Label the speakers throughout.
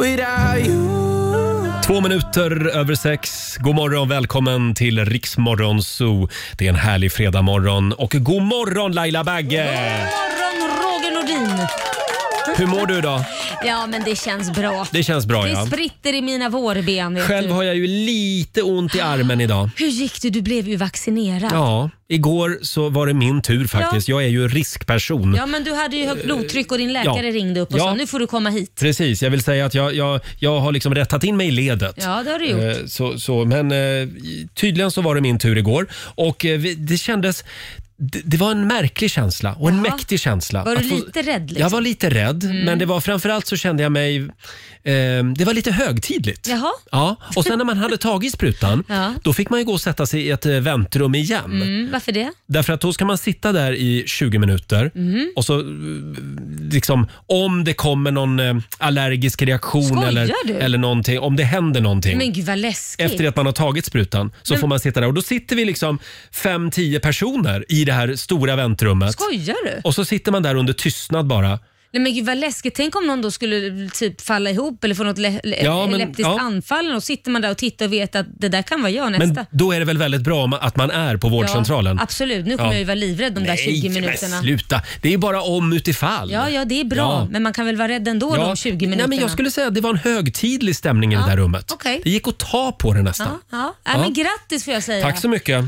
Speaker 1: without you
Speaker 2: Två minuter över sex. God morgon, välkommen till Riksmorgon Zoo. Det är en härlig fredagmorgon. Och god morgon Laila Bagge!
Speaker 3: morgon Roger Nordin.
Speaker 2: Hur mår du idag?
Speaker 3: Ja, men det känns bra.
Speaker 2: Det känns bra
Speaker 3: Det
Speaker 2: ja.
Speaker 3: spritter i mina vårben. Vet
Speaker 2: Själv
Speaker 3: du.
Speaker 2: har jag ju lite ont i armen idag.
Speaker 3: Hur gick det? Du blev ju vaccinerad.
Speaker 2: Ja, igår så var det min tur faktiskt. Jag är ju riskperson.
Speaker 3: Ja, men du hade ju högt blodtryck och din läkare
Speaker 2: Eh, ja.
Speaker 3: ringde upp och
Speaker 2: Ja.
Speaker 3: sa nu får du komma hit.
Speaker 2: Precis, jag vill säga att jag, jag, jag har liksom rättat in mig i ledet.
Speaker 3: Ja, det har du gjort.
Speaker 2: Eh, Så, så, men eh, tydligen så var det min tur igår och eh, vi- det kändes det, det var en märklig känsla och en
Speaker 3: Jaha.
Speaker 2: mäktig känsla.
Speaker 3: Var du
Speaker 2: Att få-
Speaker 3: lite rädd? Liksom?
Speaker 2: Jag var lite rädd, men det var framförallt så kände jag mig... Eh, det var lite högtidligt.
Speaker 3: Jaha.
Speaker 2: Ja, och sen när man hade tagit sprutan,
Speaker 3: Ja.
Speaker 2: då fick man ju gå och sätta sig i ett eh, väntrum igen.
Speaker 3: Mm, varför det?
Speaker 2: Därför att då ska man sitta där i 20 minuter
Speaker 3: Mhm.
Speaker 2: och så eh, liksom om det kommer någon eh, allergisk reaktion
Speaker 3: Skojar
Speaker 2: eller,
Speaker 3: du?
Speaker 2: eller någonting, om det händer någonting.
Speaker 3: Men gud vad läskigt.
Speaker 2: efter att man har tagit sprutan så får man sitta där och då sitter vi liksom 5-10 personer i det här stora väntrummet.
Speaker 3: Skojar du?
Speaker 2: Och så sitter man där under tystnad bara.
Speaker 3: Nej, men gud vad läskigt. Tänk om någon då skulle typ falla ihop eller få något le- le-
Speaker 2: Ja, men-
Speaker 3: epileptiskt
Speaker 2: ja.
Speaker 3: anfall och sitter man där och tittar och vet att det där kan vara jag nästa.
Speaker 2: Men då är det väl väldigt bra om- att man är på vårdcentralen?
Speaker 3: Ja, absolut, nu kommer
Speaker 2: Ja.
Speaker 3: jag ju vara livrädd de där 20 minuterna.
Speaker 2: men sluta! Det är ju bara om utifall.
Speaker 3: Ja, ja, det är bra,
Speaker 2: Ja.
Speaker 3: men man kan väl vara rädd ändå de 20 minuterna?
Speaker 2: Nej, men jag skulle säga att det var en högtidlig stämning i det där rummet.
Speaker 3: okej.
Speaker 2: Det gick att ta på det nästan.
Speaker 3: Ja, ja. Nej, men grattis får jag säga
Speaker 2: Tack så mycket.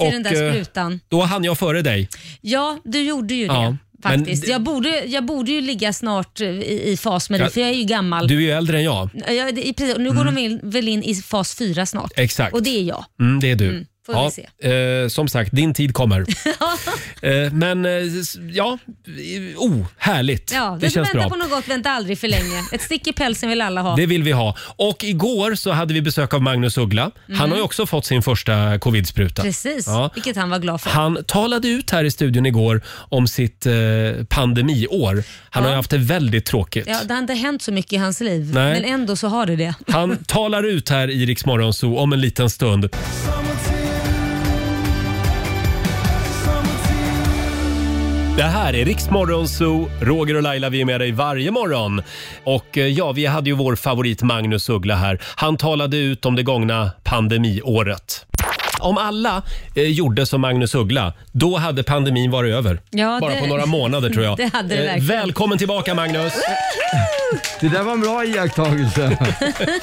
Speaker 3: till den där
Speaker 2: eh,
Speaker 3: sprutan.
Speaker 2: då hann jag före dig.
Speaker 3: Ja, du gjorde ju det.
Speaker 2: Ja, men
Speaker 3: Faktiskt.
Speaker 2: det-
Speaker 3: Jag, borde, jag borde ju ligga snart eh, i, i fas med dig,
Speaker 2: Ja,
Speaker 3: för jag är ju gammal.
Speaker 2: Du är ju äldre än jag.
Speaker 3: Jag, det, i- precis, nu går de in, väl in i fas 4 snart.
Speaker 2: Exakt.
Speaker 3: Och det är jag.
Speaker 2: Mm, det är du.
Speaker 3: får vi
Speaker 2: eh, som sagt, din tid kommer. eh, men eh, s- ja, eh, oh, härligt.
Speaker 3: Ja,
Speaker 2: det
Speaker 3: den som
Speaker 2: känns
Speaker 3: väntar
Speaker 2: bra.
Speaker 3: på något gott väntar aldrig för länge. Ett stick i pälsen vill alla ha.
Speaker 2: Det vill vi ha. Och igår så hade vi besök av Magnus Uggla. Han har ju också fått sin första covid-spruta.
Speaker 3: Mm. Precis,
Speaker 2: Ja.
Speaker 3: vilket han var glad för.
Speaker 2: Alltså. Han talade ut här i studion igår om sitt eh, pandemiår. Han har ju haft det väldigt tråkigt.
Speaker 3: Ja, det har inte hänt så mycket i hans liv,
Speaker 2: Nej.
Speaker 3: men ändå så har det det.
Speaker 2: Han talar ut här i Rix Morgon Zoo om en liten stund. Det här är Rix Morgon Zoo. Roger och Laila, vi är med dig varje morgon. Och eh, ja, vi hade ju vår favorit Magnus Uggla här. Han talade ut om det gångna pandemiåret. Om alla eh, gjorde som Magnus Uggla, då hade pandemin varit över.
Speaker 3: Ja,
Speaker 2: Bara
Speaker 3: det-
Speaker 2: på några månader tror jag. Eh,
Speaker 3: Det hade det verkligen.
Speaker 2: välkommen tillbaka Magnus!
Speaker 4: Det där var en bra iakttagelse.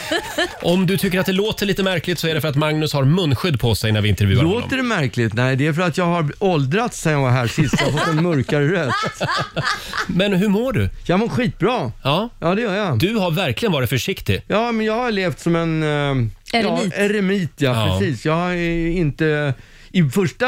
Speaker 2: Om du tycker att det låter lite märkligt så är det för att Magnus har munskydd på sig när vi intervjuar honom.
Speaker 4: Låter det märkligt? Nej, det är för att jag har åldrats sen jag var här sist. Jag har fått en mörkare röst.
Speaker 2: Men hur mår du?
Speaker 4: Jag mår skitbra.
Speaker 2: Ja,
Speaker 4: Ja, det gör jag.
Speaker 2: du har verkligen varit försiktig.
Speaker 4: Ja, men jag har levt som en... eh,
Speaker 3: Eremit.
Speaker 4: Ja, eremit, ja,
Speaker 2: Ja.
Speaker 4: Precis. Jag är inte... I första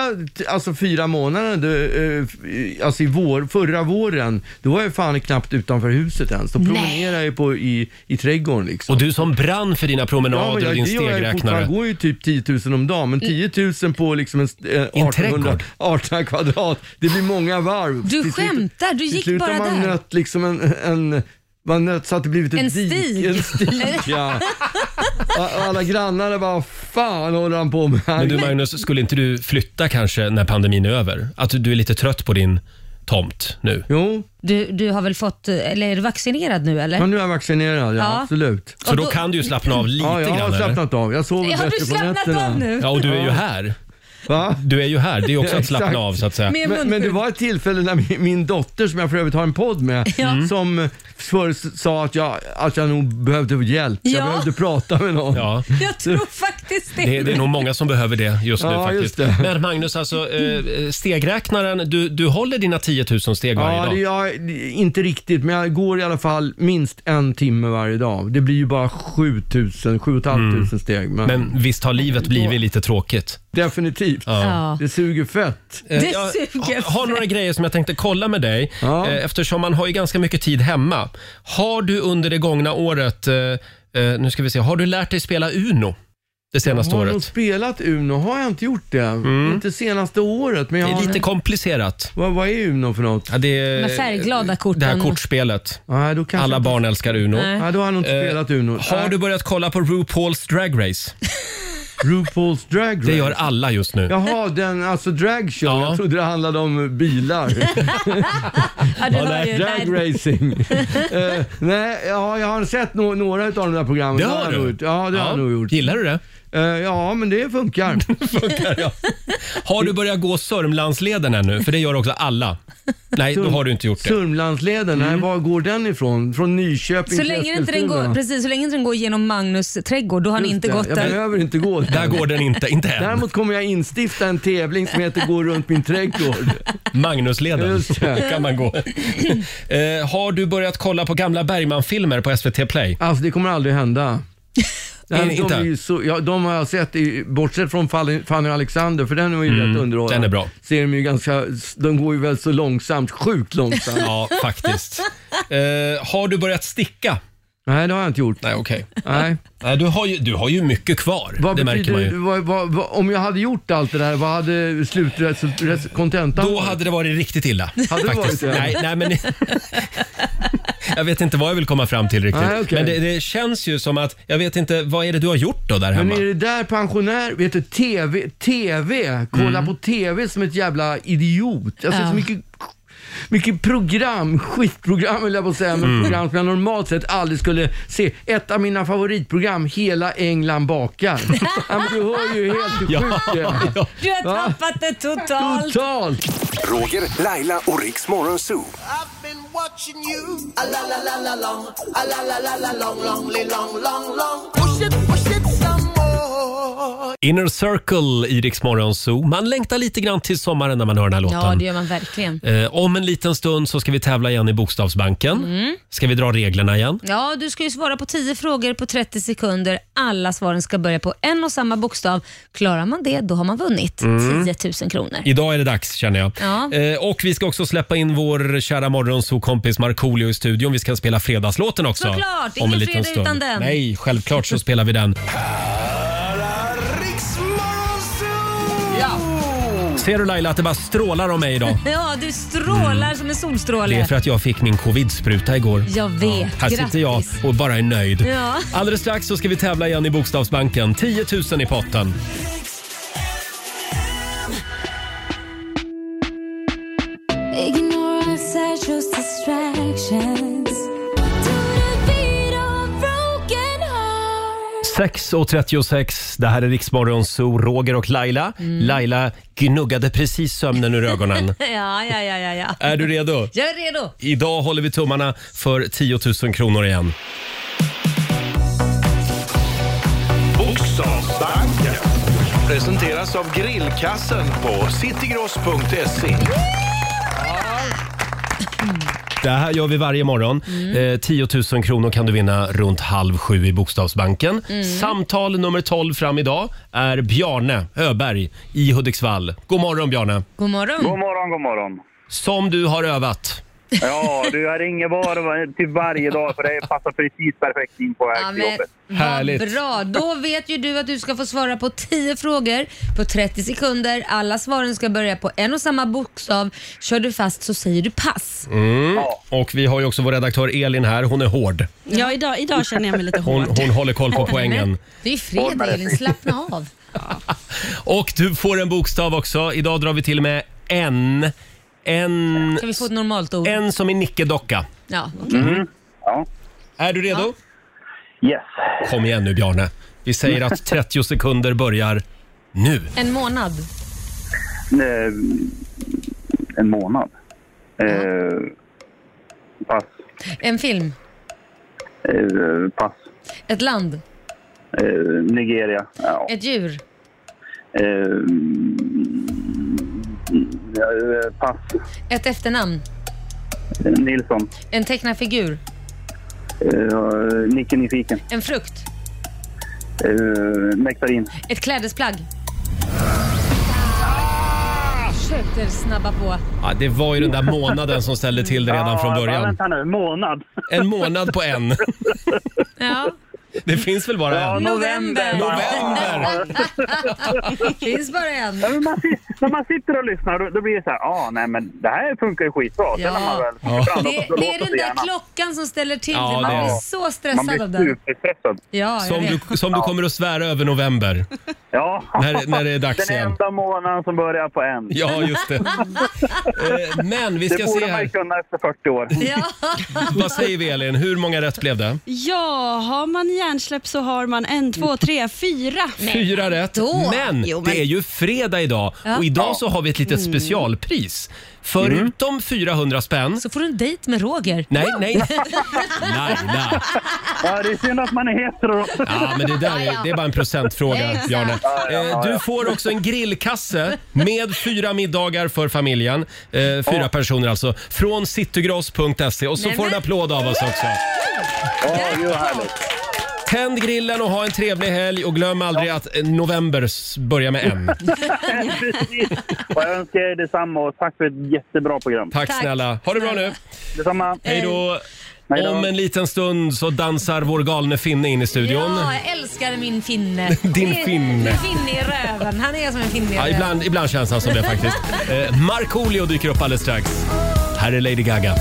Speaker 4: alltså fyra månaderna, du, eh, f- alltså i vår, förra våren, då var jag fan knappt utanför huset ens. Då promenerade jag på, i, i trädgården liksom.
Speaker 2: Och du som brann för dina
Speaker 4: Ja, men
Speaker 2: promenader och
Speaker 4: jag,
Speaker 2: din
Speaker 4: det gör jag ju fortfarande.
Speaker 2: stegräknare.
Speaker 4: Jag går ju typ 10 000 om dagen, men
Speaker 3: Mm.
Speaker 4: 10 000 på liksom en, st- eh,
Speaker 2: en
Speaker 4: 1800,
Speaker 2: trädgård.
Speaker 4: 18 kvadrat. Det blir många varv.
Speaker 3: Du
Speaker 4: Till slut-
Speaker 3: skämtar, du
Speaker 4: till
Speaker 3: gick
Speaker 4: slut
Speaker 3: bara
Speaker 4: har man
Speaker 3: där.
Speaker 4: Nött liksom en, en, man nött så att det blivit ett
Speaker 3: En
Speaker 4: dik,
Speaker 3: stig.
Speaker 4: En stig, ja. Och- och Alla grannar bara, fan håller han på med?
Speaker 2: Men du Magnus, skulle inte du flytta kanske när pandemin är över? Att du är lite trött på din tomt nu?
Speaker 4: Jo,
Speaker 3: Du, du har väl fått, eller är du vaccinerad nu eller?
Speaker 4: men nu är jag vaccinerad, ja,
Speaker 3: Ja.
Speaker 4: absolut.
Speaker 2: Så
Speaker 3: Och
Speaker 2: då
Speaker 3: då-
Speaker 2: kan du ju slappna av lite
Speaker 4: Ja, jag
Speaker 2: grann
Speaker 4: har
Speaker 2: eller?
Speaker 4: slappnat av. Jag sover
Speaker 3: Har du
Speaker 4: bättre på
Speaker 3: slappnat
Speaker 4: nätterna.
Speaker 3: av nu?
Speaker 2: Ja, och du är ju här.
Speaker 4: Va?
Speaker 2: Du är ju här. Det är också
Speaker 4: Ja,
Speaker 2: att slappna
Speaker 4: exakt.
Speaker 2: av så att säga.
Speaker 3: Med
Speaker 4: Men, men det
Speaker 3: munskydd.
Speaker 4: var ett tillfälle när min, min dotter, som jag för övrigt har en podd med,
Speaker 3: Ja. Mm.
Speaker 4: som förr sa att jag, att jag nog behövde hjälp.
Speaker 3: Ja.
Speaker 4: Jag behövde prata med någon.
Speaker 2: Ja.
Speaker 3: Jag tror faktiskt det.
Speaker 2: Det, det är nog många som behöver det just nu
Speaker 4: Ja,
Speaker 2: faktiskt.
Speaker 4: just det.
Speaker 2: Men Magnus, alltså eh, stegräknaren, du, du håller dina 10 000 steg varje
Speaker 4: Ja,
Speaker 2: dag.
Speaker 4: det, jag, inte riktigt, men jag går i alla fall minst en timme varje dag. Det blir ju bara 7000, 7500 steg. Men,
Speaker 2: Mm. Men visst har livet blivit lite tråkigt?
Speaker 4: definitivt,
Speaker 3: Ja.
Speaker 4: det suger fett.
Speaker 2: Eh,
Speaker 3: Det
Speaker 2: jag
Speaker 3: suger
Speaker 2: ha- har några grejer som jag tänkte kolla med dig
Speaker 4: Ja.
Speaker 2: eh, eftersom man har ju ganska mycket tid hemma. Har du under det gångna året, eh, eh, nu ska vi se, har du lärt dig spela Uno det senaste
Speaker 4: Har jag nog
Speaker 2: året? Mm.
Speaker 4: spelat Uno? Har jag inte gjort det? Inte senaste året, men jag
Speaker 2: Det är
Speaker 4: har...
Speaker 2: lite komplicerat.
Speaker 4: Vad, vad är Uno för något?
Speaker 2: Ja, det är,
Speaker 3: Med färgglada
Speaker 2: Det här
Speaker 3: korten.
Speaker 2: kortspelet.
Speaker 4: Nej, då kanske
Speaker 2: Alla
Speaker 4: jag-
Speaker 2: barn älskar Uno.
Speaker 3: Nej.
Speaker 4: Nej, då har jag nog inte
Speaker 2: Eh,
Speaker 4: spelat Uno.
Speaker 2: Har du börjat kolla på RuPaul's Drag Race?
Speaker 4: RuPaul's Drag Race.
Speaker 2: Det gör alla just nu.
Speaker 4: Jaha, den, alltså dragshow.
Speaker 2: Ja.
Speaker 4: Jag trodde det handlade om bilar.
Speaker 3: Ja, du hör
Speaker 2: nej,
Speaker 3: ju. Nej.
Speaker 4: Drag racing. Eh, nej, ja, jag har sett no- några av de där programmen.
Speaker 2: Det har
Speaker 4: jag
Speaker 2: du?
Speaker 4: nog gjort. Ja, det har jag nog gjort.
Speaker 2: Gillar du det?
Speaker 4: Eh, ja, men det funkar.
Speaker 2: Har du börjat gå Sörmlandsleden ännu? För det gör också alla. Nej, då har du inte gjort det. Mm.
Speaker 4: Sörmlandsleden, nej, var går den ifrån? Från Nyköping
Speaker 3: Så
Speaker 4: till
Speaker 3: länge, inte den går,
Speaker 4: Eskilstuna?
Speaker 3: precis, så länge inte den går genom Magnus trädgård, då har han
Speaker 4: Just
Speaker 3: inte
Speaker 4: det,
Speaker 3: gått
Speaker 4: Jag
Speaker 3: där.
Speaker 4: behöver inte gå
Speaker 2: Där går den inte, inte än.
Speaker 4: Däremot kommer jag instifta en tävling som heter Gå runt min trädgård.
Speaker 2: Magnusleden
Speaker 4: Just det.
Speaker 2: kan man gå. Eh, har du börjat kolla på gamla Bergman-filmer på SVT Play?
Speaker 4: Alltså det kommer aldrig hända.
Speaker 2: Nej,
Speaker 4: de,
Speaker 2: inte.
Speaker 4: är ju så, ja, de har jag sett, i, bortsett från Fanny Fanny och Alexander, för den är ju rätt underhållande.
Speaker 2: Mm, den är bra.
Speaker 4: Ser de, ju ganska, de går ju väl så långsamt, sjukt långsamt.
Speaker 2: Ja, faktiskt. Eh, har du börjat sticka?
Speaker 4: Nej, det har jag inte gjort.
Speaker 2: Nej, okej.
Speaker 4: Nej.
Speaker 2: Nej, du, har ju, du har ju mycket kvar.
Speaker 4: Vad
Speaker 2: det märker
Speaker 4: betyder,
Speaker 2: man
Speaker 4: Vad,
Speaker 2: ju.
Speaker 4: vad, vad, om jag hade gjort allt det där, vad hade slutresultatet, kontentan
Speaker 2: Då
Speaker 4: varit?
Speaker 2: hade det varit riktigt illa.
Speaker 4: Hade det
Speaker 2: faktiskt.
Speaker 4: varit det?
Speaker 2: Nej, nej, men... Jag vet inte vad jag vill komma fram till riktigt.
Speaker 4: Nej, okej.
Speaker 2: Men det, det känns ju som att, jag vet inte, vad är det du har gjort då där hemma?
Speaker 4: Men är det där pensionär, vet du, TV, TV, kolla
Speaker 2: Mm.
Speaker 4: på TV som ett jävla idiot. Jag ser så mycket, mycket program, skitprogram vill jag på att säga, men
Speaker 2: Mm.
Speaker 4: program som jag normalt sett aldrig skulle se. Ett av mina favoritprogram, Hela England bakar. ja, men du hör ju helt hur
Speaker 2: Ja,
Speaker 4: sjukt det är.
Speaker 2: ja.
Speaker 3: Du har
Speaker 4: Va?
Speaker 3: tappat det totalt.
Speaker 4: Totalt!
Speaker 5: Roger, Laila och Riks Morgonzoo.
Speaker 6: I've been watching you. A la la la la long, a la la la la long, long, li- long, long, long. Push it, push it some more.
Speaker 2: Inner Circle i Rix Morgon Zoo. Man längtar lite grann till sommaren när man hör den här
Speaker 3: Ja,
Speaker 2: låten.
Speaker 3: det gör man verkligen.
Speaker 2: eh, om en liten stund så ska vi tävla igen i Bokstavsbanken.
Speaker 3: Mm.
Speaker 2: Ska vi dra reglerna igen?
Speaker 3: Ja, du ska ju svara på 10 frågor på 30 sekunder. Alla svaren ska börja på en och samma bokstav. Klarar man det, då har man vunnit
Speaker 2: Mm.
Speaker 3: 10 000 kronor.
Speaker 2: Idag är det dags känner jag.
Speaker 3: Ja.
Speaker 2: Eh, och vi ska också släppa in vår kära morgonsokompis Markoolio i studion. Vi ska spela fredagslåten också.
Speaker 3: Såklart! Ingen fredag utan den.
Speaker 2: Nej, självklart så spelar vi den.
Speaker 6: Riks Morgonzoo.
Speaker 2: Ser du Laila att det bara strålar om mig idag?
Speaker 3: Ja, du strålar som en solstråle.
Speaker 2: Det är för att jag fick min covid-spruta igår.
Speaker 3: Jag vet.
Speaker 2: Här
Speaker 3: Grattis.
Speaker 2: sitter jag och bara är nöjd.
Speaker 3: Ja.
Speaker 2: Alldeles strax så ska vi tävla igen i Bokstavsbanken. 10 000 i potten.
Speaker 7: Hej
Speaker 2: 6.36, det här är Riksmorgon Zoo, Roger och Laila.
Speaker 3: Mm.
Speaker 2: Laila gnuggade precis sömnen ur ögonen.
Speaker 3: Ja, ja, ja, ja, ja.
Speaker 2: är du redo?
Speaker 3: Jag är redo.
Speaker 2: Idag håller vi tummarna för 10 000 kronor igen.
Speaker 8: Presenteras av grillkassen på citygross.se.
Speaker 2: Det här gör vi varje morgon.
Speaker 3: Mm.
Speaker 2: Eh, 10 000 kronor kan du vinna runt halv sju i Bokstavsbanken.
Speaker 3: Mm.
Speaker 2: Samtal nummer 12 fram idag är Bjarne Öberg i Hudiksvall. God morgon Bjarne!
Speaker 3: God
Speaker 9: God
Speaker 3: morgon.
Speaker 9: morgon, god morgon.
Speaker 2: Som du har övat.
Speaker 9: Ja, du, jag ringer var till varje dag för det passar precis perfekt in på väg
Speaker 3: Ja,
Speaker 9: till
Speaker 3: men,
Speaker 9: jobbet.
Speaker 2: Härligt.
Speaker 3: Vad bra. Då vet ju du att du ska få svara på 10 frågor på 30 sekunder. Alla svaren ska börja på en och samma bokstav. Kör du fast så säger du pass.
Speaker 2: Och vi har ju också vår redaktör Elin här. Hon är hård.
Speaker 10: Ja, idag, idag känner jag mig lite
Speaker 2: Hon,
Speaker 10: hård.
Speaker 2: hon håller koll på poängen.
Speaker 3: Men, det är ju fredag Elin, slappna av.
Speaker 2: Och du får en bokstav också. Idag drar vi till med en. En,
Speaker 3: Kan vi få ett normalt ord?
Speaker 2: en som är nickedocka. Mm.
Speaker 3: Ja, okej. Mm.
Speaker 2: Är du redo?
Speaker 9: Yes.
Speaker 2: Kom igen nu Bjarne. Vi säger att 30 sekunder börjar nu.
Speaker 3: En månad.
Speaker 9: Eh, En månad. Eh, pass.
Speaker 3: En film.
Speaker 9: Eh, pass.
Speaker 3: Ett land.
Speaker 9: Eh, Nigeria. Ja.
Speaker 3: Ett djur.
Speaker 9: Eh, mm, eh, pass.
Speaker 3: Ett efternamn.
Speaker 9: Eh, Nilsson.
Speaker 3: En tecknarfigur.
Speaker 9: Eh, Nicke Nyfiken.
Speaker 3: En frukt.
Speaker 9: Eh, nektarin.
Speaker 3: Ett klädesplagg. Försökte snabba på.
Speaker 2: Ja, det var ju den där månaden som ställde till det redan från
Speaker 9: Ja,
Speaker 2: början.
Speaker 9: Vänta nu, månad.
Speaker 2: En månad på en.
Speaker 3: Ja.
Speaker 2: Det finns väl bara en?
Speaker 3: November.
Speaker 2: November!
Speaker 3: Finns bara en.
Speaker 9: Ja, men man, sitter, när man sitter och lyssnar då, då blir det så här, ja ah, nej men det här funkar ju skitbra. Sen
Speaker 3: Ja.
Speaker 9: när man väl
Speaker 2: Ja.
Speaker 9: fram,
Speaker 3: Det,
Speaker 9: då, då
Speaker 3: det är
Speaker 9: låter
Speaker 3: den där
Speaker 9: gärna.
Speaker 3: klockan som ställer till
Speaker 2: Ja,
Speaker 3: det. Man
Speaker 2: det är
Speaker 3: blir
Speaker 2: det.
Speaker 3: så
Speaker 9: Man
Speaker 3: stressad av
Speaker 9: blir
Speaker 3: den.
Speaker 9: superstressad.
Speaker 3: Ja, jag
Speaker 2: Som
Speaker 3: vet.
Speaker 2: du, som du kommer att svära över november.
Speaker 9: Ja.
Speaker 2: När- när det är dags
Speaker 9: Den
Speaker 2: igen.
Speaker 9: enda månaden som börjar på en.
Speaker 2: Ja, just det. Eh, Men vi
Speaker 9: Det
Speaker 2: ska se
Speaker 9: borde man ju
Speaker 2: här.
Speaker 9: kunna efter 40 år.
Speaker 3: Ja.
Speaker 2: Vad säger vi Elin? Hur många rätt blev det?
Speaker 10: Ja, har man hjärnsläpp så har man en, två, tre, fyra.
Speaker 2: Fyra rätt.
Speaker 3: då?
Speaker 2: Men,
Speaker 10: Jo, men-
Speaker 2: det är ju fredag idag och idag så har vi ett litet
Speaker 3: Mm.
Speaker 2: specialpris.
Speaker 9: Mm.
Speaker 2: Förutom 400 spänn.
Speaker 3: Så får du en dejt med Roger.
Speaker 2: Nej, nej. Laila.
Speaker 9: Ja, det är synd att man är hetero.
Speaker 2: Ja, men det där är, det är bara en procentfråga,
Speaker 3: Exakt.
Speaker 2: Bjarne. Eh, Du får också en grillkasse med fyra middagar för familjen. Eh, Fyra personer alltså. Från citygross.se. Och så
Speaker 3: Nej,
Speaker 2: får du en
Speaker 3: men-
Speaker 2: applåd av oss också.
Speaker 9: Ja, det är härligt.
Speaker 2: Tänd grillen och ha en trevlig helg och glöm aldrig att eh, november s- börjar med M.
Speaker 9: Precis. Och jag önskar er detsamma och tack för ett jättebra program.
Speaker 2: Tack
Speaker 3: Tack.
Speaker 2: snälla. Ha det bra nu.
Speaker 9: Detsamma.
Speaker 2: Hej då.
Speaker 9: Hej då.
Speaker 2: Om en liten stund så dansar vår galne finne in i studion.
Speaker 3: Ja, jag älskar min finne.
Speaker 2: Din
Speaker 3: Det är-
Speaker 2: finne.
Speaker 3: En finne i röven. Han är som en finne i
Speaker 2: Ja,
Speaker 3: röven.
Speaker 2: ibland, ibland känns han som det faktiskt. Eh, Markoolio dyker upp alldeles strax. Här är Lady Gaga.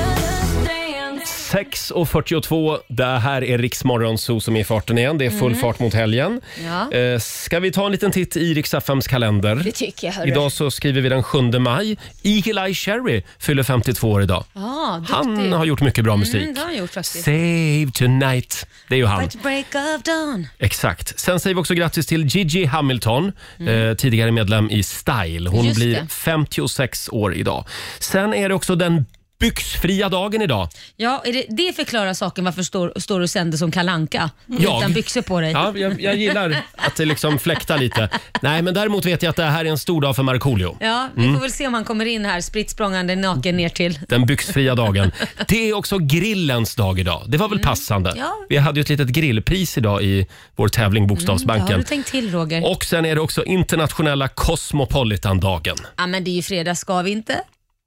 Speaker 7: Dance.
Speaker 2: 6.42, det här är Riksmorgon Zoo som är i farten igen. Det är full fart mot helgen.
Speaker 3: Mhm. Ja.
Speaker 2: Eh, Ska vi ta en liten titt i Rix FMs kalender?
Speaker 7: Det tycker jag, hörru.
Speaker 2: Idag så skriver vi den 7 maj. Eagle-Eye Cherry fyller 52 år idag.
Speaker 3: Ja, duktig.
Speaker 2: Han har gjort mycket bra musik.
Speaker 3: Mm, det har han gjort faktiskt.
Speaker 2: Save tonight. Det är ju han.
Speaker 3: At the break of dawn.
Speaker 2: Exakt. Sen säger vi också grattis till Gigi Hamilton, eh, tidigare medlem i Style. Hon
Speaker 3: Mm. Just
Speaker 2: blir
Speaker 3: det.
Speaker 2: 56 år idag. Sen är det också den byxfria dagen idag.
Speaker 3: Ja, är det, det förklarar saken varför står, står och sänder som kalanka
Speaker 2: Jag?
Speaker 3: Mm, utan byxor på dig.
Speaker 2: Ja, jag, jag gillar att det liksom fläktar lite. Nej, men däremot vet jag att det här är en stor dag för Markoolio.
Speaker 3: Ja, vi
Speaker 2: Mm.
Speaker 3: får väl se om han kommer in här spritt språngande naken ner till.
Speaker 2: Den byxfria dagen. Det är också grillens dag idag. Det var väl passande?
Speaker 3: Mm. Ja.
Speaker 2: Vi hade ju ett litet grillpris idag i vår tävling
Speaker 3: Ja, har
Speaker 2: Bokstavsbanken.
Speaker 3: du tänkt till Roger?
Speaker 2: Och sen är det också internationella Cosmopolitan-dagen.
Speaker 3: Ja, men det är ju fredag, ska vi inte?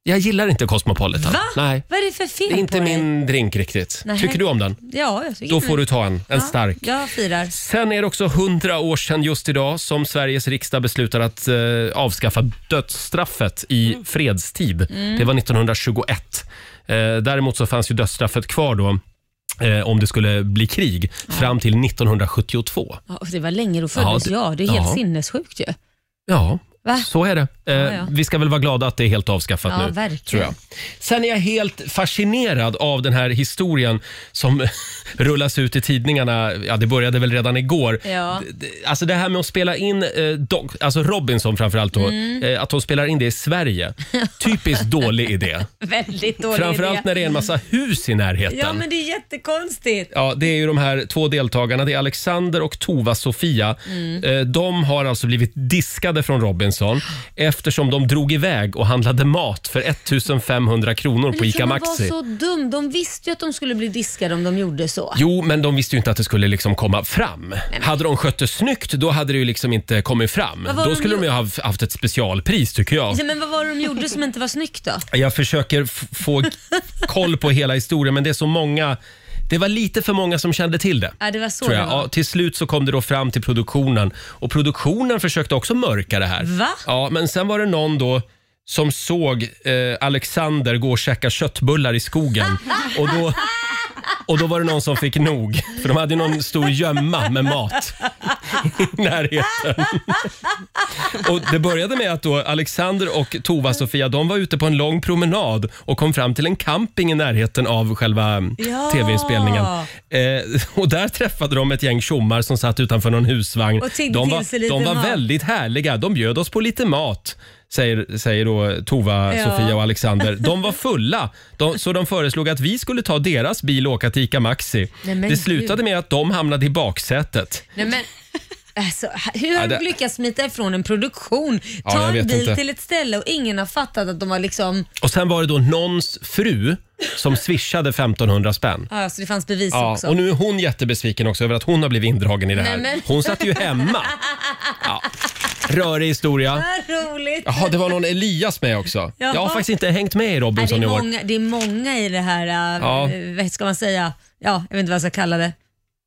Speaker 2: Jag gillar inte Cosmopolitan.
Speaker 3: Va?
Speaker 2: Nej.
Speaker 3: Vad är det för fel
Speaker 2: Det är inte
Speaker 3: på dig?
Speaker 2: min drink riktigt.
Speaker 3: Nej.
Speaker 2: Tycker du om den?
Speaker 3: Ja, jag tycker
Speaker 2: Då
Speaker 3: inte
Speaker 2: får
Speaker 3: det.
Speaker 2: du ta en, en
Speaker 3: ja,
Speaker 2: stark.
Speaker 3: Jag firar.
Speaker 2: Sen är det också 100 år sedan just idag som Sveriges riksdag beslutar att eh, avskaffa dödsstraffet i
Speaker 3: Mm.
Speaker 2: fredstid. Det var 1921. Eh, däremot så fanns ju dödsstraffet kvar då eh, om det skulle bli krig fram till 1972.
Speaker 3: Ja, och det var länge då
Speaker 2: Ja,
Speaker 3: föddes
Speaker 2: det-
Speaker 3: jag. Det är helt
Speaker 2: ja.
Speaker 3: sinnessjukt ju.
Speaker 2: Ja,
Speaker 3: Va?
Speaker 2: så är det. Eh,
Speaker 3: ja.
Speaker 2: Vi ska väl vara glada att det är helt avskaffat
Speaker 3: Ja,
Speaker 2: nu.
Speaker 3: verkligen.
Speaker 2: Tror jag. Sen är jag helt fascinerad av den här historien som rullas ut i tidningarna. Ja, det började väl redan igår.
Speaker 3: Ja.
Speaker 2: D- d- Alltså det här med att spela in eh, Doc, alltså Robinson framförallt då,
Speaker 3: Mm.
Speaker 2: eh, att de spelar in det i Sverige. Typiskt dålig idé.
Speaker 3: Väldigt dålig
Speaker 2: Framförallt
Speaker 3: idé.
Speaker 2: när det är en massa hus i närheten.
Speaker 3: Ja, men det är jättekonstigt.
Speaker 2: Ja, det är ju de här två deltagarna, det är Alexander och Tova-Sofia.
Speaker 3: Mm.
Speaker 2: Eh, De har alltså blivit diskade från Robinson eftersom de drog iväg och handlade mat för 1500 kronor på
Speaker 3: Men
Speaker 2: ICA
Speaker 3: kan man
Speaker 2: Maxi.
Speaker 3: vara så dum? De visste ju att de skulle bli diskade om de gjorde så.
Speaker 2: Jo, men de visste ju inte att det skulle liksom komma fram. Hade de skött det snyggt, då hade det ju liksom inte kommit fram.
Speaker 3: Vad var
Speaker 2: Då
Speaker 3: de
Speaker 2: skulle de ju ha haft ett specialpris, tycker jag.
Speaker 3: Ja, men vad var det de gjorde som inte var snyggt då?
Speaker 2: Jag försöker f- få koll på hela historien, men det är så många... Det var lite för många som kände till det.
Speaker 3: Ja, det var så
Speaker 2: tror jag.
Speaker 3: det var.
Speaker 2: Ja, till slut så kom det då fram till produktionen och produktionen försökte också mörka det här.
Speaker 3: Va?
Speaker 2: Ja, men sen var det någon då som såg eh, Alexander gå och käka köttbullar i skogen och då och då var det någon som fick nog, för de hade ju någon stor gömma med mat i närheten. Och det började med att då Alexander och Tova-Sofia de var ute på en lång promenad och kom fram till en camping i närheten av själva mm,
Speaker 3: Ja.
Speaker 2: tv-inspelningen. Eh, och där träffade de ett gäng tjommar som satt utanför någon husvagn.
Speaker 3: Och tiggde
Speaker 2: de
Speaker 3: till
Speaker 2: var,
Speaker 3: sig lite
Speaker 2: de var
Speaker 3: mat.
Speaker 2: väldigt härliga. De bjöd oss på lite mat. Säger, säger då Tova,
Speaker 3: Ja.
Speaker 2: Sofia och Alexander. De var fulla, de, så de föreslog att vi skulle ta deras bil och åka till ICA Maxi.
Speaker 3: Nej, men
Speaker 2: det slutade
Speaker 3: Gud.
Speaker 2: med att de hamnade i baksätet.
Speaker 3: Nej, men, alltså, hur har
Speaker 2: Ja, det-
Speaker 3: de lyckats smita ifrån en produktion,
Speaker 2: Ja,
Speaker 3: ta
Speaker 2: jag
Speaker 3: en
Speaker 2: vet
Speaker 3: bil
Speaker 2: inte.
Speaker 3: till ett ställe och ingen har fattat att de har liksom,
Speaker 2: Och sen var det då någons fru som swishade 1500 spänn.
Speaker 3: ja, alltså det fanns bevis
Speaker 2: Ja,
Speaker 3: också.
Speaker 2: och nu är hon jättebesviken också över att hon har blivit indragen i det här.
Speaker 3: Nej, men-
Speaker 2: Hon satt ju hemma. Ja. Rörig historia.
Speaker 3: Vad roligt.
Speaker 2: Jaha, det var någon Elias med också.
Speaker 3: Jaha.
Speaker 2: Jag har faktiskt inte hängt med i
Speaker 3: Nej, det,
Speaker 2: Robinson
Speaker 3: är
Speaker 2: i år.
Speaker 3: många, det är många i det här, eh,
Speaker 2: Ja.
Speaker 3: eh, vad ska man säga? Ja, jag vet inte vad jag ska kalla det.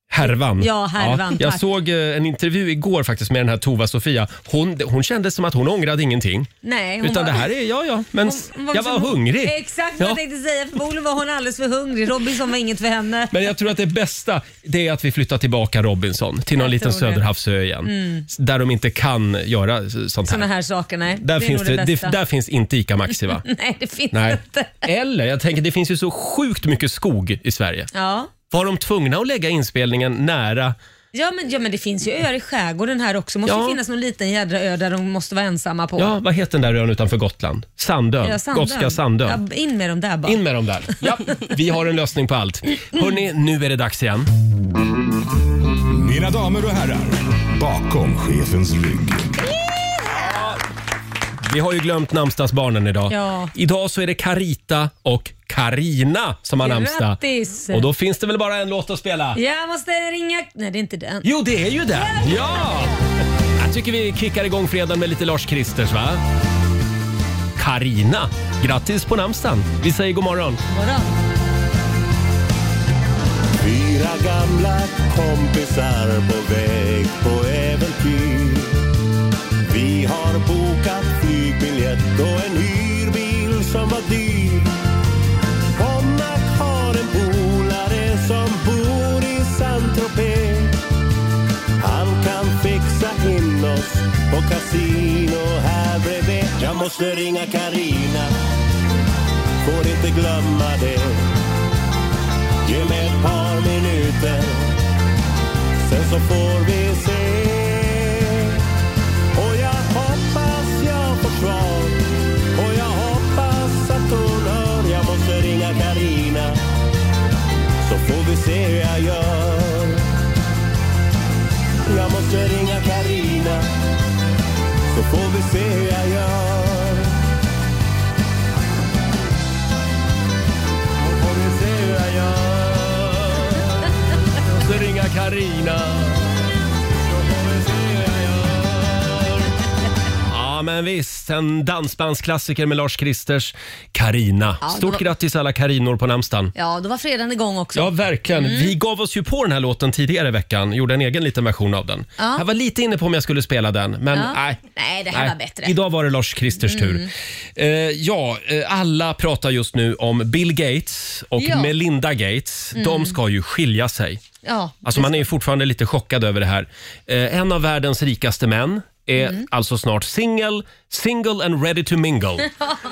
Speaker 2: Härvan.
Speaker 3: Ja, härvan,
Speaker 2: jag
Speaker 3: tack.
Speaker 2: såg eh, en intervju igår faktiskt med den här Tova-Sofia. Hon, hon kände som att hon ångrade ingenting.
Speaker 3: Nej, hon
Speaker 2: Utan
Speaker 3: var-
Speaker 2: det här är, ja ja, men jag var hungrig.
Speaker 3: liksom- Exakt vad
Speaker 2: ja.
Speaker 3: jag tänkte säga. Förmodligen var hon alldeles för hungrig. Robinson var inget för henne.
Speaker 2: Men jag tror att det bästa det är att vi flyttar tillbaka Robinson till någon
Speaker 3: Jag
Speaker 2: liten
Speaker 3: tror det.
Speaker 2: söderhavsö igen.
Speaker 3: Mm.
Speaker 2: Där de inte kan göra eh, sånt här.
Speaker 3: Sådana här saker, nej.
Speaker 2: Där,
Speaker 3: det är
Speaker 2: finns
Speaker 3: nog det,
Speaker 2: det, det,
Speaker 3: bästa.
Speaker 2: där finns inte ICA Maxi va?
Speaker 3: nej, det finns
Speaker 2: Nej.
Speaker 3: inte.
Speaker 2: Eller, jag tänker det finns ju så sjukt mycket skog i Sverige.
Speaker 3: Ja.
Speaker 2: Var de tvungna att lägga inspelningen nära?
Speaker 3: Ja men, ja men det finns ju öar i skärgården här också. måste
Speaker 2: Mm. Ja.
Speaker 3: ju finnas någon liten jädra ö där de måste vara ensamma på.
Speaker 2: Ja, vad heter den där ön utanför Gotland? Sandön.
Speaker 3: Ja,
Speaker 2: Gotska Sandön.
Speaker 3: Ja, in med dem där bara.
Speaker 2: In med dem där. Ja, vi har en lösning på allt. Hörni, nu är det dags igen.
Speaker 11: Mina damer och herrar, bakom chefens rygg.
Speaker 2: Vi har ju glömt namnsdagsbarnen idag.
Speaker 3: Ja.
Speaker 2: Idag så är det Carita och Karina som har namnsdag.
Speaker 3: Grattis!
Speaker 2: Och då finns det väl bara en låt att spela?
Speaker 3: Jag måste ringa... Nej det är inte den.
Speaker 2: Jo, det är ju den! Ja! Jag tycker vi kickar igång fredagen med lite Lars Kristers, va? Karina, grattis på namnsdagen. Vi säger god morgon.
Speaker 8: Fyra gamla kompisar på väg på äventyr. Vi har bokat flygbiljett och en hyrbil som var dyr. Konnak har en polare som bor i Saint-Tropez. Han kan fixa in oss på kasino här bredvid. Jag måste ringa Karina. får inte glömma det. Ge mig ett par minuter Sen så får vi se Och jag hoppas jag får svar Och jag hoppas att hon hör Jag måste ringa Karina Så får vi se hur jag gör Jag måste ringa Karina Så får vi se hur jag gör Så får vi se hur jag gör
Speaker 2: Så ringa Karina. Ja, men visst. En dansbandsklassiker med Lars Kristers Karina.
Speaker 3: Ja, det
Speaker 2: Stort
Speaker 3: var-
Speaker 2: grattis alla Karinor på namnsdagen.
Speaker 3: Ja, då var fredagen igång också. Mm.
Speaker 2: Ja, verkligen. Vi gav oss ju på den här låten tidigare i veckan. Gjorde en egen liten version av den.
Speaker 3: Ja.
Speaker 2: Jag var lite inne på om jag skulle spela den, men
Speaker 3: Ja.
Speaker 2: nej.
Speaker 3: Nej, det här
Speaker 2: Nej.
Speaker 3: var bättre. Mm.
Speaker 2: Idag var det Lars Kristers tur. Eh, ja, eh, alla pratar just nu om Bill Gates och
Speaker 3: Ja.
Speaker 2: Melinda Gates.
Speaker 3: Mm.
Speaker 2: De ska ju skilja sig.
Speaker 3: Ja.
Speaker 2: Alltså man är ju fortfarande lite chockad över det här. Eh, en av världens rikaste män är
Speaker 3: Mm.
Speaker 2: alltså snart singel, single and ready to mingle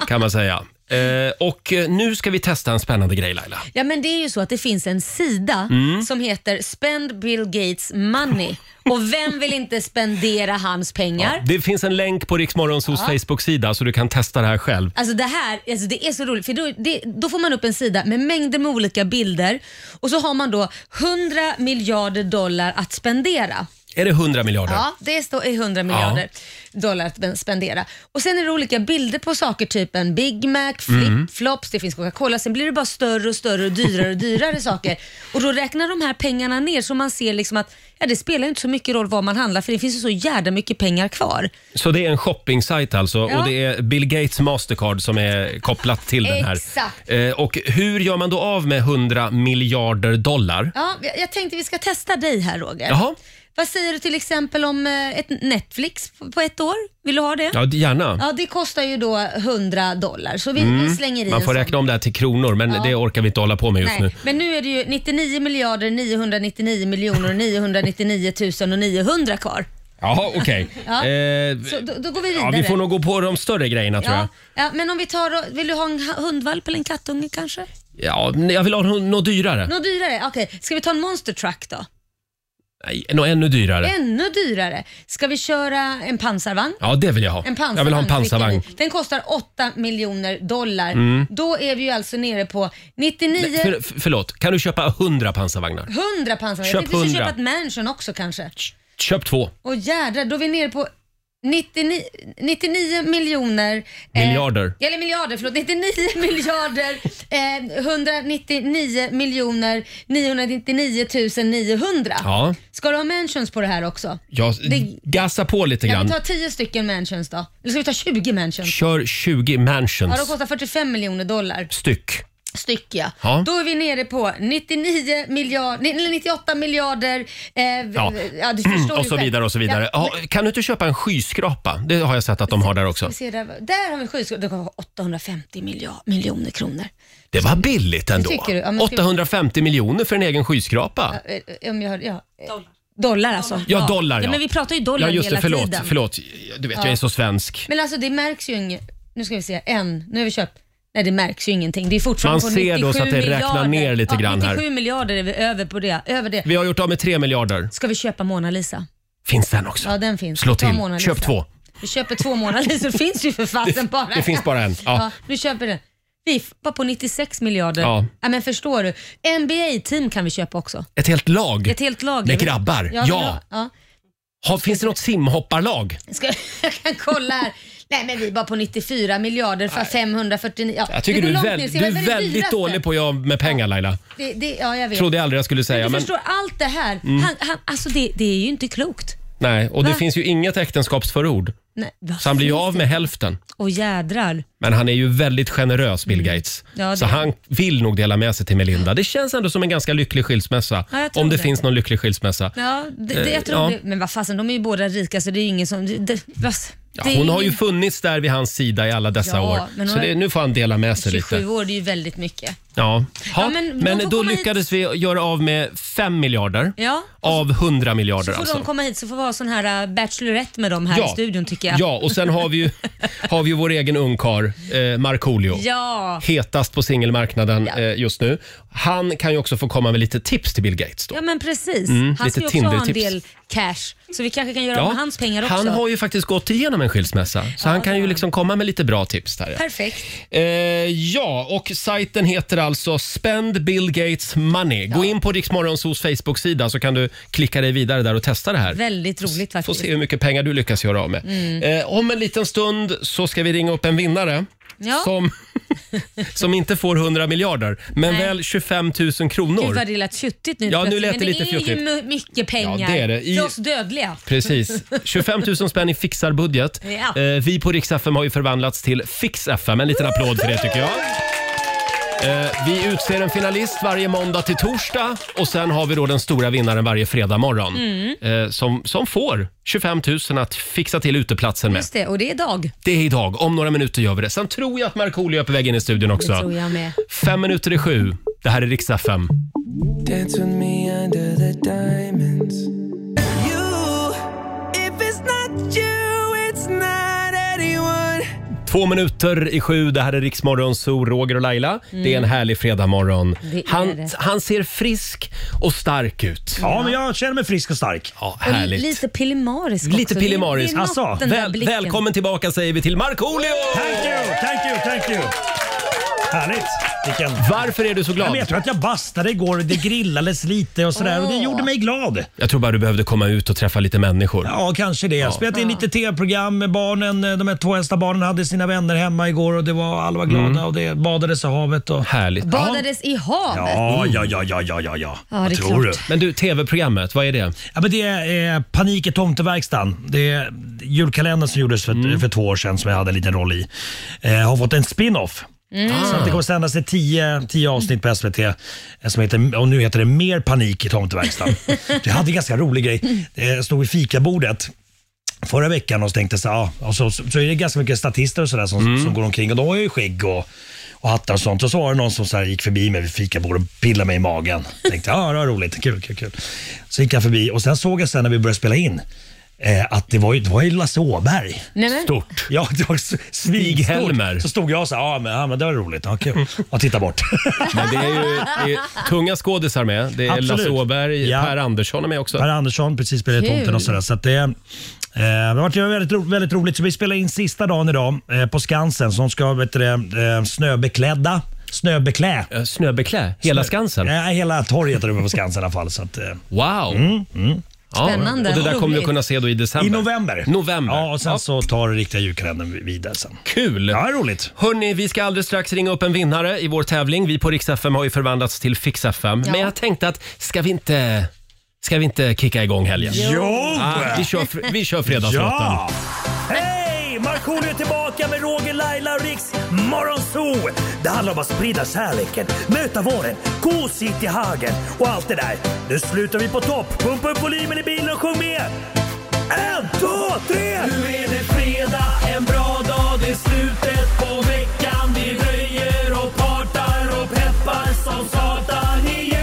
Speaker 2: kan man säga. Eh, och eh, nu ska vi testa en spännande grej Laila.
Speaker 3: Ja men det är ju så att det finns en sida
Speaker 2: Mm.
Speaker 3: som heter Spend Bill Gates Money. Och vem vill inte spendera hans pengar?
Speaker 2: Det finns en länk på Riksmorgonsos
Speaker 3: Ja.
Speaker 2: Facebook-sida så du kan testa det här själv.
Speaker 3: Alltså det här alltså det är så roligt, för då, det, då får man upp en sida med mängder med olika bilder och så har man då 100 miljarder dollar att spendera.
Speaker 2: Är det 100 miljarder?
Speaker 3: Ja, det står i 100 miljarder dollar att spendera. Och Sen är det olika bilder på saker, typ en Big Mac,
Speaker 2: Mm.
Speaker 3: flip-flops, det finns Coca-Cola. Sen blir det bara större och större och dyrare och dyrare saker. Och Då räknar de här pengarna ner så man ser liksom att ja, det spelar ju inte så mycket roll vad man handlar för det finns ju så jävla mycket pengar kvar.
Speaker 2: Så det är en shoppingsajt alltså
Speaker 3: Ja.
Speaker 2: och det är Bill Gates Mastercard som är kopplat till den här.
Speaker 3: Exakt.
Speaker 2: Eh, och hur gör man då av med 100 miljarder dollar?
Speaker 3: Ja, jag- jag tänkte vi ska testa dig här Roger.
Speaker 2: Jaha.
Speaker 3: Vad säger du till exempel om eh, ett Netflix på- på ett år? Vill du ha det?
Speaker 2: Ja, gärna.
Speaker 3: Ja, det kostar ju då 100 dollar, så vi, vi
Speaker 2: Mm.
Speaker 3: slänger i
Speaker 2: Man
Speaker 3: en
Speaker 2: får
Speaker 3: sån.
Speaker 2: räkna om det här till kronor, men
Speaker 3: Ja.
Speaker 2: det orkar vi inte hålla på med just
Speaker 3: Nej,
Speaker 2: nu.
Speaker 3: Men nu är det ju 99 miljarder 999 miljoner 999 000 och 900 kvar.
Speaker 2: Jaha, okej.
Speaker 3: Ja.
Speaker 2: Eh,
Speaker 3: Så då, då går vi vidare.
Speaker 2: ja, vi får nog gå på de större grejerna tror jag.
Speaker 3: ja. ja, men om vi tar då, vill du ha en ha- hundvalp eller en kattunge kanske?
Speaker 2: Ja, men jag vill ha nå- något dyrare.
Speaker 3: Något dyrare? Okej, ska vi ta en monster truck då?
Speaker 2: Nej, något ännu dyrare.
Speaker 3: Ännu dyrare. Ska vi köra en pansarvagn?
Speaker 2: Ja, det vill jag ha.
Speaker 3: En pansarvagn.
Speaker 2: jag vill ha en pansarvagn.
Speaker 3: skickar vi. Den kostar 8 miljoner dollar.
Speaker 2: Mm.
Speaker 3: Då är vi ju alltså nere på 99,
Speaker 2: Nej, för, för- förlåt, kan du köpa 100 pansarvagnar?
Speaker 3: 100 pansarvagnar.
Speaker 2: Köp
Speaker 3: Jag tänkte vi ska
Speaker 2: 100.
Speaker 3: köpa ett mansion också kanske.
Speaker 2: Köp två.
Speaker 3: Och jädrar, då är vi nere på 99, 99 miljoner... eh,
Speaker 2: Miljarder.
Speaker 3: ja, eller miljarder, förlåt. 99 miljarder eh, 199 miljoner 999 900.
Speaker 2: Ja.
Speaker 3: Ska du ha mentions på det här också?
Speaker 2: Jag
Speaker 3: Det-
Speaker 2: gassar på lite
Speaker 3: Ja,
Speaker 2: grann.
Speaker 3: men ta 10 stycken mansions då. Eller ska vi ta 20 mansions?
Speaker 2: Kör 20
Speaker 3: Ja,
Speaker 2: mansions
Speaker 3: de kostar 45 miljoner dollar
Speaker 2: styck.
Speaker 3: styck. Ja.
Speaker 2: Ja.
Speaker 3: Då är vi nere på 99 miljarder, eller 98 miljarder. Eh, ja.
Speaker 2: Ja. Mm,
Speaker 3: ja, du förstår
Speaker 2: och
Speaker 3: ju
Speaker 2: så
Speaker 3: själv.
Speaker 2: vidare och så vidare.
Speaker 3: Ja,
Speaker 2: Ja, kan du inte köpa en skyskrapa? Det har jag sett att de har där också.
Speaker 3: vi ser där, där har vi skyskrapa. Det kommer 850 miljard, miljoner kronor.
Speaker 2: Det var billigt ändå.
Speaker 3: tycker du? Ja, men ska vi-
Speaker 2: 850 miljoner för en egen skyskrapa.
Speaker 3: Ja, eh, Om jag hörde, ja. Dollar. Dollar alltså.
Speaker 2: Ja, dollar ja.
Speaker 3: ja. Men vi pratar ju dollar
Speaker 2: ja, just
Speaker 3: hela
Speaker 2: det, förlåt,
Speaker 3: tiden.
Speaker 2: Förlåt, du vet
Speaker 3: Ja.
Speaker 2: jag är så svensk.
Speaker 3: Men alltså det märks ju inget. Nu ska vi se, en. Nu har vi köpt. Nej det märks ju ingenting. Det är fortfarande
Speaker 2: Man
Speaker 3: på
Speaker 2: ser
Speaker 3: 97
Speaker 2: då så att det
Speaker 3: miljarder.
Speaker 2: räknar ner lite
Speaker 3: ja,
Speaker 2: grann här.
Speaker 3: 97 miljarder är vi över på det. Över det.
Speaker 2: Vi har gjort av med 3 miljarder.
Speaker 3: Ska vi köpa Mona Lisa?
Speaker 2: Finns den också?
Speaker 3: Ja, den finns.
Speaker 2: Slå
Speaker 3: Ta
Speaker 2: till.
Speaker 3: Mona Lisa.
Speaker 2: Köp två.
Speaker 3: Vi köper två Mona Lisa, det finns ju för fasen
Speaker 2: Det-
Speaker 3: bara
Speaker 2: det finns bara en, ja.
Speaker 3: nu köper vi den. Vi f- var på 96 miljarder.
Speaker 2: Ja.
Speaker 3: Ja. men förstår du? NBA-team kan vi köpa också.
Speaker 2: Ett helt lag?
Speaker 3: Ett helt lag.
Speaker 2: Med
Speaker 3: Jag vet-
Speaker 2: grabbar?
Speaker 3: men-
Speaker 2: Ja.
Speaker 3: ja.
Speaker 2: Ha, finns det något simhopparlag?
Speaker 3: Ska, jag kan kolla här. Nej men vi var på 94 miljarder för 549. Ja,
Speaker 2: Jag tycker
Speaker 3: det
Speaker 2: du
Speaker 3: går
Speaker 2: är,
Speaker 3: långt ner.
Speaker 2: väl,
Speaker 3: Se,
Speaker 2: du
Speaker 3: vad
Speaker 2: är
Speaker 3: det
Speaker 2: väldigt
Speaker 3: dyraste?
Speaker 2: dålig på att göra av med pengar Laila.
Speaker 3: Det, det, ja, jag vet.
Speaker 2: Trodde jag aldrig jag skulle säga.
Speaker 3: Du
Speaker 2: Men,
Speaker 3: förstår, allt det här.
Speaker 2: Mm.
Speaker 3: Han, han, alltså det, det är ju inte klokt.
Speaker 2: nej, och det
Speaker 3: Va?
Speaker 2: finns ju inget äktenskapsförord.
Speaker 3: Nej, vad
Speaker 2: Så han blir ju
Speaker 3: finns
Speaker 2: av
Speaker 3: det?
Speaker 2: med hälften.
Speaker 3: Åh jädrar.
Speaker 2: Men han är ju väldigt generös, Bill Gates.
Speaker 3: Mm. Ja, det
Speaker 2: så
Speaker 3: är
Speaker 2: han vill nog dela med sig till Melinda. Det känns ändå som en ganska lycklig skilsmässa.
Speaker 3: Ja, jag tror
Speaker 2: om det,
Speaker 3: det.
Speaker 2: finns någon lycklig skilsmässa.
Speaker 3: Ja, det, det,
Speaker 2: Eh,
Speaker 3: jag tror
Speaker 2: ja.
Speaker 3: det, men vad fasen, de är ju båda rika så det är ju ingen som... Det, det, vad-
Speaker 2: Ja,
Speaker 3: det är
Speaker 2: hon har ju
Speaker 3: ingen-
Speaker 2: funnits där vid hans sida i alla dessa
Speaker 3: Ja, men
Speaker 2: år.
Speaker 3: hon
Speaker 2: Så
Speaker 3: har-
Speaker 2: det, nu får han dela med sig
Speaker 3: 27
Speaker 2: lite.
Speaker 3: år, det är ju väldigt mycket.
Speaker 2: Ja. Ha,
Speaker 3: Ja, men
Speaker 2: men
Speaker 3: de får
Speaker 2: då
Speaker 3: komma hit.
Speaker 2: lyckades vi göra av med 5 miljarder
Speaker 3: Ja.
Speaker 2: av 100
Speaker 3: Så
Speaker 2: miljarder.
Speaker 3: får
Speaker 2: alltså.
Speaker 3: de komma hit så får vi ha sån här äh, Bachelorette med dem här i studion tycker jag.
Speaker 2: Ja, och sen har vi ju, har vi ju vår egen ungkarl, eh, Markoolio.
Speaker 3: Ja.
Speaker 2: Hetast på singelmarknaden eh, just nu. Han kan ju också få komma med lite tips till Bill Gates. Då.
Speaker 3: Ja men precis.
Speaker 2: Mm,
Speaker 3: han ska ju
Speaker 2: lite
Speaker 3: också ha en
Speaker 2: Tinder-tips.
Speaker 3: del cash. Så vi kanske kan göra av med hans pengar också.
Speaker 2: Han har ju faktiskt gått igenom en skilsmässa, så han kan ju liksom komma med lite bra tips där. Ja.
Speaker 3: Perfekt.
Speaker 2: Eh, ja, och sajten heter alltså Spend Bill Gates Money. Gå in på Riksmorgonsos Facebook-sida så kan du klicka dig vidare där och testa det här.
Speaker 3: Väldigt roligt
Speaker 2: Får
Speaker 3: faktiskt.
Speaker 2: se hur mycket pengar du lyckas göra av med.
Speaker 3: Mm.
Speaker 2: Eh, om en liten stund så ska vi ringa upp en vinnare
Speaker 3: Ja.
Speaker 2: som, som inte får 100 miljarder, men
Speaker 3: Nej.
Speaker 2: väl 25 000
Speaker 3: Gud
Speaker 2: kronor.
Speaker 3: vad det lät fjuttigt nu
Speaker 2: Ja, nu
Speaker 3: plötsligt,
Speaker 2: lät
Speaker 3: men
Speaker 2: det lite
Speaker 3: det är
Speaker 2: fjuttigt.
Speaker 3: ju mu- mycket pengar
Speaker 2: Ja, det är det. I-
Speaker 3: för oss dödliga.
Speaker 2: Precis. 25 000 spänn i fixarbudget.
Speaker 3: Ja.
Speaker 2: Eh, vi på Rix FM har ju förvandlats till Fix FM. En liten applåd för det tycker jag. Eh, Vi utser en finalist varje måndag till torsdag och sen har vi då den stora vinnaren varje fredag morgon
Speaker 3: Mm.
Speaker 2: eh, som, som får 25 000 att fixa till uteplatsen med.
Speaker 3: Just det, och det är dag.
Speaker 2: Det är idag. Om några minuter gör vi det. Sen tror jag att Markoolio är på väg in i studion också.
Speaker 3: Det tror jag med.
Speaker 2: Fem minuter i sju. Det här är Rix FM.
Speaker 1: Dance with me under the diamonds. You, if it's not you, it's not anyone.
Speaker 2: Två minuter i sju. Det här är Rix Morgon, Zoo, Roger och Laila.
Speaker 1: Mm.
Speaker 2: Det är en härlig fredagmorgon.
Speaker 1: Det är
Speaker 2: Han,
Speaker 1: det.
Speaker 2: han ser frisk och stark ut.
Speaker 12: Ja, men jag känner mig frisk och stark.
Speaker 2: Ja,
Speaker 3: Och
Speaker 2: härligt.
Speaker 3: Lite pillemarisk
Speaker 2: Lite
Speaker 3: också. Det är-
Speaker 2: pillemarisk.
Speaker 3: det är något, den där
Speaker 2: väl,
Speaker 3: blicken.
Speaker 2: välkommen tillbaka säger vi till Markoolio!
Speaker 12: Thank you, thank you, thank you. Härligt. Vilken...
Speaker 2: Varför är du så glad?
Speaker 12: Jag, vet, jag tror att jag bastade igår. Det grillades lite och sådär och det gjorde mig glad.
Speaker 2: Jag tror bara du behövde komma ut och träffa lite människor.
Speaker 12: Ja, kanske det. Spelat in lite tv-program med barnen. eh, De här två äldsta barnen hade sina vänner hemma igår och det var, alla var glada och det badades i havet. Och...
Speaker 2: Mm. Härligt.
Speaker 3: Badades i havet. Mm.
Speaker 12: Ja, ja, ja, ja, ja, ja. ja.
Speaker 3: Ja, det är klart.
Speaker 2: Men du, tv-programmet, vad är det?
Speaker 12: Ja, men det är eh, Panik i tomteverkstan. Det är julkalendern som gjordes för,
Speaker 2: Mm.
Speaker 12: för två år sedan som jag hade en liten roll i. Eh, har fått en spin-off.
Speaker 3: Ah.
Speaker 2: Ah.
Speaker 13: Mm.
Speaker 12: Så att det kommer sändas i tio, tio avsnitt på SVT eh, som heter, och nu heter det Mer panik i tomteverkstan. det hade en ganska rolig grej. Det stod vid fikabordet förra veckan och så tänkte så, ja, och så, så, så är det ganska mycket statister och sådär som,
Speaker 2: Mm.
Speaker 12: som går omkring och de har ju skägg och, och hattar och sånt. Och så var det någon som så här gick förbi mig vid fikabordet och pillade mig i magen. Jag tänkte, ja det var roligt, kul, kul, kul. Så gick han förbi och sen såg jag sen när vi började spela in eh, att det var ju, det var ju Lasse Åberg.
Speaker 3: Nej, men.
Speaker 2: Stort.
Speaker 12: Ja, det var s-
Speaker 2: Stig-Helmer.
Speaker 12: svinstort. Så stod jag och sa, ja men, ja, men det var roligt, ja, kul. Och titta bort.
Speaker 2: Men det är ju det är tunga skådisar med. Det är
Speaker 12: Absolut.
Speaker 2: Lasse Åberg,
Speaker 12: Ja.
Speaker 2: Per Andersson är med också.
Speaker 12: Per Andersson precis spelade i
Speaker 2: Kul.
Speaker 12: Tomten och sådär. Så att det, eh, det har varit väldigt, ro- väldigt roligt. Så vi spelar in sista dagen idag eh, på Skansen som ska vet du, det, eh, snöbeklädda. Snöbeklä.
Speaker 2: Eh, Snöbeklä? Hela Skansen?
Speaker 12: Nej, hela torget där uppe på Skansen i alla fall. Så att, eh,
Speaker 2: Wow!
Speaker 12: Mm, mm.
Speaker 3: Spännande.
Speaker 2: Och det där kommer vi
Speaker 3: Roligt.
Speaker 2: att kunna se då i december.
Speaker 12: I november.
Speaker 2: November.
Speaker 12: Ja, och sen så tar riktiga julkalendern vidare sen.
Speaker 2: Kul!
Speaker 12: Ja, roligt.
Speaker 2: Hörni, vi ska alldeles strax ringa upp en vinnare i vår tävling. Vi på Rix FM har ju förvandlats till Fix FM.
Speaker 12: Ja.
Speaker 2: Men jag tänkte att ska vi inte, ska vi inte kicka igång helgen?
Speaker 12: Jo!
Speaker 2: Ah, vi kör, fr- vi kör fredagslåten.
Speaker 12: Ja! Hej! Markoolio är tillbaka med Roger, Laila och Riks Morgonzoo! Det handlar om att sprida kärleken, möta våren, gosigt i hagen och allt det där. Nu slutar vi på topp! Pumpa upp volymen i bilen och sjung med! En, två, tre!
Speaker 13: Nu är det fredag, en bra dag, det är slutet på veckan. Vi röjer och partar och peppar som satan igen.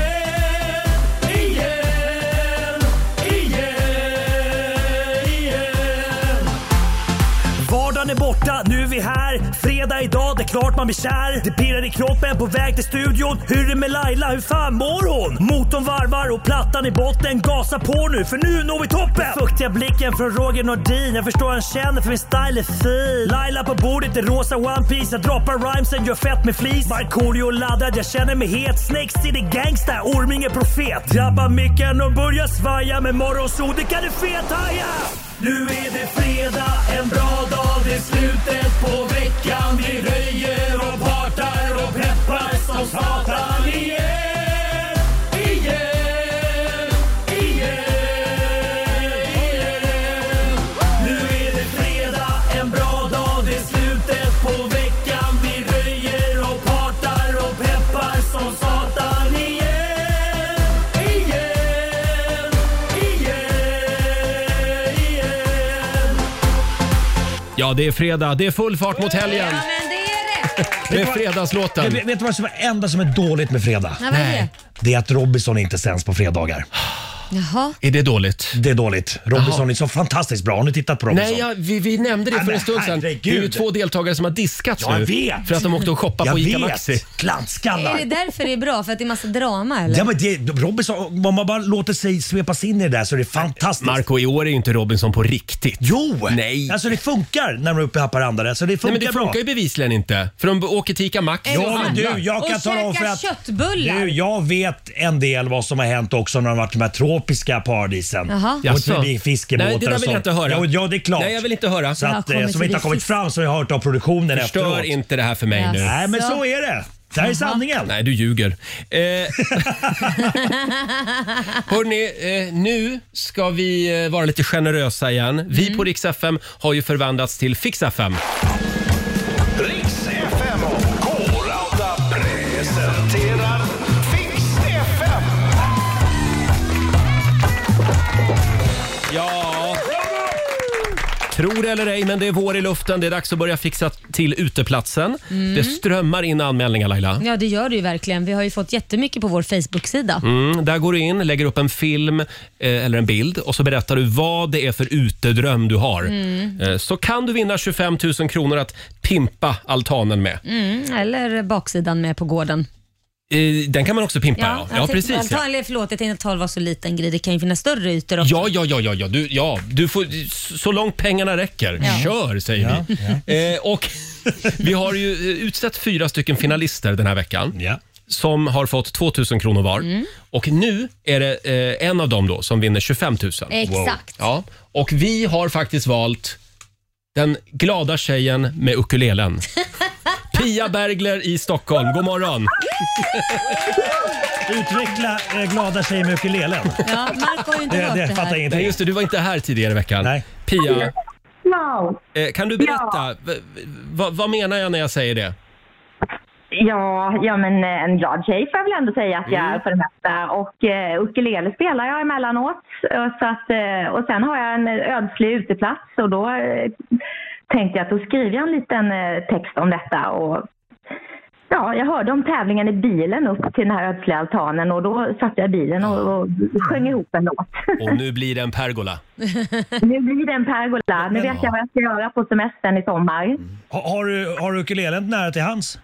Speaker 13: Igen, igen, igen.
Speaker 12: Vardagen är borta, nu är vi här. Fredag idag, det är klart man blir kär. Det pirrar i kroppen på väg till studion. Hur är det med Laila, hur fan mår hon? Motorn varvar och plattan i botten. Gasa på nu, för nu når vi toppen! Den fuktiga blicken från Roger Nordin. Jag förstår han känner, för min style är fin. Laila på bordet i rosa One Piece Jag droppar rhymesen, gör fett med flis. Markoolio laddad, jag känner mig het. Snakes city gangsta, Orminge profet. Drabbar micken och börjar svaja. Med morgonsol, det kan du fethaja!
Speaker 13: Nu är det fredag, en bra dag, det är slutet på veckan. Vi röjer och partar och peppar som satan igen. Igen, igen, igen. Nu är det fredag, en bra dag, det är slutet på veckan. Vi röjer och partar och peppar som satan igen. Igen, igen, igen.
Speaker 2: Ja, det är fredag. Det är full fart mot helgen. Med fredagslåten.
Speaker 12: Jag vet, vet du vad som är enda som är dåligt med fredag?
Speaker 3: Ja, vad är det? Nej.
Speaker 12: Det är att Robinson inte sänds på fredagar.
Speaker 3: Jaha.
Speaker 2: Är det dåligt?
Speaker 12: Det är dåligt. Robinson
Speaker 2: Jaha.
Speaker 12: är så fantastiskt bra. Har ni tittat på Robinson?
Speaker 2: Nej, ja, vi, vi nämnde det
Speaker 12: Nej,
Speaker 2: för en
Speaker 12: men
Speaker 2: stund sedan. Det är ju
Speaker 12: herregud.
Speaker 2: två deltagare som har diskats
Speaker 12: Ja,
Speaker 2: nu
Speaker 12: jag vet.
Speaker 2: för att de åkte och shoppade
Speaker 12: Jag
Speaker 2: på ICA
Speaker 12: vet.
Speaker 2: Maxi.
Speaker 12: Klantskallar.
Speaker 3: Är det därför det är bra? För att det är massa drama eller?
Speaker 12: Ja, men det, Robinson, om man bara låter sig svepas in i det där så är det fantastiskt.
Speaker 2: Marco, i år är ju inte Robinson på riktigt.
Speaker 12: Jo!
Speaker 2: Nej.
Speaker 12: Alltså det funkar när de är uppe i Haparanda. där, Så det funkar
Speaker 2: Nej, men det
Speaker 12: bra.
Speaker 2: funkar ju bevisligen inte. För de åker till ICA Maxi och
Speaker 12: Ja, men
Speaker 2: handlar.
Speaker 12: du, jag kan
Speaker 3: Och
Speaker 12: tala om för
Speaker 3: käka
Speaker 12: att...
Speaker 3: köttbullar.
Speaker 12: Du, jag vet en del vad som har hänt också när de har varit i de här tropiska paradisen.
Speaker 3: Jaha.
Speaker 12: Och
Speaker 2: Jaså?
Speaker 12: förbi fiskebåtar
Speaker 2: Nej, det
Speaker 12: och
Speaker 2: där vill
Speaker 12: sånt.
Speaker 2: jag inte höra.
Speaker 12: Jo, ja, det är klart.
Speaker 2: Nej, jag vill inte höra.
Speaker 12: Så
Speaker 2: Jag
Speaker 12: att,
Speaker 2: har
Speaker 12: eh,
Speaker 2: kommit
Speaker 12: som inte har
Speaker 2: förbi
Speaker 12: kommit fram som jag har hört av produktionen
Speaker 2: Förstör
Speaker 12: efteråt.
Speaker 2: inte det här för mig nu.
Speaker 12: Jaså. Nej, men så är det. Det här är sanningen.
Speaker 2: Nej, du ljuger. Eh, hörni, eh, nu ska vi eh, vara lite generösa igen. Vi
Speaker 3: Mm.
Speaker 2: på Rix FM har ju förvandlats till Fix FM.
Speaker 8: Riks FM och K-Rauta presenterar Fix FM.
Speaker 2: Ja. Tror det eller ej, men det är vår i luften. Det är dags att börja fixa till uteplatsen.
Speaker 3: Mm.
Speaker 2: Det strömmar in anmälningar, Laila.
Speaker 3: Ja, det gör det ju verkligen. Vi har ju fått jättemycket på vår Facebook-sida.
Speaker 2: Mm, där går du in, lägger upp en film eh, eller en bild och så berättar du vad det är för utedröm du har.
Speaker 3: Mm.
Speaker 2: Eh, så kan du vinna 25 000 kronor att pimpa altanen med.
Speaker 3: Mm, eller baksidan med på gården.
Speaker 2: Eh, den kan man också pimpa, ja. Ja,
Speaker 3: jag tänkte-
Speaker 2: precis.
Speaker 3: Altan,
Speaker 2: Ja.
Speaker 3: eller förlåt, jag tänkte att tal var så liten grej. Det kan ju finnas större ytor också.
Speaker 2: Ja, ja, ja, ja, ja. Du, ja, du får så långt pengarna räcker.
Speaker 3: Ja.
Speaker 2: Kör, säger vi. Eh, och vi har ju eh, utsett fyra stycken finalister den här veckan. Som har fått 2 000 kronor var.
Speaker 3: Mm.
Speaker 2: Och nu är det eh, en av dem då som vinner 25 000.
Speaker 3: Exakt. Wow.
Speaker 2: Ja. Och vi har faktiskt valt den glada tjejen med ukulelen. Pia Bergler i Stockholm. God morgon!
Speaker 12: Utveckla eh, glada tjejer med ukulelen.
Speaker 3: Ja, Marco har ju inte hört det, här.
Speaker 2: Nej, just det, du var inte här tidigare i veckan. Nej. Pia,
Speaker 14: No.
Speaker 2: eh, kan du berätta? V- v- vad- vad menar jag när jag säger det?
Speaker 14: Ja, ja, men eh, en glad tjej får jag väl ändå säga att jag är
Speaker 2: Mm.
Speaker 14: för det mesta. Och eh, ukulele spelar jag emellanåt. Eh, Så att, eh, och sen har jag en ödslig uteplats och då eh, tänkte jag att då skriver jag en liten eh, text om detta. Och, ja, jag hörde om tävlingen i bilen upp till den här ödsliga altanen och då satt jag i bilen och, och sjöng ihop en låt.
Speaker 2: Och nu blir det en pergola.
Speaker 14: nu blir det en pergola. Nu vet jag vad jag ska göra på semestern i sommar.
Speaker 12: Ha, har, du, har du ukulelen nära till hans?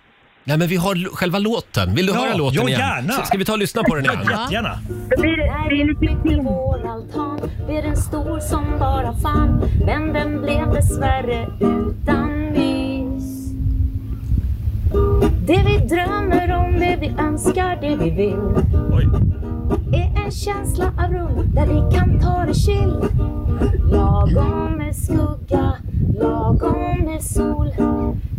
Speaker 2: Nej, men vi har l- själva låten. Vill du
Speaker 12: Ja,
Speaker 2: höra låten
Speaker 12: ja,
Speaker 2: igen?
Speaker 12: gärna.
Speaker 2: S- Ska vi ta och lyssna på den igen?
Speaker 12: Ja, jättegärna.
Speaker 14: Det blir lite film.
Speaker 15: Vår altan blir en stor som bara fan. Men den blev dessvärre utan mys. Det vi drömmer om, det vi önskar, det vi vill. Är en känsla av rum där vi kan ta ha det chill. Lagom med skugga, lagom med sol.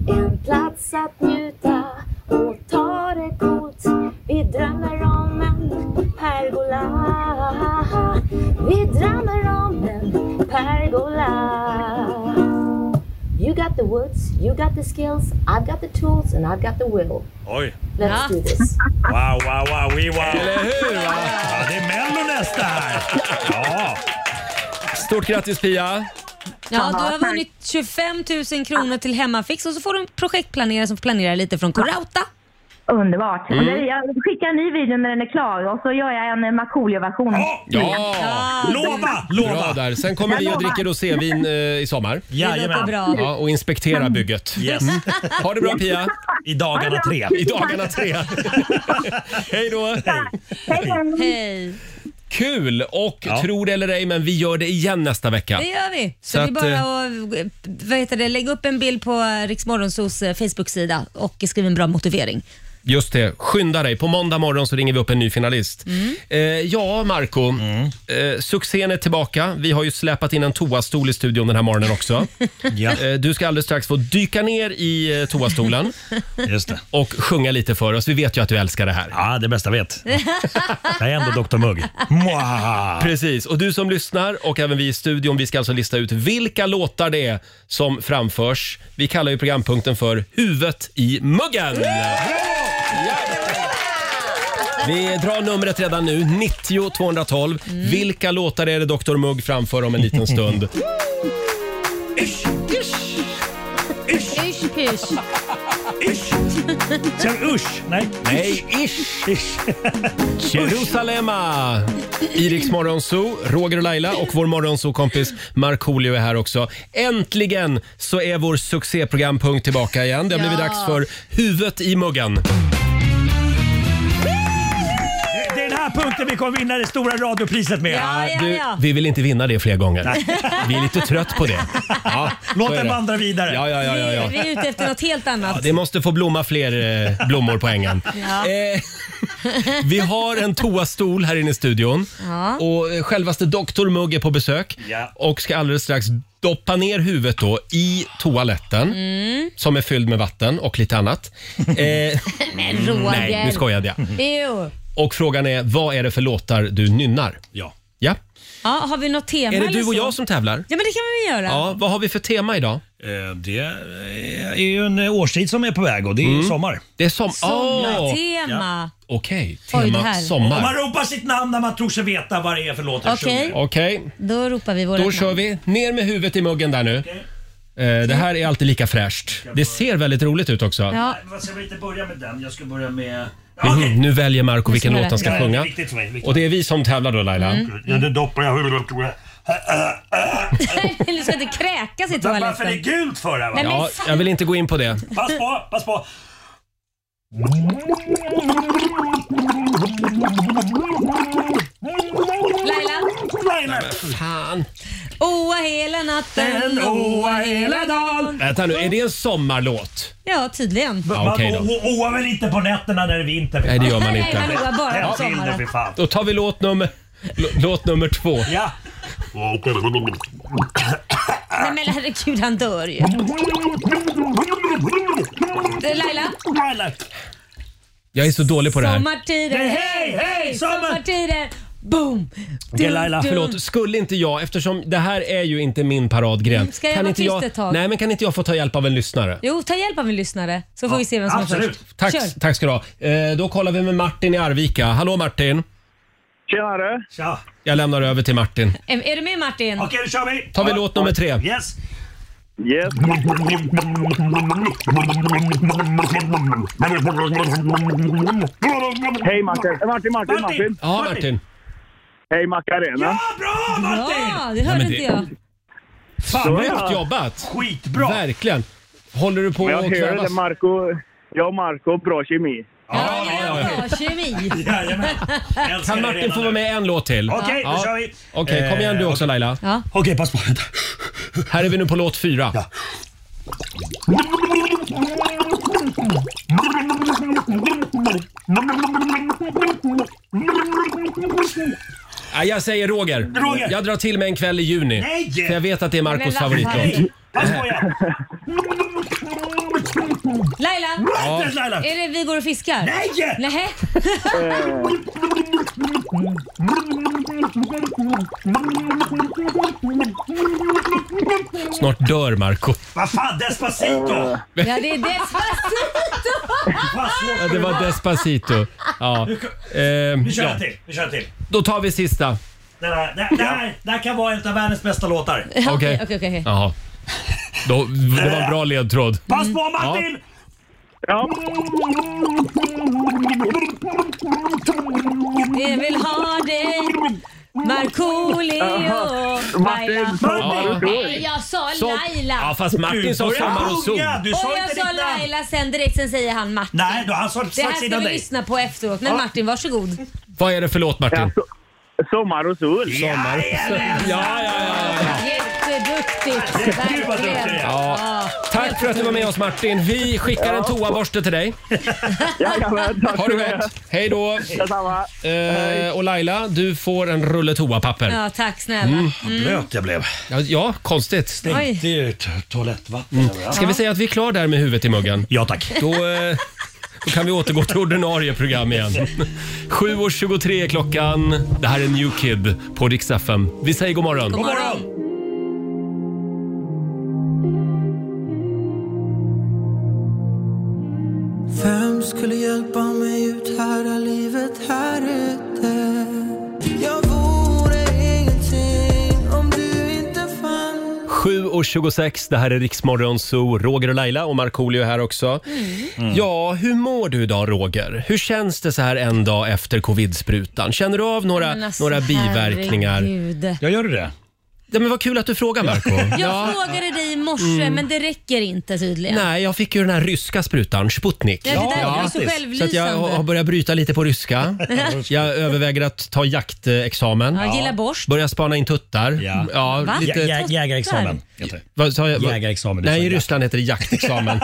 Speaker 15: En plats att njuta och ta det coolt. Vi drömmer om en pergola. Vi drömmer om en pergola. You got the woods, you got the skills, I've got the tools and I've got the will.
Speaker 12: Oj.
Speaker 15: Let's do this.
Speaker 12: Wow, wow, wow, wee wow.
Speaker 2: Eller hur? Va?
Speaker 12: Ja, det är Mello nästa här. Ja.
Speaker 2: Stort grattis Pia!
Speaker 3: Ja, du har vunnit 25 000 kronor till Hemmafix och så får du en projektplanerare som planerar lite från Corauta.
Speaker 14: Underbart.
Speaker 3: Mm.
Speaker 14: Och det- Jag skickar en ny video när den är klar och så gör jag en eh, Markoolio-version.
Speaker 2: Ja!
Speaker 12: Mm. Lova! Lova!
Speaker 2: Bra där. Sen kommer
Speaker 14: Jag
Speaker 2: vi
Speaker 14: lovar.
Speaker 2: och dricker rosévin eh, i sommar.
Speaker 12: Jajamän. låter bra.
Speaker 2: Ja, och inspekterar bygget.
Speaker 12: Yes.
Speaker 2: Ha det bra Pia!
Speaker 12: I dagarna tre.
Speaker 2: I dagarna tre. Hej då!
Speaker 3: Hej.
Speaker 2: Kul! Och
Speaker 12: Ja.
Speaker 2: tro det eller ej, men vi gör det igen nästa vecka.
Speaker 3: Det gör vi. Så,
Speaker 2: Så
Speaker 3: det är
Speaker 2: att,
Speaker 3: bara
Speaker 2: eh,
Speaker 3: att eh, vad heter det, lägga upp en bild på Riksmorgonsos Facebook-sida och skriva en bra motivering.
Speaker 2: Just det, skynda dig. På måndag morgon så ringer vi upp en ny finalist. Eh, ja, Marco.
Speaker 12: Mm.
Speaker 2: Eh, succén är tillbaka. Vi har ju släpat in en toastol i studion den här morgonen också. eh, du ska alldeles strax få dyka ner i eh, toastolen
Speaker 12: Just det.
Speaker 2: och sjunga lite för oss. Vi vet ju att du älskar det här.
Speaker 12: Ja, det bästa jag vet. Jag är ändå Dr Mugg. Mwah!
Speaker 2: Precis, och du som lyssnar och även vi i studion, vi ska alltså lista ut vilka låtar det är som framförs. Vi kallar ju programpunkten för Huvudet i muggen. Vi drar numret redan nu, 90 212.
Speaker 12: Mm.
Speaker 2: Vilka låtar är det Dr Mugg framför om en liten stund?
Speaker 3: Usch, usch.
Speaker 12: Sen usch! Nej.
Speaker 2: Nej, ish! Jerusalema! I Rix Morgonzoo, Roger och Laila och vår morgonzoo-kompis Markoolio är här också. Äntligen så är vår succéprogrampunkt tillbaka igen. Det har blivit
Speaker 13: Ja.
Speaker 2: dags för Huvudet i muggen.
Speaker 12: Det- Det är den här punkten vi kommer vinna det stora radiopriset med.
Speaker 2: Du, vi vill inte vinna det fler gånger. Vi är lite trött på det. Ja,
Speaker 12: Låt
Speaker 2: så är
Speaker 12: den
Speaker 2: det.
Speaker 12: vandra vidare.
Speaker 2: Ja, ja, ja, ja, ja.
Speaker 3: Vi är ute efter något helt
Speaker 2: Ja,
Speaker 3: annat.
Speaker 2: det måste få blomma fler eh, blommor på ängen.
Speaker 3: Ja.
Speaker 2: Eh. Vi har en toastol här inne i studion.
Speaker 3: Ja.
Speaker 2: Och eh, självaste doktor Mugg är på besök
Speaker 12: Ja.
Speaker 2: och ska alldeles strax doppa ner huvudet då i toaletten
Speaker 3: Mm.
Speaker 2: som är fylld med vatten och lite annat. Eh,
Speaker 3: Men Roger.
Speaker 2: nej, nu skojade jag.
Speaker 3: Jo.
Speaker 2: Och frågan är, vad är det för låtar du nynnar?
Speaker 12: Ja.
Speaker 2: ja.
Speaker 3: Ja, har vi något tema
Speaker 2: Är det
Speaker 3: eller
Speaker 2: du och
Speaker 3: så?
Speaker 2: jag som tävlar?
Speaker 3: alltså. Ja, men det kan vi väl göra.
Speaker 2: Ja, vad har vi för tema idag?
Speaker 12: Eh, Det är ju en eh, årstid som är på väg och det är
Speaker 2: Mm.
Speaker 12: sommar.
Speaker 2: Det är som... Åh!
Speaker 3: Sommartema.
Speaker 2: Okej,
Speaker 3: Oj, det
Speaker 2: tema
Speaker 3: här.
Speaker 12: Om man
Speaker 2: sommar.
Speaker 12: ropar sitt namn när man tror sig veta vad det är för låt jag
Speaker 3: Okej.
Speaker 12: sjunger.
Speaker 2: Okej,
Speaker 3: Då ropar vi våra
Speaker 2: då kör vi. Ner med huvudet i muggen där nu. Eh, Det här är alltid lika fräscht. Det ser väldigt roligt ut också.
Speaker 3: Ja.
Speaker 12: Nej, vad Ska vi inte börja med den? Jag ska börja med...
Speaker 2: Mhm, nu väljer Marco vilken låt han
Speaker 12: Ja,
Speaker 2: ska
Speaker 12: det är
Speaker 2: sjunga.
Speaker 12: viktigt för mig, viktigt.
Speaker 2: Och det är vi som tävlar då Laila.
Speaker 3: Mm.
Speaker 12: Ja, nu doppar jag huvudet. tror jag.
Speaker 3: du ska inte kräkas i
Speaker 12: Men
Speaker 3: toaletten.
Speaker 12: Varför är det gult för det här? va?
Speaker 3: Nej, men
Speaker 2: Ja, jag vill inte gå in på det.
Speaker 12: Pass på, pass på!
Speaker 3: Laila.
Speaker 12: Laila!
Speaker 2: Fan.
Speaker 3: Oa hela natten, oa hela dagen.
Speaker 2: Vänta nu, är det en sommarlåt?
Speaker 3: Ja, tydligen.
Speaker 2: Ja, okej då.
Speaker 12: man o- oar väl inte på nätterna när det är vinter?
Speaker 2: Nej, det gör man inte.
Speaker 3: Nej, man oar bara på
Speaker 12: Den
Speaker 3: sommaren.
Speaker 12: bilden, fy fan.
Speaker 2: Då tar vi låt nummer, lå- låt nummer två.
Speaker 12: Ja.
Speaker 3: Nej men herregud, han dör ju. Det är Laila.
Speaker 12: Laila.
Speaker 2: Jag är så dålig på det här.
Speaker 3: Sommartider.
Speaker 12: Nej, hej, hej, sommar.
Speaker 3: Sommartider. Boom.
Speaker 12: Okej, Laila.
Speaker 2: Förlåt, skulle inte jag, eftersom det här är ju inte min paradgren.
Speaker 3: Mm, Ska jag vara
Speaker 2: inte
Speaker 3: tyst
Speaker 2: jag,
Speaker 3: ett tag?
Speaker 2: Nej, men kan inte jag få ta hjälp av en lyssnare?
Speaker 3: Jo, ta hjälp av en lyssnare så får vi se vem som är
Speaker 12: absolut.
Speaker 3: först.
Speaker 2: Tack,
Speaker 3: Kör.
Speaker 2: tack ska du ha. Eh, då kollar vi med Martin i Arvika. Hallå Martin!
Speaker 9: Tjenare!
Speaker 12: Tja.
Speaker 2: Jag lämnar över till Martin.
Speaker 3: Em, Är du med Martin?
Speaker 12: Okej, då kör vi.
Speaker 2: Tar vi låt nummer tre?
Speaker 12: Yes.
Speaker 9: Yes. Hej Martin! Martin, Martin, Martin!
Speaker 2: Ja, Martin.
Speaker 9: Hej Macarena!
Speaker 12: Bra Martin!
Speaker 3: Ja, det
Speaker 2: Nej,
Speaker 3: hörde
Speaker 2: men
Speaker 3: inte
Speaker 2: det-
Speaker 3: jag.
Speaker 2: Fan, snyggt jobbat!
Speaker 12: Skitbra!
Speaker 2: Verkligen. Håller du på
Speaker 9: Men
Speaker 2: att
Speaker 9: jag hör det
Speaker 2: kvävas?
Speaker 9: Marco. Jag och Marco, bra kemi.
Speaker 3: Ja, det är bra kemi.
Speaker 12: Jajamän. Jag älskar
Speaker 2: Kan
Speaker 12: dig
Speaker 2: Martin
Speaker 12: redan
Speaker 2: få
Speaker 12: nu.
Speaker 2: vara med en låt till?
Speaker 12: Okej, då
Speaker 2: Ja.
Speaker 12: kör vi. Eh,
Speaker 2: Okej, kom igen du också Laila.
Speaker 3: Ja.
Speaker 12: Okej, pass på. Vänta.
Speaker 2: Här är vi nu på låt fyra.
Speaker 13: Oj,
Speaker 2: Ja, jag säger Roger.
Speaker 12: Roger.
Speaker 2: Jag drar till med en kväll i juni.
Speaker 12: Nej!
Speaker 2: För jag vet att det är
Speaker 3: Men
Speaker 2: Marcos
Speaker 3: Lasse,
Speaker 2: favoritlåt.
Speaker 3: herregud. Laila,
Speaker 2: Ja.
Speaker 3: är det Vi går och fiskar?
Speaker 13: Nej!
Speaker 3: Nähä?
Speaker 2: Snart dör Marco
Speaker 12: Vad fan, Despacito!
Speaker 3: Ja, det är Despacito!
Speaker 2: Ja, det var Despacito. Ja. Ehm,
Speaker 12: Vi kör
Speaker 2: ja.
Speaker 12: en till. Vi kör en till.
Speaker 2: Då tar vi sista.
Speaker 12: Den här, den, den här, den här kan vara en av världens bästa låtar.
Speaker 2: Okej. Jaha. Då, det var en bra ledtråd.
Speaker 12: Pass på Martin!
Speaker 3: Vi vill ha dig Markoolio
Speaker 13: Aha.
Speaker 3: Laila.
Speaker 13: Martin, Martin.
Speaker 3: Nej, jag sa
Speaker 13: Så-
Speaker 3: Laila.
Speaker 13: Ja, fast Martin
Speaker 12: Du
Speaker 13: sa
Speaker 12: började
Speaker 13: sommar och sol.
Speaker 12: sjunga, Du
Speaker 3: och
Speaker 12: sa
Speaker 3: jag
Speaker 12: inte
Speaker 3: sa
Speaker 12: ditt namn.
Speaker 3: Laila sen direkt, sen säger han Martin.
Speaker 12: Nej, då han sa
Speaker 3: Det här
Speaker 12: strax
Speaker 3: ska
Speaker 12: innan
Speaker 3: vi
Speaker 12: dig.
Speaker 3: lyssna på efteråt. Men
Speaker 12: Ja.
Speaker 3: Martin, varsågod.
Speaker 2: Vad är det för låt Martin?
Speaker 9: Sommar och sol.
Speaker 2: Sommar. Ja, ja,
Speaker 3: Jätteduktigt.
Speaker 13: Gud, vad duktig du är.
Speaker 3: verkligen.
Speaker 2: Ja. Tack för att du var med oss Martin. Vi skickar en toaborste till dig.
Speaker 9: Jajamän, tack
Speaker 2: Ha det
Speaker 9: för det.
Speaker 2: gott. Hej då.
Speaker 9: Detsamma.
Speaker 2: Eh, och Laila, du får en rulle toapapper.
Speaker 3: Ja, tack snälla. Mm.
Speaker 12: jag blev.
Speaker 2: Ja, ja konstigt. Mm.
Speaker 3: Oj.
Speaker 12: Det är ju t- toalettvatten överallt.
Speaker 2: Ska vi säga att vi är klara där med huvudet i muggen?
Speaker 12: Ja tack.
Speaker 2: Då, eh, då kan vi återgå till ordinarie program igen. 7.23 är klockan. Det här är New Kid på Rix FM. Vi säger god morgon.
Speaker 13: God morgon.
Speaker 6: Vem skulle hjälpa mig ut här, är livet här ute? Jag vore ingenting om du inte fanns
Speaker 2: 7.26, det här är Riksmorgon Zoo. Roger och Laila och Markoolio är här också.
Speaker 3: Mm.
Speaker 2: Ja, hur mår du idag Roger? Hur känns det så här en dag efter covid-sprutan? Känner du av några,
Speaker 3: Men alltså,
Speaker 2: några biverkningar?
Speaker 3: herregud.
Speaker 12: Jag gör det.
Speaker 2: Ja, men vad kul att du frågar Marco.
Speaker 3: Jag frågade dig i morse
Speaker 2: Mm.
Speaker 3: men det räcker inte tydligen.
Speaker 2: Nej, jag fick ju den här ryska sprutan, Sputnik.
Speaker 3: Ja, det där var ju så
Speaker 2: så att jag
Speaker 3: självlysande.
Speaker 2: har börjat bryta lite på ryska. jag överväger att ta jaktexamen.
Speaker 3: Ja, gilla borst.
Speaker 2: Börjar spana in tuttar. Ja.
Speaker 3: Va?
Speaker 2: lite...
Speaker 3: Jä- jä- jägarexamen heter
Speaker 2: Vad sa jag? Jägarexamen. Nej, i Ryssland heter det jaktexamen.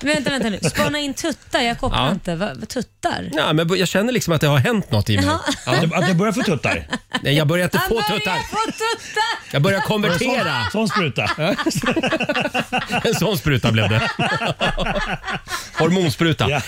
Speaker 3: Men vänta, vänta nu. Spana in tuttar, jag kopplar
Speaker 2: Ja.
Speaker 3: inte. Vad, vad tuttar?
Speaker 2: Nej, men jag känner liksom att det har hänt något i mig.
Speaker 3: Jaha. Att du- att du
Speaker 12: börjar få tuttar?
Speaker 2: Nej, jag börjar inte
Speaker 3: Han
Speaker 2: få
Speaker 3: börjar
Speaker 2: tuttar.
Speaker 3: få Ah, tuttar!
Speaker 2: Jag börjar konvertera.
Speaker 12: Sån, sån spruta.
Speaker 2: en sån spruta blev det. Hormonspruta. Eh,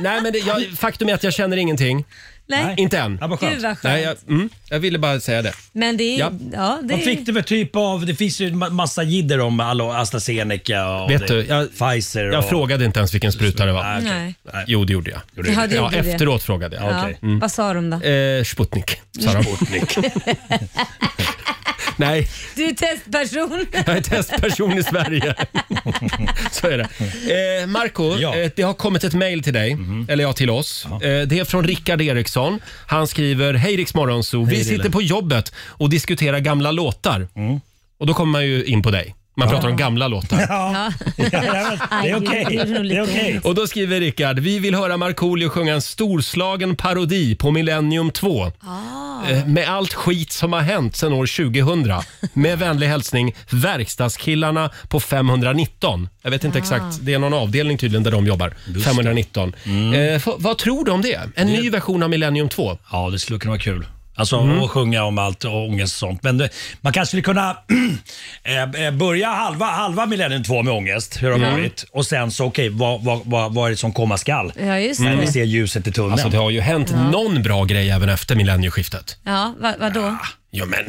Speaker 2: nej, men det, jag, faktum är att jag känner ingenting.
Speaker 3: Nej.
Speaker 2: Inte än.
Speaker 3: Ja, vad skönt. Gud, vad skönt.
Speaker 2: Nej, jag, mm, jag ville bara säga det.
Speaker 3: Men det är... Ja.
Speaker 12: Ja.
Speaker 3: det är...
Speaker 12: Vad fick du för typ av... Det finns ju ma- massa jidder om alla AstraZeneca och
Speaker 2: Vet
Speaker 12: det,
Speaker 2: du, jag,
Speaker 12: Pfizer.
Speaker 2: jag
Speaker 12: och,
Speaker 2: frågade inte ens vilken spruta det var.
Speaker 3: Nej, okej.
Speaker 2: Jo, det gjorde jag.
Speaker 3: du Ja, det? det
Speaker 2: ja,
Speaker 3: gjorde du.
Speaker 2: efteråt frågade jag.
Speaker 3: Ja.
Speaker 2: Mm.
Speaker 3: Vad sa de då?
Speaker 2: Eh, Sputnik, sa de. Sputnik. Nej,
Speaker 3: Du är testperson.
Speaker 2: jag är testperson i Sverige. Så är det. Eh, Marco, eh, det har kommit ett mejl till dig,
Speaker 12: Mhm.
Speaker 2: eller ja, till oss. Eh, det är från Rickard Eriksson. Han skriver, hej Rix Morgonzoo, vi
Speaker 12: Hej, Rille." Mm.
Speaker 2: sitter på jobbet och diskuterar gamla låtar. Och då kommer man ju in på dig. Man pratar om gamla låtar.
Speaker 12: Ja. det är okej. Det är okej.
Speaker 2: Och då skriver Rickard, vi vill höra Markoolio sjunga en storslagen parodi på Millennium 2.
Speaker 12: Ah.
Speaker 2: Eh, Med allt skit som har hänt sedan år 2000. Med vänlig hälsning Verkstadskillarna på 519. Jag vet inte
Speaker 12: Ah.
Speaker 2: exakt, det är någon avdelning tydligen där de jobbar. 519.
Speaker 12: Mm.
Speaker 2: Eh, f- vad tror du om det? En ny version av Millennium 2?
Speaker 12: Ja, det skulle kunna vara kul. Alltså
Speaker 2: Mm.
Speaker 12: att sjunga om allt och ångest och sånt. Men det, man kanske skulle kunna eh, eh, börja halva, halva millennium två med ångest, hur det har
Speaker 2: Mm.
Speaker 12: varit. Och sen så okej, vad, vad, vad, vad är det som komma skall?
Speaker 3: Ja, just
Speaker 12: När
Speaker 3: det.
Speaker 12: vi ser ljuset i tunneln.
Speaker 2: Alltså det har ju hänt
Speaker 3: Ja.
Speaker 2: någon bra grej även efter millennieskiftet.
Speaker 3: Ja, vad, vadå?
Speaker 2: Ja men.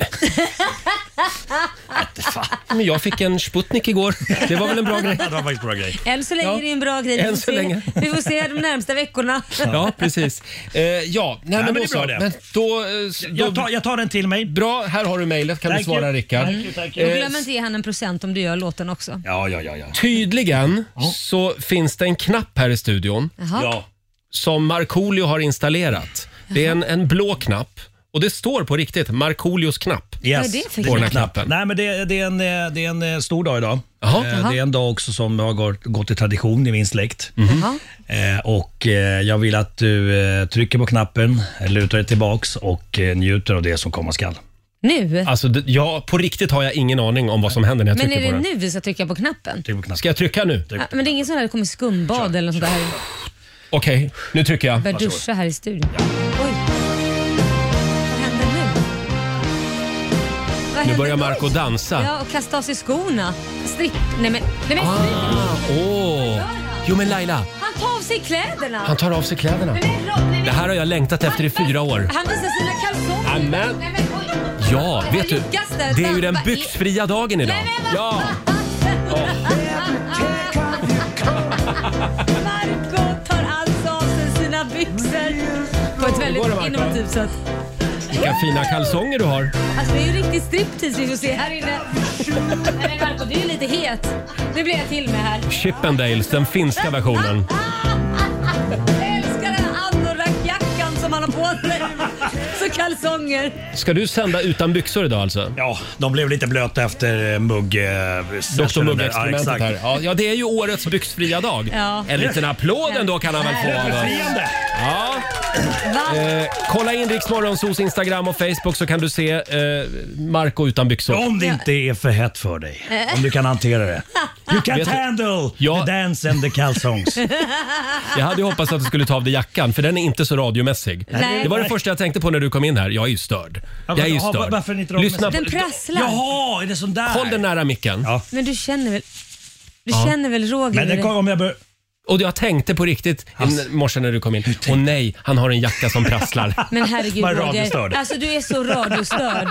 Speaker 2: men jag fick en Sputnik igår. Det var väl en bra grej?
Speaker 12: Ja, det var faktiskt en bra grej.
Speaker 3: Än så länge
Speaker 2: Ja.
Speaker 3: är det en bra grej. Vi
Speaker 2: Än
Speaker 3: får
Speaker 2: så
Speaker 3: se-
Speaker 2: länge.
Speaker 3: Vi får se de närmsta veckorna.
Speaker 2: Ja, precis. Eh, ja, nej,
Speaker 12: Nej, men
Speaker 2: men, då
Speaker 12: det är bra
Speaker 2: så.
Speaker 12: det.
Speaker 2: Men då, eh, s- då,
Speaker 12: Jag tar, jag tar den till mig.
Speaker 2: Bra, här har du mejlet. Kan du
Speaker 12: Thank you.
Speaker 2: svara Rickard? Eh,
Speaker 12: Thank you, thank
Speaker 3: Och
Speaker 12: you.
Speaker 3: glöm inte ge han en procent om du gör låten också.
Speaker 12: Ja, ja, ja. ja.
Speaker 2: Tydligen så finns det en knapp här i studion
Speaker 3: Jaha. Ja.
Speaker 2: som Markoolio har installerat. Det är en, en blå knapp och det står på riktigt Markoolios knapp.
Speaker 12: Yes.
Speaker 2: på den här knappen.
Speaker 12: Nej, men det, det, är en, eh, det är en eh, stor dag idag.
Speaker 2: Jaha.
Speaker 12: Eh, Det är en dag också som har gått, gått i tradition i min släkt.
Speaker 2: Mm.
Speaker 12: Eh, Och eh, jag vill att du eh, trycker på knappen, lutar dig tillbaks och eh, njuter av det som komma skall.
Speaker 3: Nu?
Speaker 2: Alltså, d- ja, på riktigt har jag ingen aning om vad som händer när jag
Speaker 3: Men
Speaker 2: trycker
Speaker 3: är
Speaker 2: på
Speaker 3: det
Speaker 2: den.
Speaker 3: nu vi ska trycka på knappen?
Speaker 12: Tryck på knappen.
Speaker 2: Ska jag trycka nu?
Speaker 3: Ja, men det är ingen sån här det kommer skumbad eller något sånt där.
Speaker 2: Okej, nu trycker jag.
Speaker 3: Börjar duscha här i studion. Oj. Vad händer nu?
Speaker 2: Nu
Speaker 3: hände
Speaker 2: börjar
Speaker 3: då?
Speaker 2: Marco dansa.
Speaker 3: Ja, och kasta av sig skorna. Stripp... Nej men, nej, men
Speaker 2: Ah, åh. Jo men Laila,
Speaker 3: han tar av sig kläderna.
Speaker 2: han tar av sig kläderna.
Speaker 3: Nej, men, Rob, nej, men-
Speaker 2: Det här har jag längtat efter i fyra år.
Speaker 3: Han visar sina kalsonger.
Speaker 2: Amen.
Speaker 3: Nej, men, oj.
Speaker 2: Ja, vet du.
Speaker 3: Lyckas där.
Speaker 2: Det är ju den
Speaker 3: Dampa i-
Speaker 2: byxfria dagen idag.
Speaker 3: Nej, men vad-
Speaker 2: Ja.
Speaker 3: Marco tar alltså av sig sina byxor på ett
Speaker 2: Hur går det,
Speaker 3: väldigt
Speaker 2: Marco?
Speaker 3: innovativt sätt.
Speaker 2: Vilka fina kalsonger du har.
Speaker 3: Alltså det är ju riktigt striptease vi får se här inne. Nej men Marco, du är ju lite het. Nu blir jag till med här.
Speaker 2: Chippendales, den finska versionen.
Speaker 3: Jag älskar den här anorakjackan som han har på sig. Så kalsonger.
Speaker 2: Ska du sända utan byxor idag alltså?
Speaker 12: Ja, de blev lite blöta efter eh, mugg...
Speaker 2: Dr.
Speaker 12: Dr
Speaker 2: Mugg-experimentet här. Ja, ja, det är ju årets byxfria dag.
Speaker 12: Ja.
Speaker 2: En liten applåd ändå kan han väl få av oss. Ja. Eh, kolla in Rix Morgonzos Instagram och Facebook så kan du se eh, Marco utan byxor.
Speaker 12: Om det inte är för hett för dig.
Speaker 2: Eh.
Speaker 12: Om du kan hantera det. You
Speaker 2: Vet
Speaker 12: can't
Speaker 2: du-
Speaker 12: handle the dance and the calzongs.
Speaker 2: Jag hade ju hoppats att du skulle ta av dig jackan för den är inte så radiomässig.
Speaker 12: Nej.
Speaker 2: Det var det första jag tänkte på när du kom in här. Jag är ju störd. Jag är ju
Speaker 12: Ja,
Speaker 2: störd.
Speaker 12: varför är ni inte
Speaker 2: Lyssna på...
Speaker 3: Den prasslar.
Speaker 12: Jaha, är det sån där?
Speaker 2: Håll den nära micken.
Speaker 3: Men du känner väl, du
Speaker 2: Ja.
Speaker 3: känner väl Roger? hur det-
Speaker 12: jag bör...
Speaker 2: Och jag tänkte på riktigt i morse när du kom in. Åh nej, han har en jacka som prasslar.
Speaker 3: Men herregud Roger, alltså du är så radiostörd.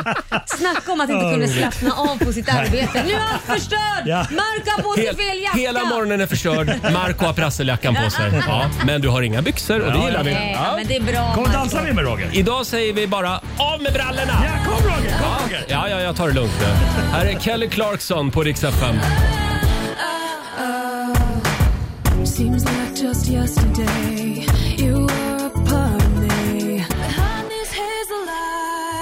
Speaker 3: Snacka om att inte
Speaker 2: Ja,
Speaker 3: kunna
Speaker 2: roligt.
Speaker 3: slappna av på sitt arbete. Nu är allt förstörd!
Speaker 2: Ja.
Speaker 3: Marco har på sig
Speaker 2: Hel-
Speaker 3: fel jacka!
Speaker 2: Hela morgonen är förstörd. Marco har prasseljackan på sig. Ja, men du har inga byxor och det
Speaker 12: Ja,
Speaker 2: gillar vi.
Speaker 3: Nej, ja. men det är bra
Speaker 12: Kom och
Speaker 3: Marco.
Speaker 12: dansa med mig Roger.
Speaker 2: Idag säger vi bara av med brallorna! Ja,
Speaker 12: kom Roger! Kom,
Speaker 2: Ja, ja, ja, jag tar det lugnt nu. Här är Kelly Clarkson på Rix FM.
Speaker 13: Seems like just yesterday you were a part of me. Behind these hazel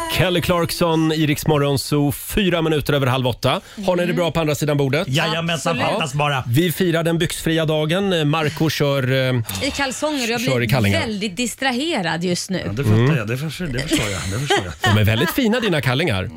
Speaker 13: eyes.
Speaker 2: Kelly Clarkson i Rix Morgon Zoo, fyra minuter över halv åtta. Har ni det bra på andra sidan bordet?
Speaker 12: Jajamensan, Absolut. fattas bara.
Speaker 2: Vi firar den byxfria dagen. Marco kör... eh,
Speaker 3: I kalsonger och jag
Speaker 2: Kör i
Speaker 3: blir
Speaker 2: kallingar.
Speaker 3: väldigt distraherad just nu.
Speaker 12: Det fattar jag, det förstår, det förstår jag. Det förstår jag.
Speaker 2: Mm. De är väldigt fina dina kallingar.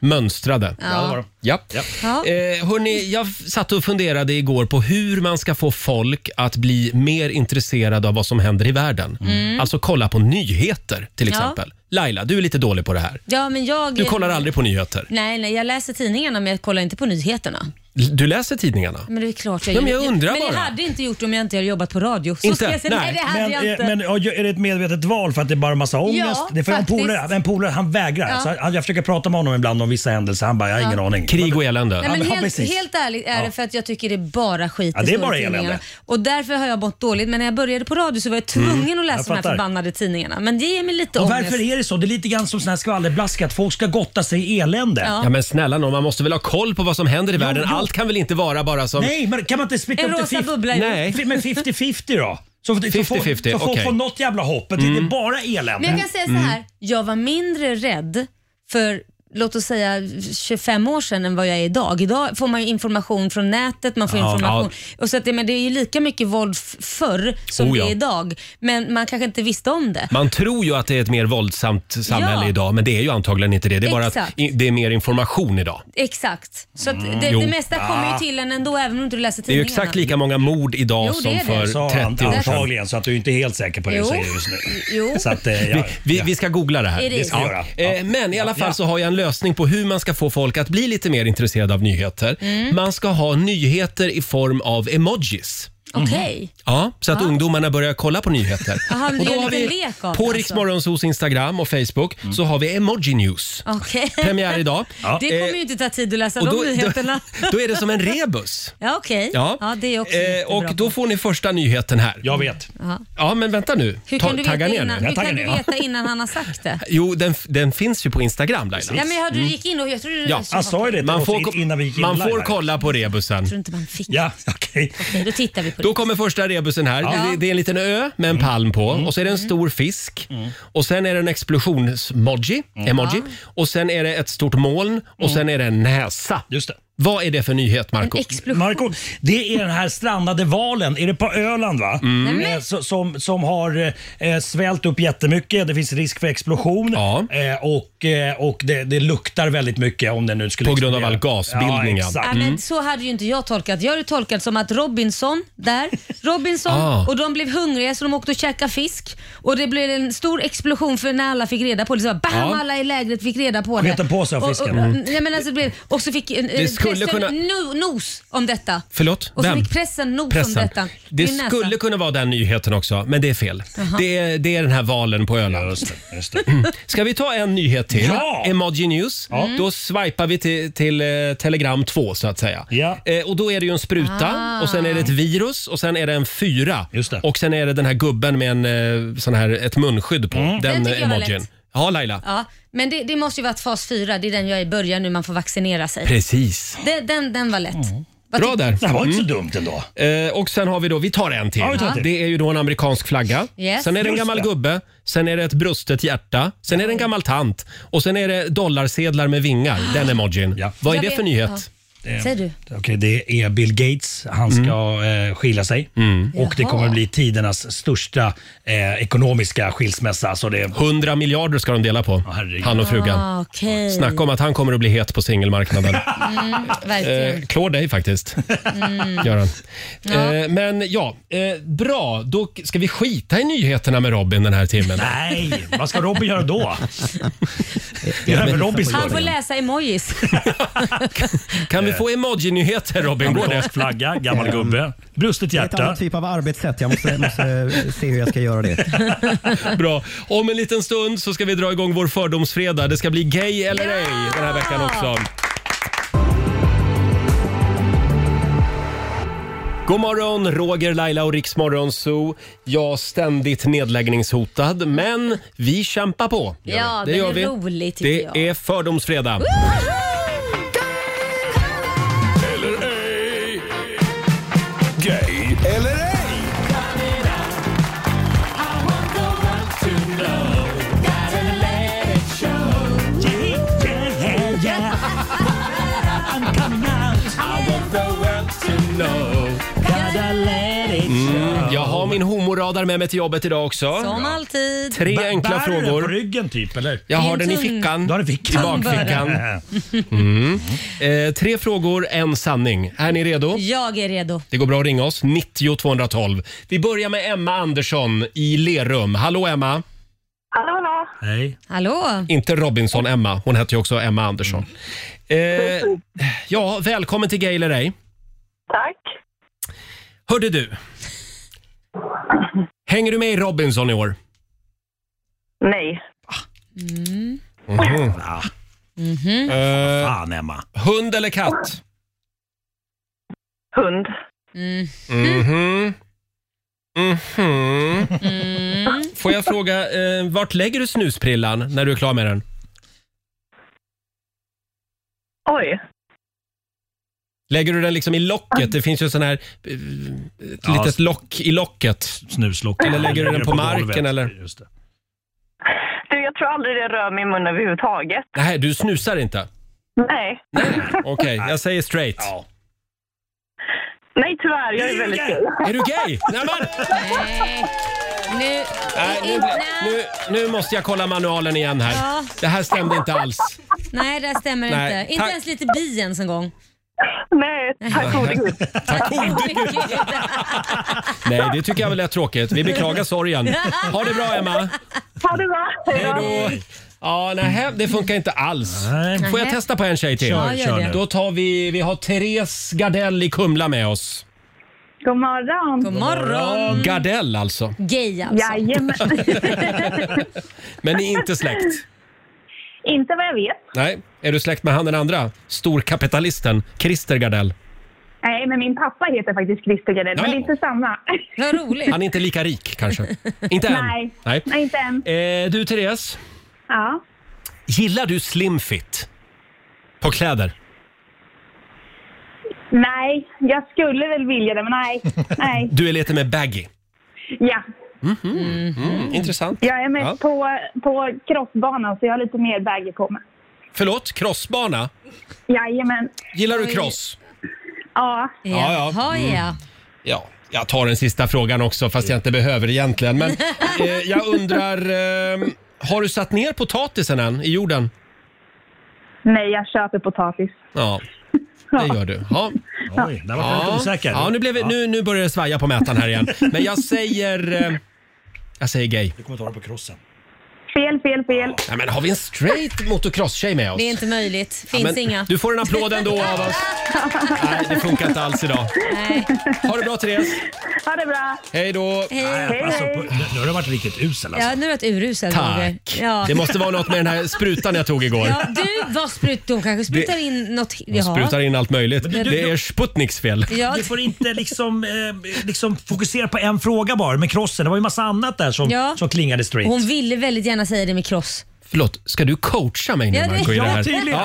Speaker 2: Mönstrade.
Speaker 3: Ja, det var de.
Speaker 2: Ja.
Speaker 3: Ja.
Speaker 2: Eh, hörni, jag f- satt och funderade igår på hur man ska få folk att bli mer intresserade av vad som händer i världen.
Speaker 3: Mm.
Speaker 2: Alltså kolla på nyheter till
Speaker 3: Ja.
Speaker 2: exempel. Laila, du är lite dålig på det här.
Speaker 3: Ja, men jag...
Speaker 2: Du kollar aldrig på nyheter.
Speaker 3: Nej, nej, jag läser tidningarna men jag kollar inte på nyheterna.
Speaker 2: L- Du läser tidningarna.
Speaker 3: Men det är klart jag
Speaker 2: Ja, men jag
Speaker 3: gör.
Speaker 2: undrar
Speaker 3: men
Speaker 2: bara.
Speaker 3: det hade jag inte gjort om jag inte hade jobbat på radio. Så
Speaker 12: Inte?
Speaker 3: Ska jag säga, nej. det hade
Speaker 12: men,
Speaker 3: jag inte.
Speaker 12: eh, men ja, är det ett medvetet val för att det är bara massa ångest?
Speaker 3: Ja,
Speaker 12: det är för en
Speaker 3: faktiskt.
Speaker 12: polare, en polare han vägrar.
Speaker 3: Ja.
Speaker 12: Så han- jag försöker prata med honom ibland om vissa händelser. Han bara, jag har ingen
Speaker 3: Ja.
Speaker 12: aning.
Speaker 2: Krig och elände.
Speaker 3: Nej, men
Speaker 12: ja,
Speaker 3: helt,
Speaker 12: precis.
Speaker 3: helt ärligt är det
Speaker 12: Ja.
Speaker 3: för att jag tycker det är bara skit
Speaker 12: Ja,
Speaker 3: i
Speaker 12: det är
Speaker 3: stora
Speaker 12: bara
Speaker 3: tidningarna.
Speaker 12: elände.
Speaker 3: Och därför har jag mått dåligt. Men när jag började på radio så var jag tvungen
Speaker 12: Mm,
Speaker 3: att läsa
Speaker 12: jag
Speaker 3: de här
Speaker 12: fattar.
Speaker 3: förbannade tidningarna. Men det ger mig lite
Speaker 12: Och
Speaker 3: ångest.
Speaker 12: varför är det så? Det är lite grann som sån här skvallerblaska, att folk ska gotta sig i elände.
Speaker 3: Ja.
Speaker 2: Ja men snälla nån, man måste väl ha koll på vad som händer i världen.
Speaker 12: jo.
Speaker 2: Allt kan väl inte vara bara som...
Speaker 12: Nej, men kan man inte splittra
Speaker 3: En
Speaker 12: upp det?
Speaker 3: rosa
Speaker 12: fif-
Speaker 3: bubbla i-
Speaker 2: Nej.
Speaker 12: Fi- Men 50-50 då? Så, så,
Speaker 2: 50-50,
Speaker 12: så, så folk
Speaker 2: okej.
Speaker 12: får något jävla hopp. att Det
Speaker 2: Mm.
Speaker 12: är bara elände.
Speaker 3: Men jag kan säga
Speaker 12: Mm.
Speaker 3: så här. Jag var mindre rädd för låt oss säga 25 år sedan än vad jag är idag. Idag får man ju information från nätet, man får
Speaker 13: Ja,
Speaker 3: information. Och så att, det- men det är ju lika mycket våld f- förr som
Speaker 2: Oh, ja.
Speaker 3: det är idag. Men man kanske inte visste om det.
Speaker 2: Man tror ju att det är ett mer våldsamt samhälle
Speaker 3: Ja.
Speaker 2: idag, men det är ju antagligen inte det. Det är bara att
Speaker 3: Exakt.
Speaker 2: i- det är mer information idag.
Speaker 3: Exakt. Så att
Speaker 2: Mm.
Speaker 3: det,
Speaker 2: Jo.
Speaker 3: det mesta kommer ju
Speaker 2: Ah.
Speaker 3: till en ändå även om inte du läser
Speaker 2: Det är ju
Speaker 3: tidningarna.
Speaker 2: exakt lika många mord idag
Speaker 3: Jo, det
Speaker 2: som
Speaker 3: är det.
Speaker 2: för
Speaker 12: Sa
Speaker 2: 30
Speaker 12: han
Speaker 2: år sedan.
Speaker 12: antagligen, så att du är inte helt säker på det du
Speaker 3: Jo.
Speaker 12: säger just nu.
Speaker 3: Jo.
Speaker 12: Så att, eh, ja,
Speaker 2: vi, vi, vi ska googla det
Speaker 12: Är
Speaker 2: här.
Speaker 12: det- Det ska vi göra.
Speaker 2: Eh, Men i alla fall så har jag en lösning på hur man ska få folk att bli lite mer intresserade av nyheter.
Speaker 3: Mm.
Speaker 2: Man ska ha nyheter i form av emojis. Mm.
Speaker 3: Okej.
Speaker 2: Ja, så att
Speaker 3: Ja.
Speaker 2: ungdomarna börjar kolla på nyheter.
Speaker 3: Jaha, men det
Speaker 2: och
Speaker 3: är
Speaker 2: då
Speaker 3: en
Speaker 2: har
Speaker 3: liten
Speaker 2: vi
Speaker 3: lek av det
Speaker 2: på
Speaker 3: alltså.
Speaker 2: Riksmorgonsos Instagram och Facebook så har vi Emoji News.
Speaker 3: Okej.
Speaker 2: Premiär idag.
Speaker 3: Det
Speaker 2: Eh,
Speaker 3: kommer ju inte ta tid att läsa
Speaker 2: och
Speaker 3: de
Speaker 2: då-
Speaker 3: nyheterna.
Speaker 2: Då är det som en rebus.
Speaker 3: Ja, okej.
Speaker 2: Ja.
Speaker 3: Ja. det är också
Speaker 2: Eh,
Speaker 3: jättebra.
Speaker 2: och då får ni första nyheten här.
Speaker 12: Jag vet.
Speaker 3: Ja.
Speaker 2: Ja, men vänta nu.
Speaker 3: Hur
Speaker 2: Ta-
Speaker 3: kan, du veta,
Speaker 2: tagga ner
Speaker 3: innan,
Speaker 2: nu.
Speaker 3: hur kan du veta innan han har sagt det?
Speaker 2: Jo, den, den finns ju på Instagram Laila.
Speaker 3: Ja, men jag hörde du
Speaker 2: Mm.
Speaker 3: gick in och jag trodde du...
Speaker 2: Ja.
Speaker 12: Han sa ju det till
Speaker 2: Man
Speaker 12: oss
Speaker 2: får,
Speaker 12: in-
Speaker 2: ko-
Speaker 12: innan vi gick in
Speaker 2: man
Speaker 12: live
Speaker 2: får
Speaker 12: här.
Speaker 2: kolla på rebusen.
Speaker 3: tror inte man fick.
Speaker 12: Ja, okej.
Speaker 3: Okej, då tittar vi på det.
Speaker 2: Då kommer första rebusen här.
Speaker 3: Ja.
Speaker 2: Det, det är en liten ö med en
Speaker 12: Mm.
Speaker 2: palm på och så är det
Speaker 3: Mm.
Speaker 2: en stor fisk och sen är det en explosionsmoji
Speaker 12: Mm.
Speaker 2: emoji,
Speaker 3: Ja.
Speaker 2: och sen är det ett stort moln och sen är det en näsa.
Speaker 12: Just det.
Speaker 2: Vad är det för nyhet Marco?
Speaker 12: Marco, det är den här strandade valen, är det på Öland va?
Speaker 2: Mm.
Speaker 12: Eh, så- Som, som har eh, svällt upp jättemycket, det finns risk för explosion eh, och och, eh, och det, det luktar väldigt mycket om den nu skulle
Speaker 2: På grund av
Speaker 12: explodera.
Speaker 2: all gasbildning, ja. Mm.
Speaker 12: Ja, exakt.
Speaker 3: Ja, men så hade ju inte jag tolkat. Jag hade tolkat som att Robinson där, Robinson
Speaker 2: Ah.
Speaker 3: och de blev hungriga så de åkte och käkade fisk och det blev en stor explosion för när alla fick reda på det. Så bara, bam,
Speaker 2: Ja.
Speaker 3: alla i lägret fick reda på det.
Speaker 2: Sket en påse av fisken.
Speaker 3: Och, och,
Speaker 2: Mm.
Speaker 3: nej, men alltså, det blev, och så fick eh,
Speaker 2: Det skulle
Speaker 3: pressen
Speaker 2: kunna-
Speaker 3: no, nos om detta.
Speaker 2: Förlåt?
Speaker 3: Och så
Speaker 2: Vem?
Speaker 3: fick pressen nos om
Speaker 2: Pressen.
Speaker 3: detta.
Speaker 2: Det
Speaker 3: Min näsa.
Speaker 2: skulle kunna vara den nyheten också, men det är fel.
Speaker 3: Jaha.
Speaker 2: Det är, det är den här valen på Öland. Just Ska vi ta en nyhet till?
Speaker 12: Ja!
Speaker 2: Emoji News.
Speaker 12: Ja.
Speaker 2: Då swipar vi till, till eh, Telegram 2 så att säga. Eh, och då är det ju en spruta
Speaker 12: Ah.
Speaker 2: och sen är det ett virus och sen är det en fyra. Och sen är det den här gubben med en, eh, sån här, ett munskydd på. Den,
Speaker 3: Den
Speaker 2: den
Speaker 3: tycker jag var
Speaker 2: emojin.
Speaker 3: lätt.
Speaker 2: Ja, Laila.
Speaker 3: Ja, men det, det måste ju varit fas 4, det är den jag är i början nu man får vaccinera sig.
Speaker 2: Precis.
Speaker 3: Det, den, den var lätt. Vad
Speaker 2: Bra
Speaker 3: tyck-
Speaker 2: där.
Speaker 3: Mm.
Speaker 12: dumt ändå.
Speaker 2: Eh, och sen har vi då, vi tar en till.
Speaker 3: Ja, vi tar en till.
Speaker 2: Det är ju då en amerikansk flagga.
Speaker 3: Yes.
Speaker 2: Sen är det en
Speaker 3: Just
Speaker 2: gammal
Speaker 3: det.
Speaker 2: gubbe. Sen är det ett brustet hjärta. Sen är det en gammal tant. Och sen är det dollarsedlar med vingar.
Speaker 3: Ah.
Speaker 2: Den emojin. Vad är
Speaker 12: Jag
Speaker 2: det
Speaker 12: vet-
Speaker 2: för nyhet?
Speaker 12: Det är-
Speaker 3: Säg du.
Speaker 12: Okej, det är Bill Gates. Han ska eh, skilja sig. Och det
Speaker 3: Jaha.
Speaker 12: kommer bli tidernas största eh, ekonomiska skilsmässa.
Speaker 3: alltså
Speaker 12: Så det...
Speaker 2: 100 miljarder ska de dela på, han och frugan.
Speaker 3: Ah, okej.
Speaker 2: Snacka om att han kommer att bli het på singelmarknaden.
Speaker 3: Mm,
Speaker 2: Eh,
Speaker 3: verkligen.
Speaker 2: klår dig faktiskt,
Speaker 3: Mm.
Speaker 2: Göran.
Speaker 3: Ja.
Speaker 2: Eh, men ja, eh, bra. Då k- ska vi skita i nyheterna med Robin den här timmen.
Speaker 12: Nej, vad ska Robin göra då?
Speaker 2: Göra för Robins
Speaker 3: Han
Speaker 2: skull.
Speaker 3: får läsa emojis.
Speaker 2: Kan vi få emoji-nyheter Robin? Går det?
Speaker 12: Amerikansk flagga, gammal gubbe, brustet
Speaker 16: Det är ett annat typ av arbetssätt. Jag måste, måste se hur jag ska göra det.
Speaker 2: Bra. Om en liten stund så ska vi dra igång vår fördomsfredag. Det ska bli gay eller ej den här veckan också. God morgon, Roger, Laila och Riksmorgon Zoo. Jag ständigt nedläggningshotad, men vi kämpar på.
Speaker 3: Ja,
Speaker 2: det
Speaker 3: men
Speaker 2: gör
Speaker 3: det
Speaker 2: vi.
Speaker 3: är roligt, tycker
Speaker 2: Det
Speaker 3: jag.
Speaker 2: är fördomsfredag.
Speaker 8: Gay eller ej?
Speaker 2: Mm, jag har min homoradar med mig till jobbet idag också.
Speaker 3: Som alltid.
Speaker 2: Tre enkla
Speaker 12: Bär du den
Speaker 2: frågor.
Speaker 12: på ryggen typ, eller?
Speaker 2: Jag har den i fickan.
Speaker 12: Du har den i fickan.
Speaker 2: I bakfickan. Mm. Eh, tre frågor, en sanning. Är ni redo?
Speaker 3: Jag är redo.
Speaker 2: Det går bra att ringa oss. 90 212. Vi börjar med Emma Andersson i Lerum. Hallå Emma!
Speaker 3: Hallå, hallå.
Speaker 12: Hej.
Speaker 3: Hallå.
Speaker 2: Inte Robinson-Emma. Hon heter ju också Emma Andersson. Eh, ja, välkommen till Gay eller ej.
Speaker 17: Tack.
Speaker 2: Hörde du. Hänger du med i Robinson i år?
Speaker 17: Nej.
Speaker 3: Mm.
Speaker 2: Mhm.
Speaker 13: Mm-hmm.
Speaker 3: Mhm.
Speaker 2: Eh,
Speaker 12: Fan Emma.
Speaker 2: Hund eller katt?
Speaker 17: Hund.
Speaker 3: Mm.
Speaker 2: Mhm. Mhm.
Speaker 3: Mm.
Speaker 2: Får jag fråga, eh, vart lägger du snusprillan när du är klar med den?
Speaker 17: Oj.
Speaker 2: Lägger du den liksom i locket? Det finns ju sån här... eh, Ett
Speaker 12: Ja,
Speaker 2: litet lock i locket.
Speaker 12: Snuslock.
Speaker 2: Eller lägger du den på marken
Speaker 12: golvet.
Speaker 2: eller?
Speaker 12: Just det.
Speaker 17: Du, jag tror aldrig det rör min mun överhuvudtaget.
Speaker 2: Nej, du snusar inte?
Speaker 17: Nej.
Speaker 2: Okej, jag säger straight.
Speaker 17: Nej, tyvärr. Jag är väldigt gay.
Speaker 2: Är du gay? Nej, men...
Speaker 3: Nej. Nu.
Speaker 2: Nej, nu, nu, nu måste jag kolla manualen igen här.
Speaker 3: Ja.
Speaker 2: Det här stämde inte alls.
Speaker 3: Nej, det stämmer
Speaker 2: Nej,
Speaker 3: inte. Inte
Speaker 2: tack.
Speaker 3: ens lite bi ens en gång.
Speaker 17: Nej,
Speaker 2: tack gode
Speaker 17: gud.
Speaker 2: Tack gode gud. Nej, det tycker jag väl är tråkigt. Vi beklagar sorgen. Ha det bra, Emma.
Speaker 17: Ha det bra. Hej
Speaker 2: då. Ja, nej, det funkar inte alls. Får jag
Speaker 13: Nähä.
Speaker 2: testa på en tjej till?
Speaker 13: Kör, Ja, gör kör det. nu.
Speaker 2: Då tar vi, vi har Therese Gardell i Kumla med oss.
Speaker 17: God morgon.
Speaker 3: God morgon.
Speaker 2: Gardell alltså.
Speaker 3: Gay alltså.
Speaker 17: Jajamän.
Speaker 2: Men ni är inte släkt?
Speaker 17: Inte vad jag vet.
Speaker 2: Nej. Är du släkt med han den andra? Storkapitalisten Christer Gardell.
Speaker 17: Nej, men min pappa heter faktiskt Christer Gardell, men det är inte samma.
Speaker 3: Vad roligt.
Speaker 2: Han är inte lika rik kanske? Inte än?
Speaker 17: Nej. Nej, inte än.
Speaker 2: Eh, du Therese,
Speaker 17: Ja.
Speaker 2: gillar du slim fit? På kläder?
Speaker 17: Nej, jag skulle väl vilja det, men nej. nej.
Speaker 2: Du är lite mer baggy?
Speaker 17: Ja.
Speaker 2: Mhm. Mm, intressant.
Speaker 17: Jag är mest
Speaker 2: Ja.
Speaker 17: på, på crossbanan, så jag har lite mer baggy på mig.
Speaker 2: Förlåt, crossbana?
Speaker 17: Jajamän.
Speaker 2: Gillar du cross?
Speaker 17: Ja.
Speaker 2: Ja, ja. Jaha, Mm. ja. Ja, jag tar den sista frågan också fast jag inte behöver egentligen. Men eh, jag undrar, eh, Har du satt ner potatisen än i jorden?
Speaker 18: Nej, jag köper potatis.
Speaker 2: Ja, det gör du. Ja.
Speaker 18: Oj, där var jag lite osäker.
Speaker 2: Ja, nu, blev, vi- nu, nu börjar det svaja på mätaren här igen. Men jag säger... eh, Jag säger gay.
Speaker 12: Du kommer ta det på krossen.
Speaker 18: Fel, fel, fel.
Speaker 2: Nej, men har vi en straight motocross-tjej med oss?
Speaker 3: Det är inte möjligt. Finns
Speaker 2: Ja, men
Speaker 3: inga.
Speaker 2: Du får en applåd ändå av oss. Nej, det funkar inte alls idag.
Speaker 3: Nej.
Speaker 2: Ha det bra Therese.
Speaker 18: Ha det bra.
Speaker 2: Hej då.
Speaker 3: Hej. Hej,
Speaker 12: Alltså,
Speaker 3: hej.
Speaker 12: på, nu, nu har du varit riktigt usel alltså.
Speaker 3: Ja, nu är det ett urusel
Speaker 12: Tack.
Speaker 3: Roger. Ja.
Speaker 2: Det måste vara något med den här sprutan jag tog igår.
Speaker 3: Ja, du, vad sprut, de kanske sprutar in något.
Speaker 2: De sprutar in allt möjligt.
Speaker 3: Men du-
Speaker 2: Det är Sputniks fel.
Speaker 3: Ja.
Speaker 12: Du får inte liksom, eh, liksom fokusera på en fråga bara med krossen. Det var ju massa annat där som,
Speaker 3: Ja.
Speaker 12: som klingade straight.
Speaker 3: Hon ville väldigt gärna säga det med cross.
Speaker 2: Förlåt, ska du coacha mig nu
Speaker 3: Ja, det-
Speaker 2: Marco i det
Speaker 3: Ja,
Speaker 2: här?
Speaker 3: tydligen.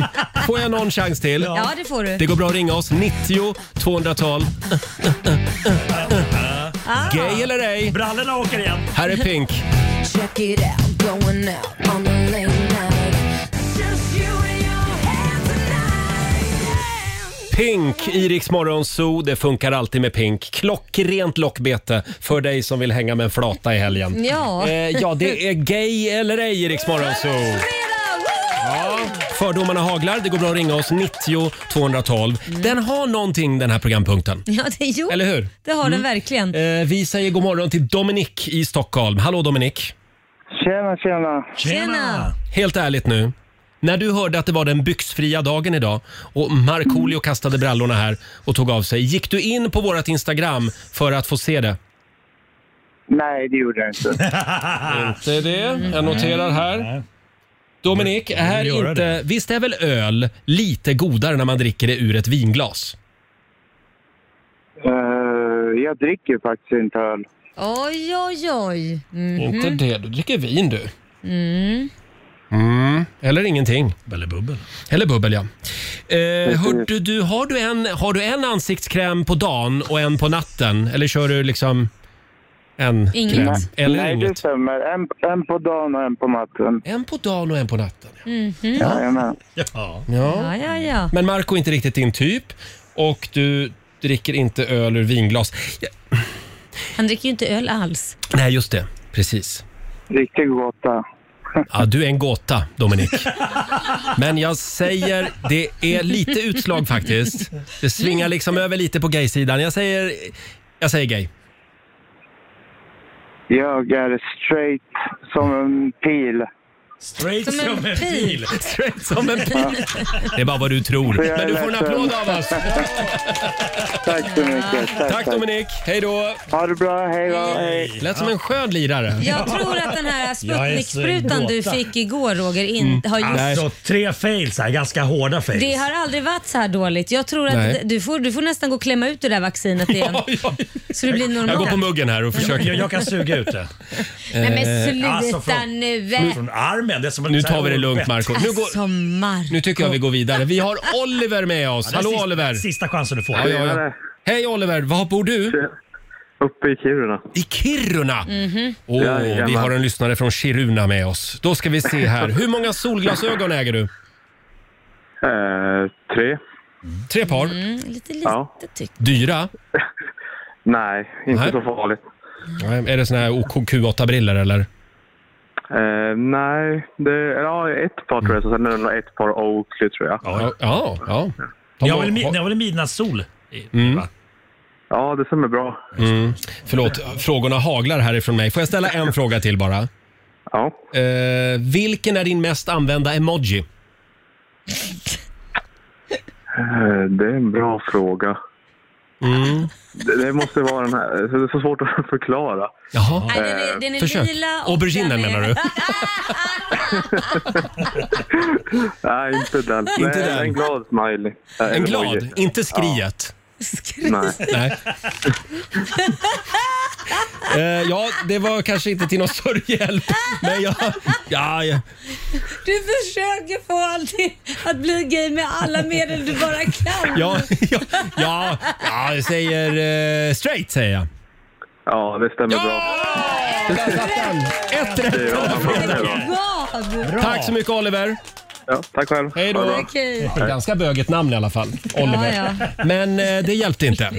Speaker 2: eh, får jag någon chans till?
Speaker 3: Ja, det får du.
Speaker 2: Det går bra att ringa oss. 90 212. Gay eller ej?
Speaker 12: Brallorna åker igen.
Speaker 2: Här är Pink.
Speaker 13: Check it out, going out on a late night.
Speaker 2: Pink i Rix Morgon Zoo. Det funkar alltid med Pink. Klockrent lockbete för dig som vill hänga med en flata i helgen.
Speaker 13: Ja.
Speaker 2: Eh, ja, det är gay eller ej i Rix Morgon Zoo. Ja, fördomarna haglar. Det går bra att ringa oss. 90 212. Den har någonting den här programpunkten.
Speaker 3: Ja, det, jo,
Speaker 2: Eller hur?
Speaker 3: det har den
Speaker 2: Mm.
Speaker 3: verkligen.
Speaker 2: Eh, vi säger god morgon till Dominik i Stockholm. Hallå Dominik!
Speaker 9: Tjena, tjena.
Speaker 3: Tjena.
Speaker 2: Helt ärligt nu. När du hörde att det var den byxfria dagen idag och Markoolio kastade brallorna här och tog av sig. Gick du in på vårt Instagram för att få se det?
Speaker 9: Nej, det gjorde jag inte.
Speaker 2: inte det. Jag noterar här. Dominik, är inte, visst är väl öl lite godare när man dricker det ur ett vinglas?
Speaker 9: Eh, jag dricker faktiskt inte öl.
Speaker 3: Oj, oj, oj. Mhm.
Speaker 2: Mm-hmm. Inte det. Du dricker vin du.
Speaker 3: Mm.
Speaker 2: Mm. Eller ingenting. Eller bubbel. Eller bubbel, ja. Eh, hördu, du, har, du en, har du en ansiktskräm på dagen och en på natten? Eller kör du liksom en
Speaker 9: Inget.
Speaker 2: kräm? Eller
Speaker 9: Nej, det
Speaker 2: inget?
Speaker 9: stämmer. En, en på dagen och en på natten.
Speaker 2: En på dagen och en på natten.
Speaker 3: Mhm.
Speaker 9: Jajamän.
Speaker 12: Ja.
Speaker 3: Ja, ja, ja.
Speaker 2: Men Marco är inte riktigt din typ och du dricker inte öl ur vinglas. Ja,
Speaker 3: Han dricker ju inte öl alls.
Speaker 2: nej, just det. Precis.
Speaker 9: Riktig gåta.
Speaker 2: Ja, du är en gåta, Dominik. Men jag säger, det är lite utslag faktiskt. Det svingar liksom över lite på gay-sidan. Jag säger, jag säger gay.
Speaker 9: Jag är straight som en pil.
Speaker 12: Straight som, en pil.
Speaker 2: Straight som en pil. Det är bara vad du tror.
Speaker 9: Så jag
Speaker 2: Men du
Speaker 9: är
Speaker 2: får en
Speaker 9: ledsen.
Speaker 2: applåd av oss.
Speaker 9: Tack så mycket. Tack,
Speaker 2: Tack Dominik. Hej då.
Speaker 9: Ha det bra. Hej då. Hej.
Speaker 2: Lät som en skön lirare.
Speaker 3: Jag tror att den här
Speaker 12: Jag är så
Speaker 3: Sputnik-sprutan du
Speaker 12: gåta.
Speaker 3: fick igår Roger, in,
Speaker 2: Mm.
Speaker 3: har gjort
Speaker 12: Alltså tre fails här, ganska hårda fails.
Speaker 3: Det har aldrig varit så här dåligt. Jag tror att
Speaker 12: Nej.
Speaker 3: du får, du får nästan gå och klämma ut det där vaccinet igen. Så det blir normalt.
Speaker 2: Jag går på muggen här och försöker.
Speaker 12: Jag, jag kan suga ut det.
Speaker 3: Nej men
Speaker 2: Eh,
Speaker 3: sluta
Speaker 12: Eh, alltså, från-
Speaker 3: nu.
Speaker 12: Från armen. Det är som en
Speaker 2: Nu
Speaker 12: så här
Speaker 2: tar vi det lugnt,
Speaker 12: bett.
Speaker 2: Marco. Nu går-
Speaker 3: Alltså Marco.
Speaker 2: Nu tycker jag vi går vidare. Vi har Oliver med oss.
Speaker 12: Ja, det är
Speaker 2: Hallå
Speaker 12: sista-
Speaker 2: Oliver.
Speaker 12: Sista chansen du får.
Speaker 2: Ja, ja, ja. Hej Oliver, var bor du?
Speaker 19: Uppe i Kiruna. Mm.
Speaker 2: I Kiruna?
Speaker 3: Mhm.
Speaker 2: Åh,
Speaker 19: Jajamän.
Speaker 2: vi har en lyssnare från Kiruna med oss. Då ska vi se här. Hur många solglasögon äger du?
Speaker 19: Eh, tre.
Speaker 2: Tre par.
Speaker 3: Mm, lite litet
Speaker 19: Ja.
Speaker 2: Dyra?
Speaker 19: Nej, inte
Speaker 2: Nej.
Speaker 19: så farligt.
Speaker 2: Nej, Är det såna här OKQ8-briller eller?
Speaker 19: Eh, nej, det är ja, ett par tror jag, så sen är det nog ett par Oakley tror jag.
Speaker 2: Ja, ja. ja.
Speaker 12: Ni har väl mi- ni har väl midnattssol?
Speaker 2: Mm.
Speaker 19: Ja, det stämmer bra.
Speaker 2: Mm. Förlåt, frågorna haglar härifrån mig. Får jag ställa en fråga till bara?
Speaker 19: Ja.
Speaker 2: Eh, vilken är din mest använda emoji?
Speaker 19: Eh, det är en bra fråga.
Speaker 2: Mm.
Speaker 19: Det, det måste vara den här. Det är så svårt att förklara. Eh,
Speaker 2: Jaha.
Speaker 3: Nej, den är- den är
Speaker 19: Försök.
Speaker 3: lila och
Speaker 2: Auberginen
Speaker 3: den är-
Speaker 2: menar du?
Speaker 19: nej, inte den.
Speaker 2: Inte
Speaker 19: nej,
Speaker 2: den.
Speaker 19: En glad smiley. Eh,
Speaker 2: En
Speaker 19: eller
Speaker 2: glad,
Speaker 19: emoji.
Speaker 2: inte skriet.
Speaker 19: Nej.
Speaker 2: Nej. Eh, ja, det var kanske inte till någon sorghjälp. Men jag, ja, jag,
Speaker 3: Du försöker få allting att bli gay med alla medel du bara kan.
Speaker 2: ja, ja, ja, ja, jag säger eh, straight säger jag.
Speaker 19: Ja, det stämmer bra.
Speaker 2: Där satt den. Ett rätt!
Speaker 19: Det är jag som har det då.
Speaker 3: Vad?
Speaker 2: Tack så mycket Oliver.
Speaker 19: Ja, tack själv.
Speaker 2: Hej då.
Speaker 19: Ha det bra.
Speaker 3: Okej.
Speaker 2: Det är Ganska böget namn i alla fall, Oliver.
Speaker 3: Ja,
Speaker 2: Men eh, det hjälpte inte.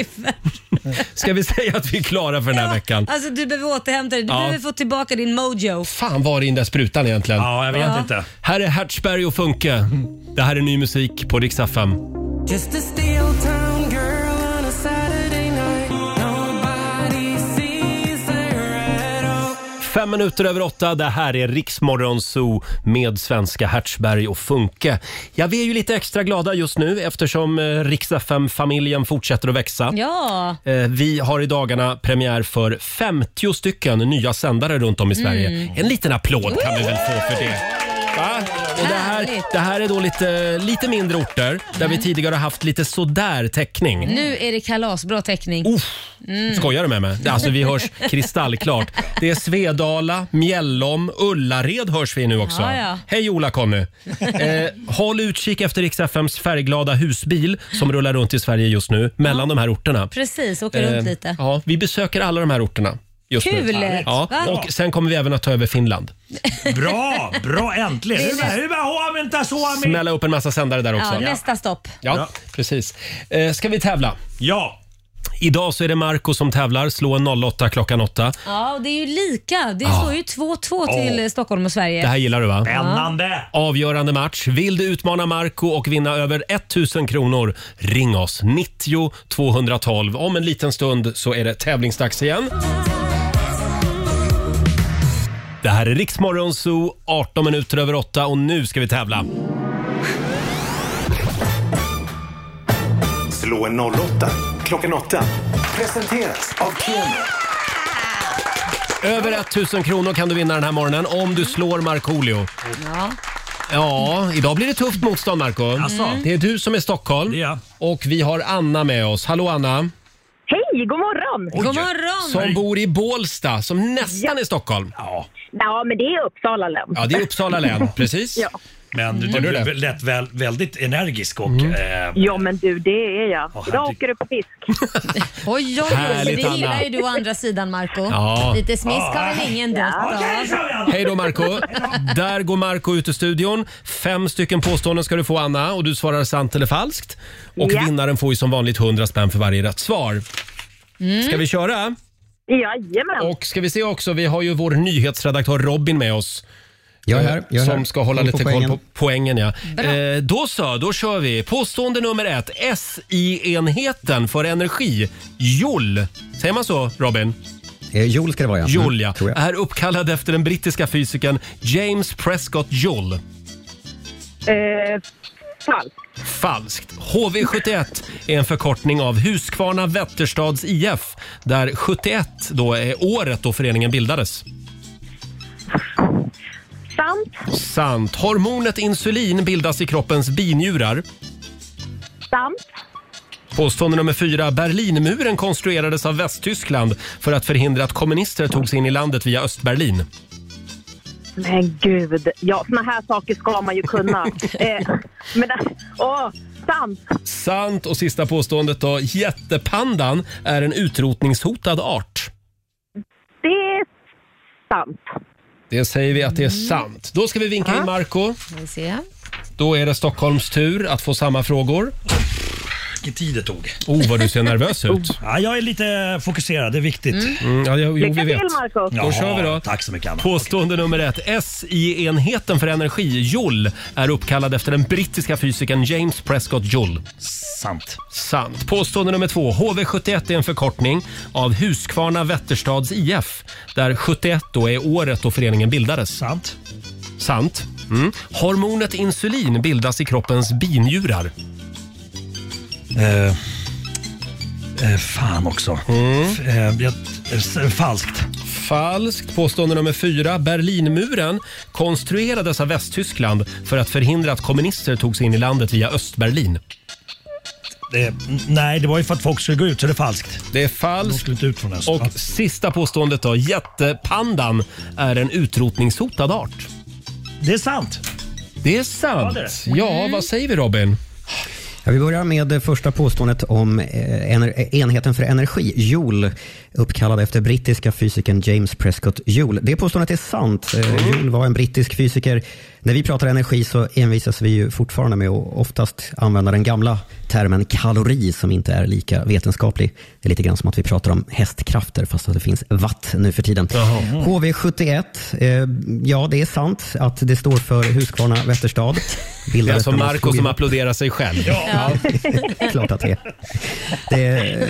Speaker 2: Ska vi säga att vi är klara för den här veckan?
Speaker 3: Alltså du behöver återhämta dig. Du
Speaker 2: Ja.
Speaker 3: behöver få tillbaka din mojo.
Speaker 2: Fan var är den där sprutan egentligen? Ja, jag
Speaker 3: vet Ja. inte.
Speaker 2: Här är Hertzberg och Funke. Det här är ny musik på Rix FM.
Speaker 1: Just a steel town girl on a Saturday night. Nobody sees her at all.
Speaker 2: Fem minuter över åtta, det här är Riksmorgon Zoo med svenska Hertzberg och Funke. Ja, vi är ju lite extra glada just nu eftersom eh, Rix FM-familjen fortsätter att växa.
Speaker 3: Ja.
Speaker 2: Eh, Vi har i dagarna premiär för 50 stycken nya sändare runt om i Sverige.
Speaker 13: Mm.
Speaker 2: En liten applåd kan vi väl få för det. Va? Och det, här, det här är då lite, lite mindre orter där vi tidigare har haft lite sådär täckning.
Speaker 3: Mm. Nu är det kalas. Bra teckning. Mm.
Speaker 2: Skojar du med mig? Alltså vi hörs kristallklart. Det är Svedala, Mjällom, Ullared hörs vi nu också.
Speaker 3: Ja, ja.
Speaker 2: Hej Ola-Conny! Eh, håll utkik efter Rix FMs färgglada husbil som rullar runt i Sverige just nu mellan de här orterna.
Speaker 3: Precis, åka runt
Speaker 2: Eh,
Speaker 3: lite.
Speaker 2: Ja, vi besöker alla de här orterna. Just
Speaker 3: Kul!
Speaker 2: Nu. Ja,
Speaker 3: Va?
Speaker 2: och sen kommer vi även att ta över Finland.
Speaker 12: Bra, bra äntligen.
Speaker 3: Det är
Speaker 12: Hyvä,
Speaker 3: näst-
Speaker 12: hyvä, huomenta Suomi!
Speaker 2: Smälla upp en massa sändare där också.
Speaker 3: Ja, nästa stopp.
Speaker 2: Ja, precis. Eh, ska vi tävla? Ja! Idag så är det Marco som tävlar. Slå en 08 klockan 8.
Speaker 3: Ja, och det är ju lika. Det
Speaker 2: Ja.
Speaker 3: står ju 2-2 till
Speaker 2: Ah. Ja.
Speaker 3: eh, Stockholm och Sverige.
Speaker 2: Det här gillar du va?
Speaker 3: Spännande.
Speaker 2: Avgörande match. Vill du utmana Marco och vinna över 1000 kronor? Ring oss! 90 212. Om en liten stund så är det tävlingsdags igen. Det här är Riksmorgon Zoo, 18 minuter över 8 och nu ska vi tävla.
Speaker 5: Slå en 08 klockan 8. Presenteras av Keno.
Speaker 2: Över 1000 kronor kan du vinna den här morgonen om du slår Markoolio.
Speaker 3: Ja.
Speaker 2: Ja, idag blir det tufft motstånd Marco.
Speaker 3: Jaså? Mm.
Speaker 2: Det är du som är Stockholm och vi har Anna med oss. Hallå Anna!
Speaker 18: Hej, god morgon!
Speaker 3: God morgon!
Speaker 2: Som bor i Bålsta, som nästan är Stockholm.
Speaker 18: Ja, men det är Uppsala län.
Speaker 2: Ja, det är Uppsala län, precis.
Speaker 18: Ja.
Speaker 12: Men du,
Speaker 2: Hörde
Speaker 12: du
Speaker 2: du det? Mm.
Speaker 12: lät väl, väldigt energisk och... Eh,
Speaker 18: Ja, men du, det är jag.
Speaker 12: Åh,
Speaker 18: Idag
Speaker 12: herregud.
Speaker 18: åker du på fisk.
Speaker 3: Oj, oj, oj.
Speaker 2: Härligt,
Speaker 3: Det gillar
Speaker 2: Anna.
Speaker 3: ju du å andra sidan, Marco
Speaker 2: Ja.
Speaker 3: Lite smisk
Speaker 2: Ja.
Speaker 3: har väl ingen dött
Speaker 13: Ja. Okej, kör vi,
Speaker 3: av.
Speaker 2: Hej då Marco. Där går Marco ut ur studion. Fem stycken påståenden ska du få Anna och du svarar sant eller falskt. Och
Speaker 18: Ja.
Speaker 2: vinnaren får ju som vanligt 100 spänn för varje rätt svar. Mm.
Speaker 13: Mm.
Speaker 2: Ska vi köra?
Speaker 18: Jajamän.
Speaker 2: Och ska vi se också, vi har ju vår nyhetsredaktör Robin med oss. Eh,
Speaker 16: Jag är här, jag är
Speaker 2: som
Speaker 16: här.
Speaker 2: ska hålla
Speaker 16: Koll på
Speaker 2: lite koll
Speaker 16: poängen.
Speaker 2: på poängen. Ja.
Speaker 16: Bra.
Speaker 2: Eh, då så, då kör vi. Påstående nummer ett. SI-enheten för energi, Joule. Säger man så, Robin?
Speaker 16: Eh, Joel ska det vara ja. Mm,
Speaker 2: Joule, ja.
Speaker 16: tror jag.
Speaker 2: Är uppkallad efter den brittiska fysikern James Prescott Joule.
Speaker 18: Eh, falskt.
Speaker 2: Falskt. HV71 är en förkortning av Huskvarna Vätterstads IF där 71 då är året då föreningen bildades.
Speaker 18: Sant.
Speaker 2: Sant. Hormonet insulin bildas i kroppens binjurar.
Speaker 18: Sant.
Speaker 2: Påstående nummer fyra. Berlinmuren konstruerades av Västtyskland för att förhindra att kommunister tog sig in i landet via Östberlin.
Speaker 18: Men gud. Ja, såna här saker ska man ju kunna. eh, men, åh, sant.
Speaker 2: Sant. Och sista påståendet då. Jättepandan är en utrotningshotad art.
Speaker 18: Det är sant.
Speaker 2: Det säger vi att det är sant. Då ska vi vinka in Marco.
Speaker 3: Vi ser.
Speaker 2: Då är det Stockholms tur att få samma frågor.
Speaker 12: vilken tid det tog.
Speaker 2: Oh, vad du ser nervös ut.
Speaker 12: Ja, jag är lite fokuserad, det är viktigt.
Speaker 2: Mm, ja, jo, jo, vi vet. Då
Speaker 12: Ja,
Speaker 2: kör vi då.
Speaker 12: Tack så mycket Anna.
Speaker 2: Påstående nummer ett. SI-enheten för energi, Joule, är uppkallad efter den brittiska fysikern James Prescott Joule.
Speaker 12: Sant.
Speaker 2: Sant. Påstående nummer två. HV71 är en förkortning av Huskvarna Vätterstads IF, där 71 då är året då föreningen bildades.
Speaker 12: Sant.
Speaker 2: Sant. Mm. Hormonet insulin bildas i kroppens binjurar.
Speaker 12: Eh, eh, fan också.
Speaker 2: Mm.
Speaker 12: F- Eh, jag, eh, falskt.
Speaker 2: Falskt. Påstående nummer fyra. Berlinmuren konstruerades av Västtyskland för att förhindra att kommunister tog sig in i landet via Östberlin.
Speaker 12: Eh, n- nej, det var ju för att folk skulle gå ut, så det är falskt.
Speaker 2: Det är
Speaker 12: De
Speaker 2: falskt.
Speaker 12: skulle inte ut från öst.
Speaker 2: Och sista påståendet då. Jättepandan är en utrotningshotad art.
Speaker 12: Det är sant.
Speaker 2: Det är sant.
Speaker 12: Ja,
Speaker 2: Ja,
Speaker 12: det är det. Mm.
Speaker 2: vad säger vi Robin?
Speaker 16: Ja, vi börjar med det första påståendet om eh, ener- eh, enheten för energi, Joule, uppkallad efter
Speaker 2: Mm.
Speaker 16: brittiska fysikern James Prescott Joule. Det påståendet är sant. Eh, Joule var en brittisk fysiker När vi pratar energi så envisas vi ju fortfarande med att oftast använda den gamla termen kalori som inte är lika vetenskaplig. Det är lite grann som att vi pratar om hästkrafter fast att det finns watt nu för tiden. HV71, eh, ja det är sant att det står för Huskvarna Vätterstad.
Speaker 2: Det är
Speaker 16: Bildades
Speaker 2: alltså
Speaker 16: när man
Speaker 2: Marco
Speaker 16: slog
Speaker 2: som
Speaker 16: ihop-
Speaker 2: applåderar sig själv.
Speaker 16: Ja. Klart att det är. Det,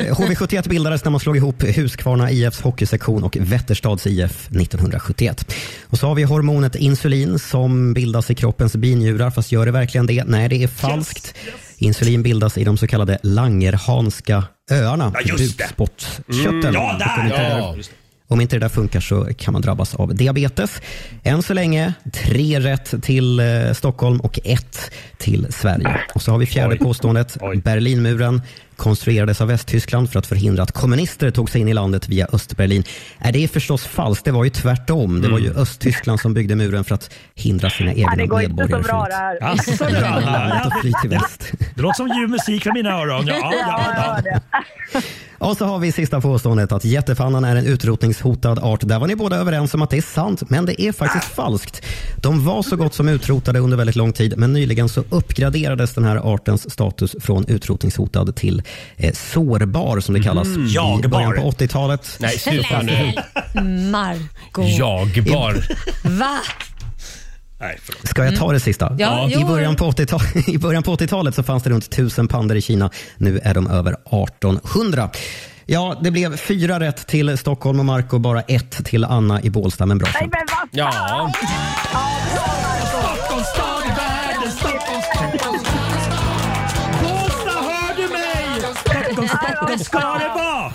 Speaker 16: eh, HV71 bildades när man slog ihop Huskvarna IFs hockeysektion och Vätterstads IF 1971. Och så har vi hormonet insulin som bildas i kroppens binjurar, fast gör det verkligen det? Nej, det är falskt. Insulin bildas i de så kallade Langerhanska öarna,
Speaker 12: Ja, just det.
Speaker 16: bukspottkörteln.
Speaker 12: Mm. Ja, där!
Speaker 16: Om inte det
Speaker 12: Ja, just
Speaker 16: om inte det där funkar så kan man drabbas av diabetes. Än så länge tre rätt till eh, Stockholm och ett till Sverige. Och så har vi fjärde påståendet. Berlinmuren konstruerades av Västtyskland för att förhindra att kommunister tog sig in i landet via Östberlin. Är det är förstås falskt. Det var ju tvärtom. Det var ju Östtyskland som byggde muren för att hindra sina egna
Speaker 18: Ja, det går inte så
Speaker 16: medborgare
Speaker 18: bra
Speaker 16: från
Speaker 18: det här.
Speaker 12: Jaså, du då?
Speaker 16: landet och fly till väst.
Speaker 12: Det låter som ljuv musik för mina öron. Ja, ja, ja.
Speaker 16: Och så har vi sista påståendet att jättepannan är en utrotningshotad art. Där var ni båda överens om att det är sant, men det är faktiskt
Speaker 2: Ah.
Speaker 16: falskt. De var så gott som utrotade under väldigt lång tid, men nyligen så uppgraderades den här artens status från utrotningshotad till eh, sårbar, som det kallas,
Speaker 2: Mhm.
Speaker 16: i
Speaker 2: Jagbar.
Speaker 16: början på 80-talet.
Speaker 2: Nej, sluta nu.
Speaker 3: Marco.
Speaker 2: Jagbar.
Speaker 3: Va?
Speaker 16: Ska jag ta det sista?
Speaker 3: Ja,
Speaker 16: I
Speaker 3: jo.
Speaker 16: början på 80-talet, i början på 80-talet så fanns det runt 1000 pandor i Kina. Nu är de över 1800. Ja, det blev fyra rätt till Stockholm och Marco, bara ett till Anna i Bålsta, men bra
Speaker 18: Nej men vad
Speaker 2: Ja.
Speaker 13: Stockholms stad i världen, Stockholms, Stockholms Båstad, hör du mig?
Speaker 12: Stockholm, Stockholm ska det vara!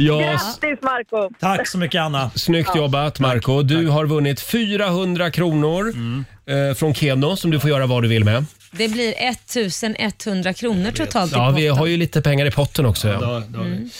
Speaker 2: Ja,
Speaker 18: Grattis Marco
Speaker 12: Tack så mycket Anna.
Speaker 2: Snyggt jobbat Marco. Du har vunnit 400 kronor
Speaker 12: Mm.
Speaker 2: eh, från Keno som du får göra vad du vill med.
Speaker 3: Det blir 1100 kronor totalt i
Speaker 2: Ja, vi
Speaker 3: potten. Mm.
Speaker 2: har ju lite pengar i potten också. Ja.
Speaker 12: Ja, då har vi.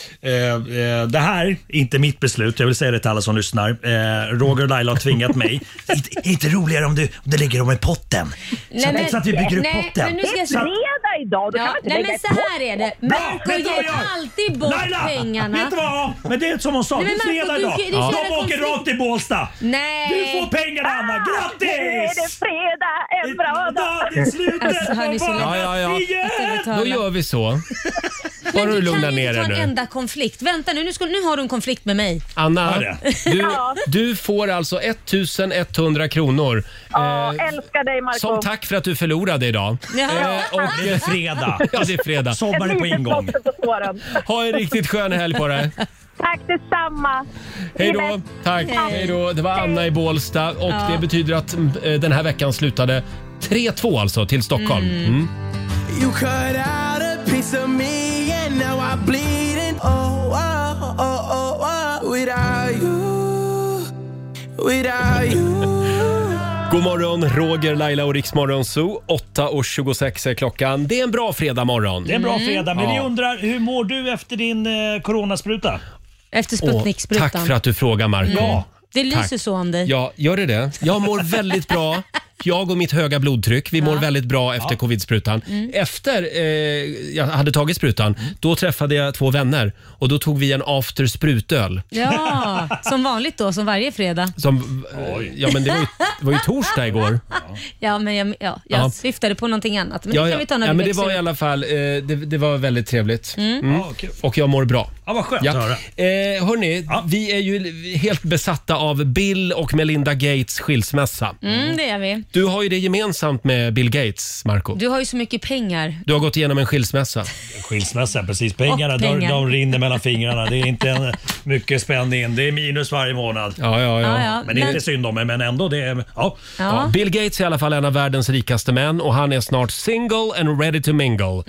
Speaker 12: Eh, eh, det här är inte mitt beslut, jag vill säga det till alla som lyssnar. Eh, Roger och Laila har tvingat mig. inte, inte roligare om, du, om det ligger om i potten.
Speaker 3: Nej,
Speaker 12: så, att-
Speaker 3: men-
Speaker 12: så att vi bygger upp
Speaker 3: nej,
Speaker 12: potten.
Speaker 3: men nu ska jag-
Speaker 12: Så att-
Speaker 18: fredag idag. Du
Speaker 3: Ja,
Speaker 18: kan inte
Speaker 3: nej
Speaker 18: lägga
Speaker 3: men
Speaker 18: ett
Speaker 3: så
Speaker 18: på.
Speaker 3: här är det.
Speaker 18: Bra,
Speaker 3: Marco
Speaker 18: vet du vad
Speaker 3: ger
Speaker 18: jag gör?
Speaker 3: alltid bort
Speaker 12: Laila!
Speaker 3: pengarna.
Speaker 12: Vet du vad? Men det är som hon sa,
Speaker 3: Nej,
Speaker 12: det
Speaker 3: men
Speaker 12: är
Speaker 3: Marco,
Speaker 12: fredag
Speaker 3: du-
Speaker 12: idag.
Speaker 3: du- du
Speaker 12: Ja.
Speaker 3: kör
Speaker 12: De
Speaker 3: en
Speaker 12: åker
Speaker 3: konflikt.
Speaker 12: rakt till Bålsta.
Speaker 3: Nej. Ah,
Speaker 12: Du får pengarna Anna,
Speaker 18: Nu är det
Speaker 12: grattis!
Speaker 18: fredag, en bra dag.
Speaker 12: Det är slutet
Speaker 3: Alltså, hörni,
Speaker 12: på
Speaker 3: så
Speaker 12: varvet
Speaker 2: Ja, ja, ja.
Speaker 12: igen!
Speaker 2: Då gör vi så. Bara du lugnar ner
Speaker 3: Ta
Speaker 2: dig
Speaker 3: en
Speaker 2: nu.
Speaker 3: enda konflikt. Vänta nu, nu, ska, nu har du en konflikt med mig.
Speaker 2: Anna,
Speaker 12: Har det?
Speaker 2: du,
Speaker 18: Ja.
Speaker 2: du får alltså 1100 kronor.
Speaker 18: Ja,
Speaker 2: eh,
Speaker 18: älskar dig Marco
Speaker 2: som tack för att du förlorade idag.
Speaker 3: Ja.
Speaker 2: Eh, och,
Speaker 12: Det är fredag.
Speaker 2: ja, det är fredag.
Speaker 18: Ett
Speaker 12: Sommaren på
Speaker 18: litet
Speaker 12: ingång.
Speaker 18: plåster på såren.
Speaker 2: Ha en riktigt skön helg på dig.
Speaker 18: Tack detsamma.
Speaker 2: Hej
Speaker 18: Ni är
Speaker 2: då!
Speaker 18: bäst.
Speaker 2: Tack!
Speaker 3: Hej.
Speaker 2: Hej då! Det var Anna i Bålsta och
Speaker 3: Ja.
Speaker 2: det betyder att mm, eh, den här veckan slutade 3-2 alltså till Stockholm. Mm.
Speaker 6: You cut out a piece of me and now I bleed and oh, oh, oh, oh, oh, without you, without you.
Speaker 2: God morgon, Roger, Laila och Riksmorgon Zoo. 8.26 är klockan. Det är en bra fredagmorgon.
Speaker 12: Det är en
Speaker 3: Mm.
Speaker 12: bra fredag, men vi
Speaker 2: Ja.
Speaker 12: undrar hur mår du efter din eh, coronaspruta?
Speaker 3: Efter
Speaker 2: Åh,
Speaker 3: Sputnik-sprutan.
Speaker 2: tack för att du frågar Marco.
Speaker 12: Ja.
Speaker 3: Det lyser
Speaker 2: Tack.
Speaker 3: så om dig.
Speaker 2: Ja, gör det det? Jag mår väldigt bra. Jag och mitt höga blodtryck, vi mår väldigt bra efter covid-sprutan.
Speaker 3: Mm.
Speaker 2: Efter eh, jag hade tagit sprutan,
Speaker 12: Mm.
Speaker 2: då träffade jag två vänner och då tog vi en after sprutöl.
Speaker 3: Ja, som vanligt då, som varje fredag.
Speaker 2: Som, eh,
Speaker 12: Oj.
Speaker 2: ja, men det, var ju, det var ju torsdag igår.
Speaker 3: Ja, men jag, ja, jag
Speaker 2: Ja.
Speaker 3: syftade på någonting annat. Men
Speaker 2: ja,
Speaker 3: det
Speaker 2: ja.
Speaker 3: kan vi ta när
Speaker 2: ja,
Speaker 3: vi
Speaker 2: men det
Speaker 3: växer
Speaker 2: var i
Speaker 3: upp.
Speaker 2: alla fall eh, det, det var väldigt trevligt. Mm.
Speaker 12: Ja, kul.
Speaker 2: Och jag mår bra.
Speaker 12: Ja, vad skönt
Speaker 2: Ja.
Speaker 12: att höra.
Speaker 2: Eh, hörni, vi är ju helt besatta av Bill och Melinda Gates skilsmässa.
Speaker 3: Mm, det gör vi.
Speaker 2: Du har ju det gemensamt med Bill Gates, Marco.
Speaker 3: Du har ju så mycket pengar.
Speaker 2: Du har gått igenom en skilsmässa.
Speaker 12: Skilsmässa, precis. Pengarna,
Speaker 3: Och pengar.
Speaker 12: De, de rinner mellan fingrarna. Det är inte en, mycket spänning in. Det är minus varje månad.
Speaker 2: Ja, ja, ja.
Speaker 3: Ja, ja.
Speaker 12: Men det är inte synd om mig, men ändå. Det är, ja.
Speaker 3: Ja.
Speaker 2: Bill Gates är i alla fall en av världens rikaste män och han är snart single and ready to mingle.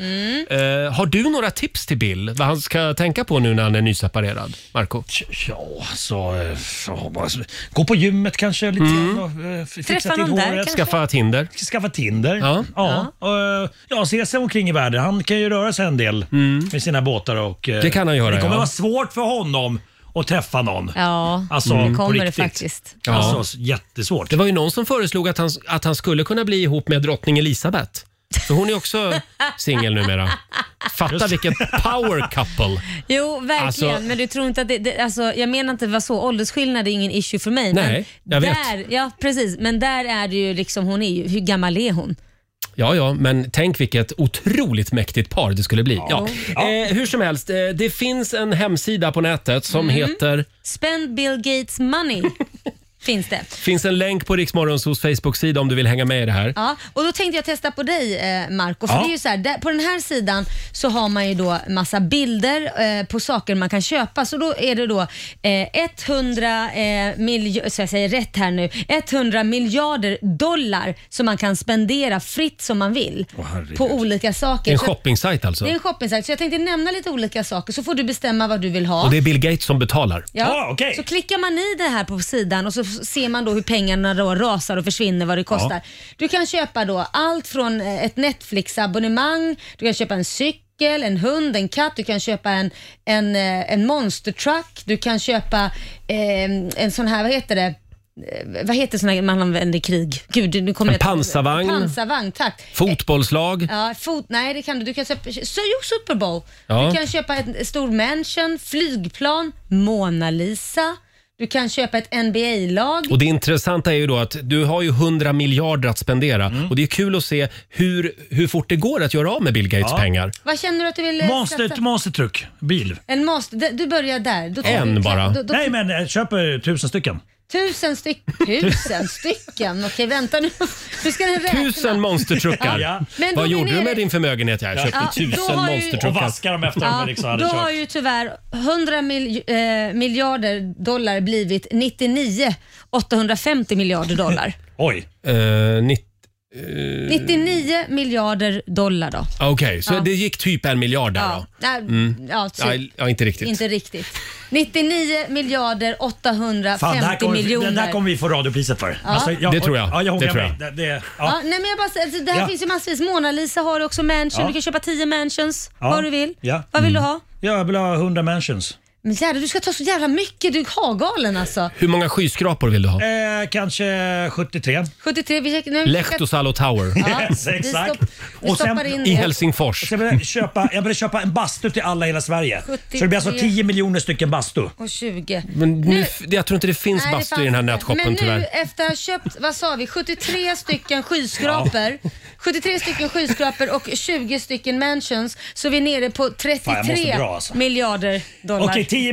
Speaker 2: Eh, har du några tips till Bill vad han ska tänka på nu när han är nyseparerad? Marco?
Speaker 12: Ja, så, eh, så, bara- gå på gymmet kanske lite grann och, eh, fixa
Speaker 3: Träffa
Speaker 12: till
Speaker 3: någon där
Speaker 12: håret.
Speaker 3: kanske?
Speaker 2: Mm. Skaffa Tinder?
Speaker 12: Skaffa Tinder.
Speaker 2: Ja.
Speaker 12: Ja. och, eh, ja, se sig omkring i världen. Han kan ju röra sig en del med sina båtar. Och, eh,
Speaker 2: Mm. Det kan han göra,
Speaker 12: Det kommer
Speaker 2: ja.
Speaker 12: vara svårt för honom att träffa någon.
Speaker 3: Ja,
Speaker 12: Alltså,
Speaker 3: det
Speaker 12: på
Speaker 3: kommer det
Speaker 12: riktigt.
Speaker 3: faktiskt.
Speaker 2: Ja.
Speaker 12: Alltså, jättesvårt.
Speaker 2: Det var ju någon som föreslog att han, att han skulle kunna bli ihop med drottning Elisabeth. Så hon är också singel numera. Fatta vilket power couple.
Speaker 3: Jo, verkligen.
Speaker 2: Alltså-
Speaker 3: men du tror inte att det, det alltså, jag menar inte att det var så. Åldersskillnad är ingen issue för mig.
Speaker 2: Nej,
Speaker 3: men
Speaker 2: jag vet.
Speaker 3: där, Ja, precis. Men där är det ju liksom, hon är ju, hur gammal är hon?
Speaker 2: Ja, ja, men tänk vilket otroligt mäktigt par det skulle bli. Ja. Eh, hur som helst, eh, det finns en hemsida på nätet
Speaker 3: Mm.
Speaker 2: som heter...
Speaker 3: Spend Bill Gates money. Finns det.
Speaker 2: finns en länk på Riksmorgonsos Facebook-sida om du vill hänga med i det här.
Speaker 3: Ja, och då tänkte jag testa på dig eh, Marco. För
Speaker 2: Ja.
Speaker 3: det är ju så här, där, på den här sidan så har man ju då massa bilder eh, på saker man kan köpa. Så då är det då eh, 100 eh, milj- så jag säger rätt här nu, 100 miljarder dollar som man kan spendera fritt som man vill
Speaker 2: herregud.
Speaker 3: på olika saker.
Speaker 2: Det är en
Speaker 3: Så-
Speaker 2: shoppingsajt alltså.
Speaker 3: Det är en shoppingsajt. Så jag tänkte nämna lite olika saker så får du bestämma vad du vill ha.
Speaker 2: Och det är Bill Gates som betalar.
Speaker 3: Ja. Så klickar man i det här på sidan och så f- ser man då hur pengarna då rasar och försvinner vad det kostar.
Speaker 2: Ja.
Speaker 3: Du kan köpa då allt från eh, ett Netflix-abonnemang, du kan köpa en cykel, en hund, en katt, du kan köpa en, en, eh, en monstertruck, du kan köpa eh, en sån här, vad heter det? Eh, Vad heter sån här man använder i krig? Gud, nu kommer jag
Speaker 2: En
Speaker 3: inte-
Speaker 2: pansarvagn.
Speaker 3: Pansarvagn, tack.
Speaker 2: Fotbollslag.
Speaker 3: Ja, fot, nej det kan du. Du kan köpa, så jo, Super Bowl.
Speaker 2: Ja.
Speaker 3: Du kan köpa en stor mansion, flygplan, Mona Lisa. Du kan köpa ett NBA-lag.
Speaker 2: Och det intressanta är ju då att du har ju 100 miljarder att spendera och det är kul att se hur, hur fort det går att göra av med Bill Gates pengar.
Speaker 3: Vad känner du att du vill eh, satsa?
Speaker 12: monstertruck, bil.
Speaker 3: En master. d- Du börjar där. Då tar
Speaker 12: En
Speaker 3: du-
Speaker 12: bara.
Speaker 3: Då, då,
Speaker 12: Nej men eh, köp eh, tusen stycken.
Speaker 3: Tusen, styck, tusen stycken? Okej, vänta nu. Nu ska den räkna.
Speaker 2: Tusen monstertruckar!
Speaker 3: Ja. Men då
Speaker 2: Vad
Speaker 3: är vi
Speaker 2: gjorde du
Speaker 3: nere-
Speaker 2: med din förmögenhet? Jag köpte
Speaker 3: Ja, då
Speaker 2: tusen
Speaker 3: har ju-
Speaker 2: monstertruckar.
Speaker 12: Och vaskar dem efter
Speaker 3: Ja, då har ju tyvärr 100 mil, eh, miljarder dollar blivit 99 850 miljarder dollar.
Speaker 12: Oj.
Speaker 2: Uh,
Speaker 3: 99 miljarder dollar då.
Speaker 2: Okej, så
Speaker 3: Ja.
Speaker 2: det gick typ en miljard där
Speaker 3: Ja,
Speaker 2: då? Mm.
Speaker 3: nej, ja, typ.
Speaker 2: Nej, ja, inte riktigt.
Speaker 3: Inte riktigt. 99 miljarder 850
Speaker 12: Fan, det här kommer,
Speaker 3: miljoner.
Speaker 12: den där kommer vi få radiopriset för.
Speaker 3: Ja.
Speaker 2: Det tror jag.
Speaker 12: Ja, jag
Speaker 2: Det
Speaker 12: ångrar
Speaker 2: tror
Speaker 12: mig.
Speaker 2: jag.
Speaker 12: Det, det, ja.
Speaker 3: Ja. nej, men jag bara, säger, alltså, det här
Speaker 12: Ja.
Speaker 3: finns ju massvis. Mona Lisa har också mansion.
Speaker 12: Ja.
Speaker 3: Du kan köpa 10 mansions.
Speaker 12: Ja.
Speaker 3: Vad du vill.
Speaker 12: Ja. Mm.
Speaker 3: Vad vill du
Speaker 2: Mm.
Speaker 3: ha?
Speaker 12: Ja, jag vill ha 100 mansions.
Speaker 3: Men jävlar, du ska ta så jävla mycket. Du har galen alltså.
Speaker 2: Hur många skyskrapor vill du ha?
Speaker 12: Eh, kanske 73.
Speaker 3: 73, vi checkar... nu-
Speaker 2: Lehtosalo Tower.
Speaker 3: Ja,
Speaker 12: Yes,
Speaker 3: vi
Speaker 12: exakt.
Speaker 3: stopp- vi stoppar in- I
Speaker 2: Helsingfors.
Speaker 12: Jag vill, köpa, jag vill köpa en bastu till alla i hela Sverige. Så det blir alltså
Speaker 3: 73.
Speaker 12: 10 miljoner stycken bastu.
Speaker 3: Och 20.
Speaker 2: Men nu, jag tror inte det finns
Speaker 3: Nej, det
Speaker 2: bastu
Speaker 3: fanns
Speaker 2: i den här
Speaker 3: inte. Men
Speaker 2: nätshoppen
Speaker 3: nu
Speaker 2: tyvärr.
Speaker 3: efter att ha köpt, vad sa vi, 73 stycken skyskrapor, 73 stycken skyskrapor och 20 stycken mansions så är vi nere på 33
Speaker 12: Fan, jag måste dra, alltså.
Speaker 3: miljarder dollar.
Speaker 12: Okej, 10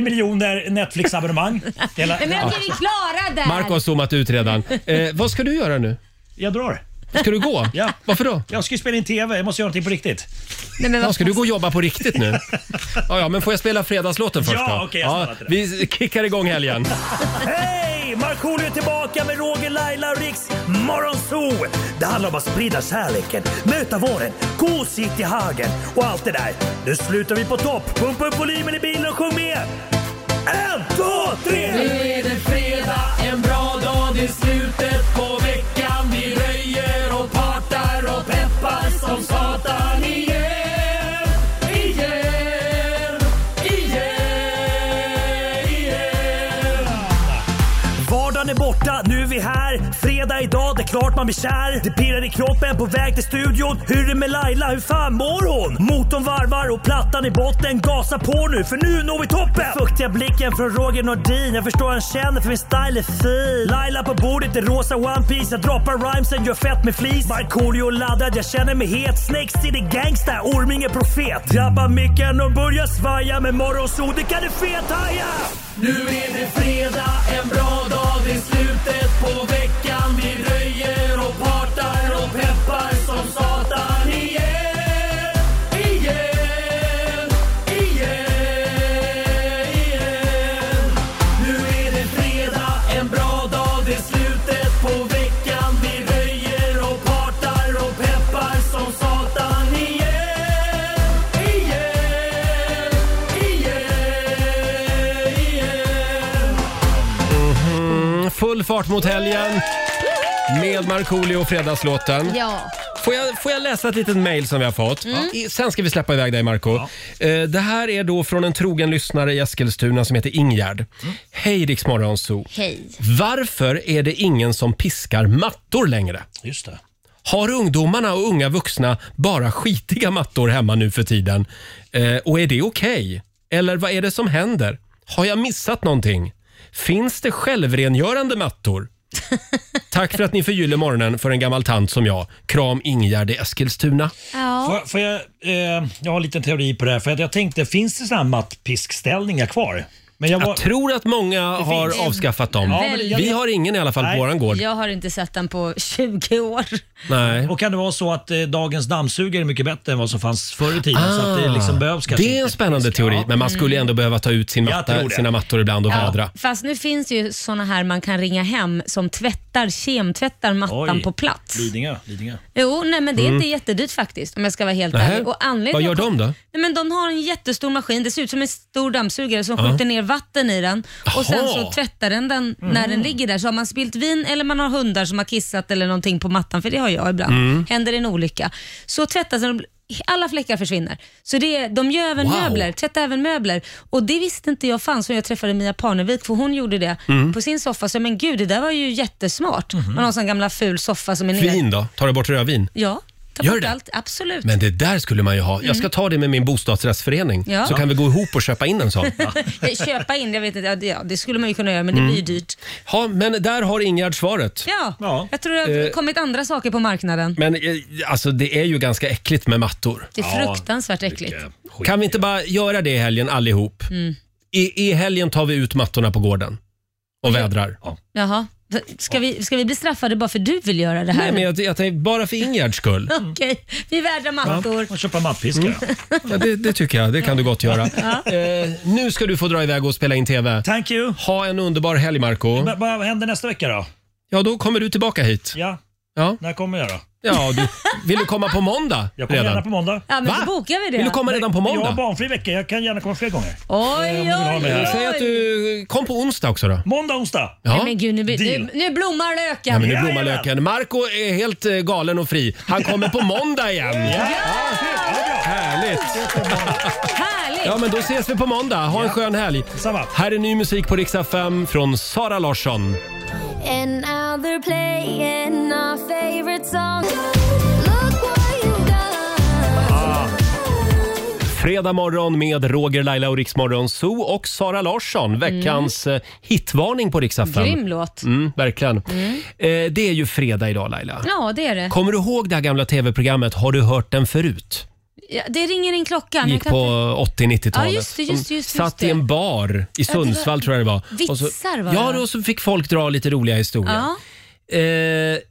Speaker 12: miljoner Netflix-abonnemang. Hela-
Speaker 3: Nej, men jag
Speaker 12: Ja.
Speaker 3: tror vi är klara där.
Speaker 2: Marco har zoomat ut redan. Eh, vad ska du göra nu?
Speaker 12: Jag drar.
Speaker 2: Ska du gå?
Speaker 12: Ja.
Speaker 2: Varför då?
Speaker 12: Jag ska ju spela in TV. Jag måste göra någonting på riktigt.
Speaker 3: Nej, men
Speaker 2: Ja, ska du gå och jobba på riktigt nu? Ja, ja men får jag spela fredagslåten först
Speaker 12: Ja,
Speaker 2: då?
Speaker 12: okej, jag snallar till
Speaker 2: vi kickar igång helgen.
Speaker 12: Hej! Markoolio är tillbaka med Roger, Laila och Riks Morgonzoo! Det handlar om att sprida kärleken, möta våren, gosigt i hagen och allt det där. Nu slutar vi på topp! Pumpa upp volymen i bilen och sjung med! En, två, tre!
Speaker 13: Nu är det fredag, en bra dag, det är slutet på veckan. Vi röjer och partar och peppar som satan igen. Igen, igen, igen.
Speaker 12: Vardagen är borta, nu är vi här. Fredag idag, det är klart man blir kär. Det pirrar i kroppen på väg till studion. Hur är det med Laila, hur fan mår hon? Motorn varvar och plattan i botten. Gasa på nu, för nu når vi toppen! Den fuktiga blicken från Roger Nordin. Jag förstår han känner, för min style är fin. Laila på bordet i rosa One Piece Jag droppar rhymesen, gör fett med flis. Markoolio laddad, jag känner mig het. Snakes city gangsta, Orminge profet. Drabbar micken och börjar svaja. Med morgonsol, det kan du fethaja!
Speaker 13: Nu är det fredag, en bra dag, det är slutet på veckan. Vi röjer och partar och peppar som satan igen. Igen, igen, igen. Nu är det fredag, en bra dag, det är slutet på veckan. Vi röjer och partar och peppar som satan igen. Igen, igen, igen.
Speaker 2: Mhm, Full fart mot helgen med Markoolio och fredagslåten.
Speaker 3: Ja.
Speaker 2: Får jag, får jag läsa ett litet mejl som vi har fått?
Speaker 3: Mm.
Speaker 2: I- Sen ska vi släppa iväg dig Marco. Eh, Det här är då från en trogen lyssnare i Eskilstuna som heter Ingegärd. Hej Rix Morgon Zoo.
Speaker 3: Hej.
Speaker 2: Varför är det ingen som piskar mattor längre?
Speaker 12: Just det.
Speaker 2: Har ungdomarna och unga vuxna bara skitiga mattor hemma nu för tiden? Eh, och är det okej? Eller vad är det som händer? Har jag missat någonting? Finns det självrengörande mattor? Tack för att ni förgyller morgonen för en gammal tant som jag. Kram Ingegärd i Eskilstuna.
Speaker 12: Får, får jag, eh, jag har en liten teori på det här. För att jag tänkte, finns det sådana här mattpiskställningar kvar? Men jag,
Speaker 2: tror att många har avskaffat dem. Vi har ingen i alla fall på våran gård.
Speaker 3: Jag har inte sett den på 20 år.
Speaker 2: Nej.
Speaker 12: Och kan det vara så att eh, dagens dammsugare är mycket bättre än vad som fanns förr i tiden? så att det liksom behövs kanske
Speaker 2: Ah. det är en spännande teori, men man skulle ju ändå behöva ta ut sin
Speaker 12: Jag tror
Speaker 2: matta,
Speaker 12: det.
Speaker 2: sina mattor ibland och vädra.
Speaker 3: Fast nu finns ju såna här man kan ringa hem som tvättar, kemtvättar mattan på plats.
Speaker 12: Lidingö, Lidingö.
Speaker 3: Jo, nej men det är
Speaker 2: Mm.
Speaker 3: inte jättedyrt faktiskt om jag ska vara helt
Speaker 2: Nähä.
Speaker 3: ärlig. Och anledningen
Speaker 2: Vad gör de då?
Speaker 3: Nej, men de har en jättestor maskin, det ser ut som en stor dammsugare som
Speaker 2: Ja.
Speaker 3: skjuter ner vatten i den och sen
Speaker 2: Jaha.
Speaker 3: så tvättar den den när den ligger där. Så har man spilt vin eller man har hundar som har kissat eller någonting på mattan, för det har jag ibland.
Speaker 7: Mm.
Speaker 3: Händer en olycka. Så tvättas den och alla fläckar försvinner. Så det, är- de gör även
Speaker 7: Wow.
Speaker 3: möbler, tvättar även möbler. Och det visste inte jag fanns när jag träffade Mia Parnevik, för hon gjorde det
Speaker 2: Mm. Mhm.
Speaker 3: på sin soffa. Så men gud, det där var ju jättesmart. Man har en sån gamla ful soffa som är ner.
Speaker 2: Fin då? Tar du bort rödvin?
Speaker 3: Ja, ta
Speaker 2: Gör
Speaker 3: bort
Speaker 2: det?
Speaker 3: allt. Absolut.
Speaker 2: Men det där skulle man ju ha. Jag ska
Speaker 3: Mm.
Speaker 2: ta det med min bostadsrättsförening
Speaker 3: Ja.
Speaker 2: så kan vi gå ihop och köpa in en sån.
Speaker 3: Köpa in, jag vet inte, ja, det, ja, det skulle man ju kunna göra men det
Speaker 2: Mm.
Speaker 3: blir dyrt.
Speaker 2: Ja, men där har Ingegärd svaret.
Speaker 3: Ja, jag tror det har
Speaker 2: Eh.
Speaker 3: kommit andra saker på marknaden.
Speaker 2: Men eh, alltså det är ju ganska äckligt med mattor.
Speaker 3: Det är fruktansvärt äckligt.
Speaker 2: Kan vi inte bara göra det i helgen allihop?
Speaker 3: Mm.
Speaker 2: I, I helgen tar vi ut mattorna på gården och vädrar.
Speaker 3: Jaha. Ska vi, ska vi bli straffade bara för du vill göra det här?
Speaker 2: Nej, men jag, jag tänkte bara för Ingegärds skull.
Speaker 3: Okej, vi vädrar mattor.
Speaker 12: Och köpa mattpiskare.
Speaker 2: Mm. Ja, det, det tycker jag. Det kan du gott göra.
Speaker 3: Ja.
Speaker 2: Eh, nu ska du få dra iväg och spela in TV.
Speaker 12: Thank you.
Speaker 2: Ha en underbar helg, Marco.
Speaker 12: Men vad händer nästa vecka då?
Speaker 2: Ja, då kommer du tillbaka hit.
Speaker 12: Ja.
Speaker 2: Ja.
Speaker 12: När kommer jag då?
Speaker 2: Ja, du, vill du komma på måndag?
Speaker 12: Jag kommer
Speaker 2: redan?
Speaker 12: gärna på måndag.
Speaker 3: Ja, men då bokar vi det.
Speaker 2: Vill du komma redan på
Speaker 12: Men Jag
Speaker 2: måndag?
Speaker 12: har barnfri vecka, jag kan gärna komma fler gånger. Eh,
Speaker 3: Oj, oj, oj.
Speaker 2: Säg att du eh, kom på onsdag också då.
Speaker 12: Måndag, onsdag.
Speaker 3: Nej,
Speaker 2: Ja.
Speaker 3: men gud, nu, blir- nu,
Speaker 2: Deal.
Speaker 3: nu blommar löken.
Speaker 2: Ja, men nu blommar löken. Marco är helt eh, galen och fri. Han kommer på måndag igen. Härligt!
Speaker 3: Härligt!
Speaker 2: Ja, men då ses vi på måndag. Ha en skön helg. Här är ny musik på Riksa 5 från Sara Larsson.
Speaker 7: And now they're playing our favorite song. Look what you've done.
Speaker 2: Fredag morgon med Roger, Laila och Riksmorgon Zoo och Sara Larsson. Veckans eh, hitvarning på Riksa 5.
Speaker 3: Mm. Grym låt.
Speaker 2: Mm, verkligen.
Speaker 3: Mm.
Speaker 2: Eh, det är ju fredag idag Laila.
Speaker 3: Ja, det är det.
Speaker 2: Kommer du ihåg det här gamla tv-programmet Har du hört den förut?
Speaker 3: Ja, det ringer in klockan.
Speaker 2: gick
Speaker 3: Jag kan
Speaker 2: på
Speaker 3: inte-
Speaker 2: 80-90-talet.
Speaker 3: Ja, just det, just det, just det,
Speaker 2: De
Speaker 3: just
Speaker 2: satt
Speaker 3: det.
Speaker 2: i en bar i
Speaker 3: det var-
Speaker 2: Sundsvall tror jag det var. Och
Speaker 3: Vitsar var det,
Speaker 2: Ja,
Speaker 3: va?
Speaker 2: och så fick folk dra lite roliga historier.
Speaker 3: Ja.
Speaker 2: Eh,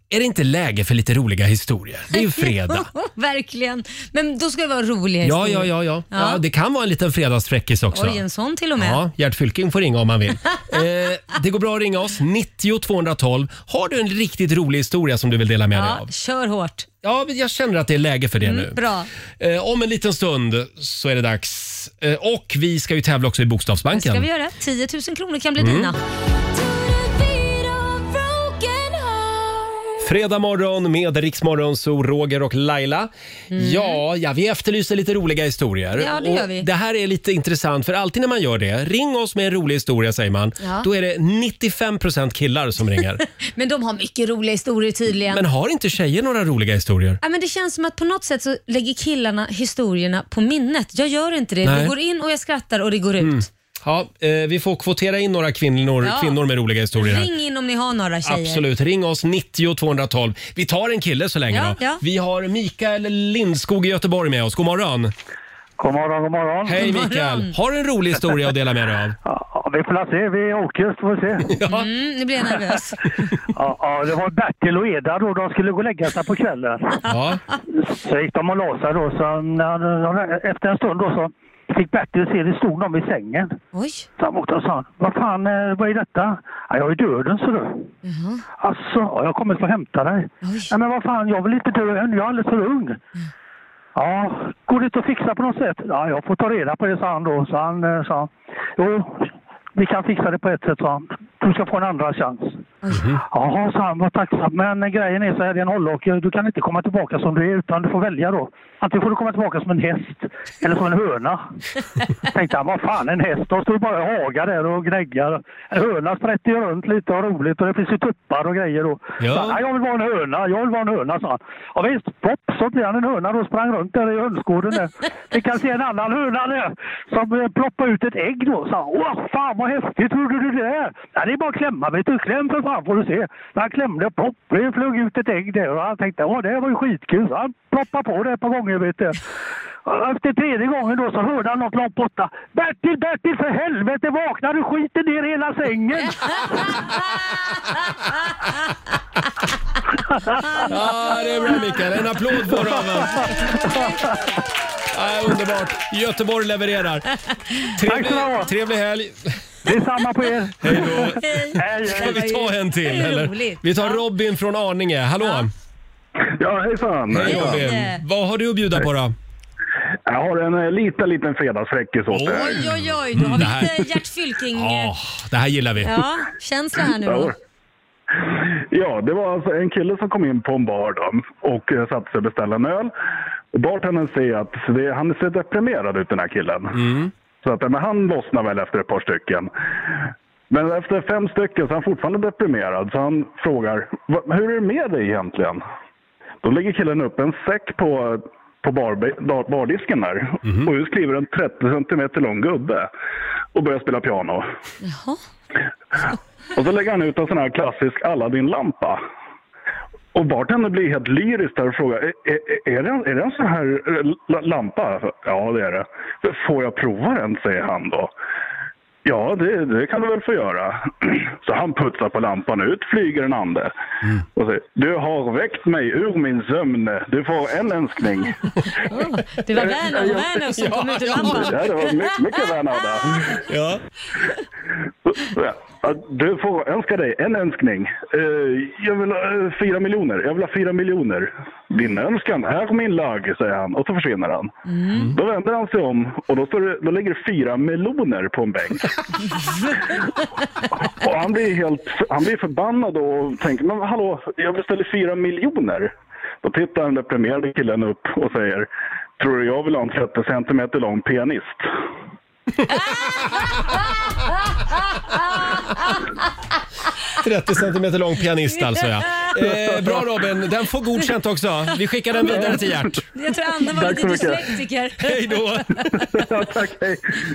Speaker 2: är det inte läge för lite roliga historier? Det är ju fredag.
Speaker 3: Verkligen. Men då ska det vara roliga
Speaker 2: Ja,
Speaker 3: historier.
Speaker 2: ja, ja, ja. ja, det kan vara en liten fredagsfräckis också.
Speaker 3: Oj, en sån till och med.
Speaker 2: Ja, Gert Fylking får ringa om han vill. Eh, det går bra att ringa oss, 90 212. Har du en riktigt rolig historia som du vill dela med dig
Speaker 3: Ja,
Speaker 2: av?
Speaker 3: kör hårt. Mm,
Speaker 2: Ja, men jag känner att det är läge för det nu.
Speaker 3: Bra.
Speaker 2: Eh, om en liten stund så är det dags. Eh, och vi ska ju tävla också i
Speaker 3: Det
Speaker 2: Bokstavsbanken.
Speaker 3: ska vi göra. 10 000 kronor kan bli
Speaker 2: Mm.
Speaker 3: dina.
Speaker 2: Fredag morgon med Riksmorgon, så Roger och Laila.
Speaker 3: Mm.
Speaker 2: Ja, ja, vi efterlyser lite roliga historier.
Speaker 13: Ja, det
Speaker 2: Och
Speaker 13: gör vi.
Speaker 2: Det här är lite intressant, för alltid när man gör det, ring oss med en rolig historia säger man.
Speaker 3: Ja.
Speaker 2: Då är det 95% killar som ringer.
Speaker 3: Men de har mycket roliga historier tydligen.
Speaker 2: Men har inte tjejer några roliga historier?
Speaker 3: Ja, men det känns som att på något sätt så lägger killarna historierna på minnet. Jag gör inte det.
Speaker 2: Nej.
Speaker 3: Det går in och jag skrattar och det går ut.
Speaker 2: Ja, eh, vi får kvotera in några kvinnor,
Speaker 3: Ja.
Speaker 2: kvinnor med roliga historier här.
Speaker 3: Ring in om ni har några tjejer.
Speaker 2: Absolut, ring oss 90 212. Vi tar en kille så länge
Speaker 3: Ja,
Speaker 2: då.
Speaker 3: ja.
Speaker 2: Vi har Mikael Lindskog i Göteborg med oss. God morgon!
Speaker 9: God morgon, god morgon.
Speaker 2: Hej
Speaker 9: God morgon.
Speaker 2: Mikael! Har du en rolig historia att dela med dig av?
Speaker 9: Ja, vi får se, vi åker just får vi se.
Speaker 2: Ja.
Speaker 3: Mm, nu blir jag nervös.
Speaker 9: Ja, ja, det var Bertil och Eda då, de skulle gå och lägga sig på kvällen.
Speaker 2: Ja.
Speaker 9: Så gick de och la sig då, så när, när- efter en stund då så fick Bertil se, det stod någon vid sängen.
Speaker 3: Oj.
Speaker 9: Så han åkte och sa, vad fan, eh, vad är detta? Ja, jag är döden, så du. Alltså, ja, jag kommer få hämta dig. Nej, men vad fan, jag vill inte dö än, jag är alldeles för ung.
Speaker 3: Mm.
Speaker 9: Ja, går det inte att fixa på något sätt? Ja, jag får ta reda på det, sa han då. Så han eh, sa, jo, vi kan fixa det på ett sätt, sa han. Du ska få en andra chans. Jaha, sa han, vad tacksam. Men eh, grejen är så här, det är en hållhake. Du kan inte komma tillbaka som du är, utan du får välja då. Antingen får du komma tillbaka som en häst eller som en höna. Tänkte han, vad fan en häst? De står ju bara och hagar där och gnäggar. En höna sprätter ju runt lite och roligt och det finns ju tuppar och grejer då.
Speaker 13: Ja.
Speaker 9: Så han, "Nej, jag vill vara en höna, jag vill vara en höna, sa han. Ja, visst, plopp, så blir han en höna då och sprang runt där i hönsgården där. Vi kan se en annan höna där som eh, ploppade ut ett ägg då, sa han. Åh, fan vad häftigt, hur gjorde du det? där?" Ja, det är bara att klämma, vet du. Kläm för fan får du se. Så han klämde, plopp, det flög ut ett ägg där och han tänkte, åh, det var ju skitkul. Så han ploppade på det ett par gånger, vet du. Och Efter tredje gången då så hörde han något långt borta. Bertil, Bertil för helvete vakna, du skiter ner hela sängen!
Speaker 2: Ja, det är bra Mikael. En applåd får du av oss. Ja, Underbart. Göteborg levererar. Trevlig, trevlig helg.
Speaker 9: Detsamma på er.
Speaker 2: Hej då. Ska vi ta en till? Eller? Vi tar Robin från Arninge. Hallå!
Speaker 11: Ja, hejsan.
Speaker 2: Hej
Speaker 11: hejsan.
Speaker 2: Robin. Vad har du att bjuda på då?
Speaker 11: Jag har en eh, liten, liten fredagsfräckis åt dig.
Speaker 3: Oj, oj, oj. Då har
Speaker 11: Mm, det här-
Speaker 3: vi lite Gert Fylking...
Speaker 11: Ja.
Speaker 2: Ah, Det här gillar
Speaker 3: Ja, känsla här nu då.
Speaker 11: Ja, det var alltså en kille som kom in på en bar då och eh, satte sig och beställde en öl. Och bartendern säger att det, han ser deprimerad ut den här killen.
Speaker 2: Mm.
Speaker 11: Så att, ja, men han lossnar väl efter ett par stycken. Men efter fem stycken så är han fortfarande deprimerad så han frågar "Va- hur är det med dig egentligen? Då lägger killen upp en säck på, på barbe- bar, bardisken där och ut kliver en 30 centimeter lång gubbe och börjar spela piano.
Speaker 3: Jaha.
Speaker 11: Och så lägger han ut en sån här klassisk Aladdin-lampa. Och bartendern blir helt lyrisk där och frågar, "Är- är, är, det, en- är det en sån här eh, la- lampa? Ja, det är det. Får jag prova den, säger han då. Ja, det, det kan du väl få göra. Så han putsar på lampan, ut flyger en ande. Och säger, du har väckt mig ur min sömn. Du får en önskning.
Speaker 3: Oh, det var Werner och Werner som kom ut ur lampan.
Speaker 11: Ja, det var mycket, mycket Werner där.
Speaker 2: Ja.
Speaker 11: Du får önska dig en önskning. Eh, Jag vill ha eh, fyra miljoner. Jag vill ha fyra miljoner. Din önskan är min lag, säger han. Och så försvinner han. Då vänder han sig om och då, står det, då ligger det fyra meloner på en bänk. och han blir, helt, han blir förbannad och tänker, men hallå, jag beställer fyra miljoner. Då tittar den deprimerade killen upp och säger, tror du jag vill ha en 30 centimeter lång pianist?
Speaker 13: Tack
Speaker 2: 30 centimeter lång pianist alltså ja. Eh, bra Robin, den får godkänt också. Vi skickar den vidare till Gert.
Speaker 3: Jag tror Anna var
Speaker 2: Tack
Speaker 3: lite
Speaker 2: så mycket.
Speaker 3: dyslektiker.
Speaker 2: Hej då!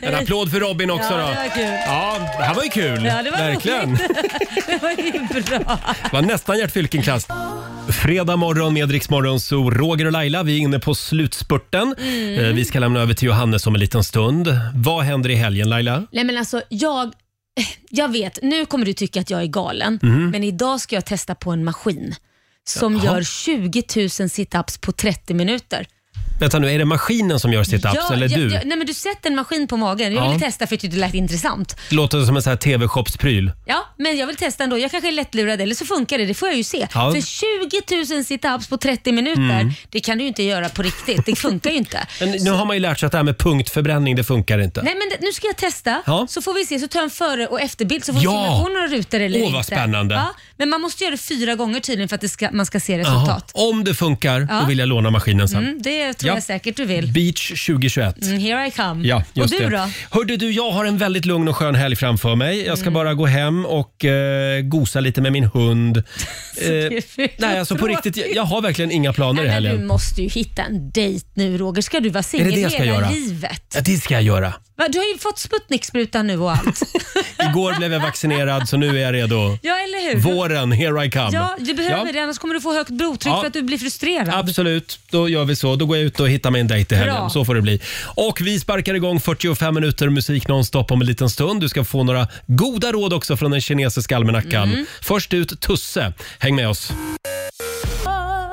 Speaker 2: En applåd för Robin också
Speaker 3: Ja,
Speaker 2: då.
Speaker 3: det var kul.
Speaker 2: Ja, det här var ju kul.
Speaker 3: Ja, det var
Speaker 2: Verkligen.
Speaker 3: roligt. det var ju bra.
Speaker 2: Det var nästan Gert Fylking-klass. Fredag morgon med Rix Morgon, så Roger och Laila, vi är inne på slutspurten.
Speaker 20: Mm.
Speaker 2: Eh, Vi ska lämna över till Johannes om en liten stund. Vad händer i helgen Laila?
Speaker 20: Nej men alltså jag, jag vet, nu kommer du tycka att jag är galen,
Speaker 2: Mhm.
Speaker 20: men idag ska jag testa på en maskin som
Speaker 2: Jaha.
Speaker 20: gör 20 000 situps på 30 minuter.
Speaker 2: Vänta nu, är det maskinen som gör situps
Speaker 20: Ja,
Speaker 2: eller
Speaker 20: ja,
Speaker 2: du?
Speaker 20: ja, nej men du sätter en maskin på magen. Jag
Speaker 2: Ja.
Speaker 20: ville testa för jag tyckte det lät intressant.
Speaker 2: Låter som en sån här TV-shopspryl.
Speaker 20: Ja, men jag vill testa ändå. Jag kanske är lättlurad eller så funkar det. Det får jag ju se.
Speaker 2: Ja.
Speaker 20: För 20 000 situps på 30 minuter,
Speaker 2: Mm.
Speaker 20: det kan du ju inte göra på riktigt. Det funkar ju inte.
Speaker 2: Men nu har man ju lärt sig att det här med punktförbränning, det funkar inte.
Speaker 20: Nej men det, nu ska jag testa,
Speaker 2: Ja.
Speaker 20: så får vi se. Så tar jag en före och efterbild så får vi
Speaker 2: Ja.
Speaker 20: se om jag får några rutor eller
Speaker 2: Åh,
Speaker 20: inte.
Speaker 2: vad spännande.
Speaker 20: Ja, men man måste göra det fyra gånger tydligen för att det ska, man ska se
Speaker 2: Jaha.
Speaker 20: resultat.
Speaker 2: Om det funkar,
Speaker 20: Ja.
Speaker 2: då vill jag låna maskinen sen.
Speaker 20: Mm, det tror
Speaker 2: Ja.
Speaker 20: jag säkert du vill.
Speaker 2: Beach 2021.
Speaker 20: Mm, here I come.
Speaker 2: Ja,
Speaker 20: och
Speaker 2: just
Speaker 20: du
Speaker 2: det.
Speaker 20: då?
Speaker 2: Hörde du, jag har en väldigt lugn och skön helg framför mig. Jag ska
Speaker 20: Mm.
Speaker 2: bara gå hem och eh, gosa lite med min hund. Eh, nej, alltså på riktigt, jag, jag har verkligen inga planer i
Speaker 20: Men du
Speaker 2: helgen.
Speaker 20: måste ju hitta en dejt nu Roger. Ska du vara
Speaker 2: Är det
Speaker 20: singel
Speaker 2: det jag ska
Speaker 20: hela
Speaker 2: göra?
Speaker 20: livet?
Speaker 2: Ja, det ska jag göra.
Speaker 20: Va, Du har ju fått Sputniksprutan nu och allt.
Speaker 2: Igår blev jag vaccinerad så nu är jag redo.
Speaker 20: ja, eller hur?
Speaker 2: Våren, here I come.
Speaker 20: Ja, du behöver det annars kommer du få högt blodtryck
Speaker 2: Ja.
Speaker 20: för att du blir frustrerad.
Speaker 2: Absolut, då gör vi så. Då går jag ut och hittar mig en dejt i helgen.
Speaker 20: Bra.
Speaker 2: Så får det bli. Och vi sparkar igång 45 minuter musik nonstop om en liten stund. Du ska få några goda råd också
Speaker 20: Mm.
Speaker 2: från den kinesiska almanackan.
Speaker 13: Mm.
Speaker 2: Först ut Tusse. Häng med oss.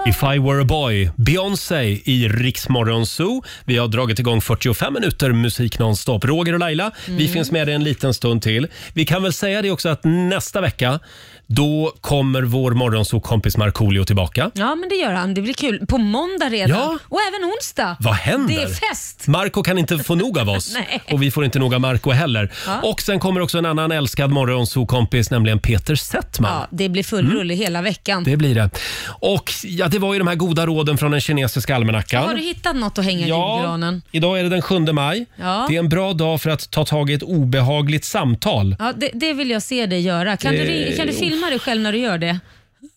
Speaker 2: If I were a boy, Beyoncé i Riksmorgon Zoo. Vi har dragit igång 45 minuter musik nonstop. Roger och Laila, vi
Speaker 4: Mm.
Speaker 2: finns med dig en liten stund till. Vi kan väl säga det också att nästa vecka, då kommer vår morgonzoo-kompis Markoolio tillbaka.
Speaker 3: Ja, men det gör han. Det blir kul. På måndag redan.
Speaker 2: Ja.
Speaker 3: Och även onsdag.
Speaker 2: Vad händer?
Speaker 3: Det är fest.
Speaker 2: Marco kan inte få nog av oss.
Speaker 3: Nej.
Speaker 2: och vi får inte nog av Marco heller.
Speaker 3: Ja.
Speaker 2: Och sen kommer också en annan älskad morgonzoo-kompis, nämligen Peter Settman.
Speaker 3: Ja, det blir full
Speaker 2: Mm.
Speaker 3: rulle hela veckan.
Speaker 2: Det blir det. Och ja, det var ju de här goda råden från den kinesiska almanackan.
Speaker 3: Har du hittat något att hänga
Speaker 2: Ja.
Speaker 3: i granen?
Speaker 2: Idag är det den 7 maj.
Speaker 3: Ja.
Speaker 2: Det är en bra dag för att ta tag i ett obehagligt samtal.
Speaker 3: Ja, det, det vill jag se dig göra. Kan, du, ri-
Speaker 2: Eh,
Speaker 3: kan du filma dig själv när du gör det?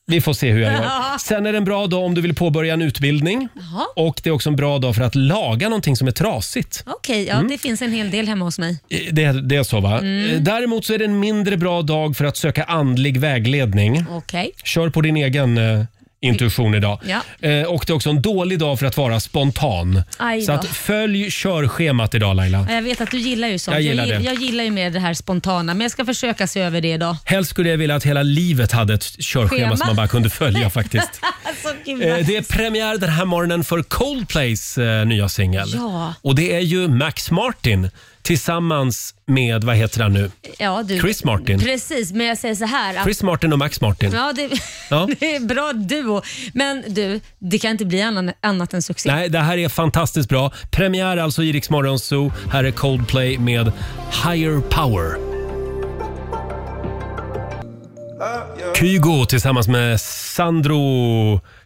Speaker 2: Vi får se hur jag gör.
Speaker 3: Ja.
Speaker 2: Sen är det en bra dag om du vill påbörja en utbildning.
Speaker 3: Jaha.
Speaker 2: Och det är också en bra dag för att laga någonting som är trasigt.
Speaker 3: Okej, ja,
Speaker 2: Mm.
Speaker 3: det finns en hel del hemma hos mig.
Speaker 2: Eh, Det, det är så va?
Speaker 3: Mm.
Speaker 2: Eh, Däremot så är det en mindre bra dag för att söka andlig vägledning.
Speaker 3: Okej.
Speaker 2: Kör på din egen eh, intuition idag.
Speaker 3: Ja.
Speaker 2: Eh, och det är också en dålig dag för att vara spontan.
Speaker 3: Aj
Speaker 2: Så
Speaker 3: då.
Speaker 2: att följ körschemat idag Laila.
Speaker 3: Ja, Jag vet att du gillar ju sånt.
Speaker 2: Jag gillar
Speaker 3: jag,
Speaker 2: det.
Speaker 3: jag gillar ju mer det här spontana, men jag ska försöka se över det idag.
Speaker 2: Helst skulle jag vilja att hela livet hade ett körschema
Speaker 3: Schema.
Speaker 2: som man bara kunde följa faktiskt.
Speaker 3: Så kul.
Speaker 2: Eh, Det är premiär den här morgonen för Coldplays eh, nya singel.
Speaker 3: Ja.
Speaker 2: Och det är ju Max Martin tillsammans med, vad heter han nu?
Speaker 3: Ja, du.
Speaker 2: Chris Martin.
Speaker 3: Precis, men jag säger så här. att-
Speaker 2: Chris Martin och Max Martin.
Speaker 3: Ja, det,
Speaker 2: Ja.
Speaker 3: det är bra duo. Men du, det kan inte bli annan, annat än succé.
Speaker 2: Nej, det här är fantastiskt bra. Premiär alltså i Rix Morgon Zoo. Här är Coldplay med Higher Power. Kygo tillsammans med Sandro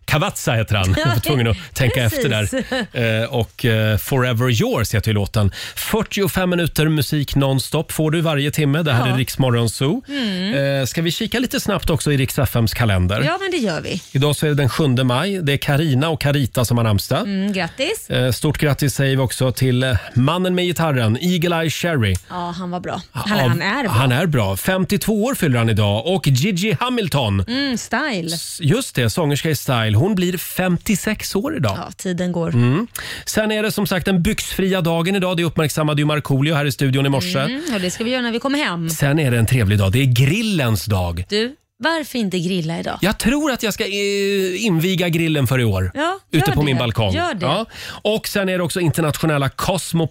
Speaker 2: Cavazza heter han. Jag var tvungen att tänka
Speaker 13: Precis.
Speaker 2: efter där. Eh, Och eh, Forever Yours heter ju låten. 45 minuter musik nonstop får du varje timme. Det här
Speaker 3: Ja.
Speaker 2: är Rix Morgon Zoo.
Speaker 3: Mm.
Speaker 2: Eh, Ska vi kika lite snabbt också i Rix FMs kalender?
Speaker 3: Ja, men det gör vi.
Speaker 2: Idag så är det den 7 maj. Det är Karina och Carita som har namnsdag.
Speaker 3: Mm, grattis.
Speaker 2: Eh, Stort grattis säger vi också till eh, mannen med gitarren, Eagle-Eye Cherry.
Speaker 3: Ja, han var bra. Han, han är bra.
Speaker 2: Han är bra. 52 år fyller han idag. Och Gigi Hamilton,
Speaker 3: Mm, style.
Speaker 2: just det, sångerska i Style, hon blir 56 år idag.
Speaker 3: Ja, tiden går.
Speaker 2: Mm. Sen är det som sagt den byxfria dagen idag. Det uppmärksammade ju Markoolio här i studion i morse.
Speaker 3: Mm, och det ska vi göra när vi kommer hem.
Speaker 2: Sen är det en trevlig dag. Det är grillens dag.
Speaker 3: Du, varför inte grilla idag?
Speaker 2: Jag tror att jag ska eh, inviga grillen för i år.
Speaker 3: Ja,
Speaker 2: ute
Speaker 3: gör
Speaker 2: på
Speaker 3: det.
Speaker 2: min balkong.
Speaker 3: Gör det.
Speaker 2: Ja. Och sen är det också internationella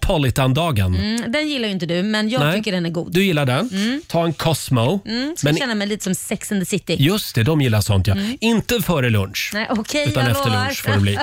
Speaker 2: Cosmopolitan-dagen.
Speaker 3: Mm, den gillar ju inte du, men jag
Speaker 2: Nej.
Speaker 3: tycker den är god.
Speaker 2: Du gillar den? Ta en Cosmo.
Speaker 3: Mm, ska
Speaker 2: Men-
Speaker 3: känna mig lite som Sex and the City.
Speaker 2: Just det, de gillar sånt ja.
Speaker 3: Mm.
Speaker 2: Inte före lunch.
Speaker 3: Nej, okej,
Speaker 2: Utan
Speaker 3: jag
Speaker 2: efter
Speaker 3: lovar.
Speaker 2: lunch får det bli.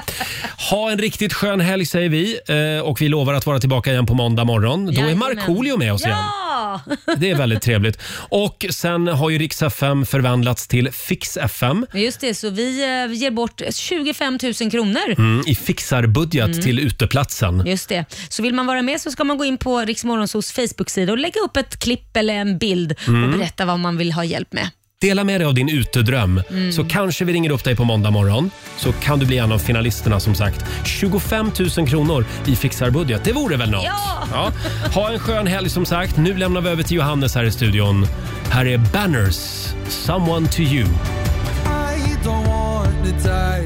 Speaker 2: Ha en riktigt skön helg säger vi Eh, och vi lovar att vara tillbaka igen på måndag morgon. Då är
Speaker 3: Jajamän.
Speaker 2: Markoolio med oss igen.
Speaker 3: Ja!
Speaker 2: Det är väldigt trevligt. Och sen har ju Rix FM förvandlats till Fix FM.
Speaker 3: Just det, så vi eh, ger bort 25 000 kronor.
Speaker 2: Mm, I fixarbudget
Speaker 3: Mm.
Speaker 2: till uteplatsen.
Speaker 3: Just det. Så vill man vara med så ska man gå in på Riksmorgonsos Facebook-sida och lägga upp ett klipp eller en bild
Speaker 2: Mm.
Speaker 3: och berätta vad man vill ha hjälp med.
Speaker 2: Dela med dig av din utedröm
Speaker 3: Mm.
Speaker 2: så kanske vi ringer upp dig på måndag morgon så kan du bli en av finalisterna som sagt. 25 000 kronor i fixarbudget, det vore väl något?
Speaker 13: Ja!
Speaker 2: Ha en skön helg som sagt. Nu lämnar vi över till Johannes här i studion. Här är Banners, Someone to you.
Speaker 13: I don't want to die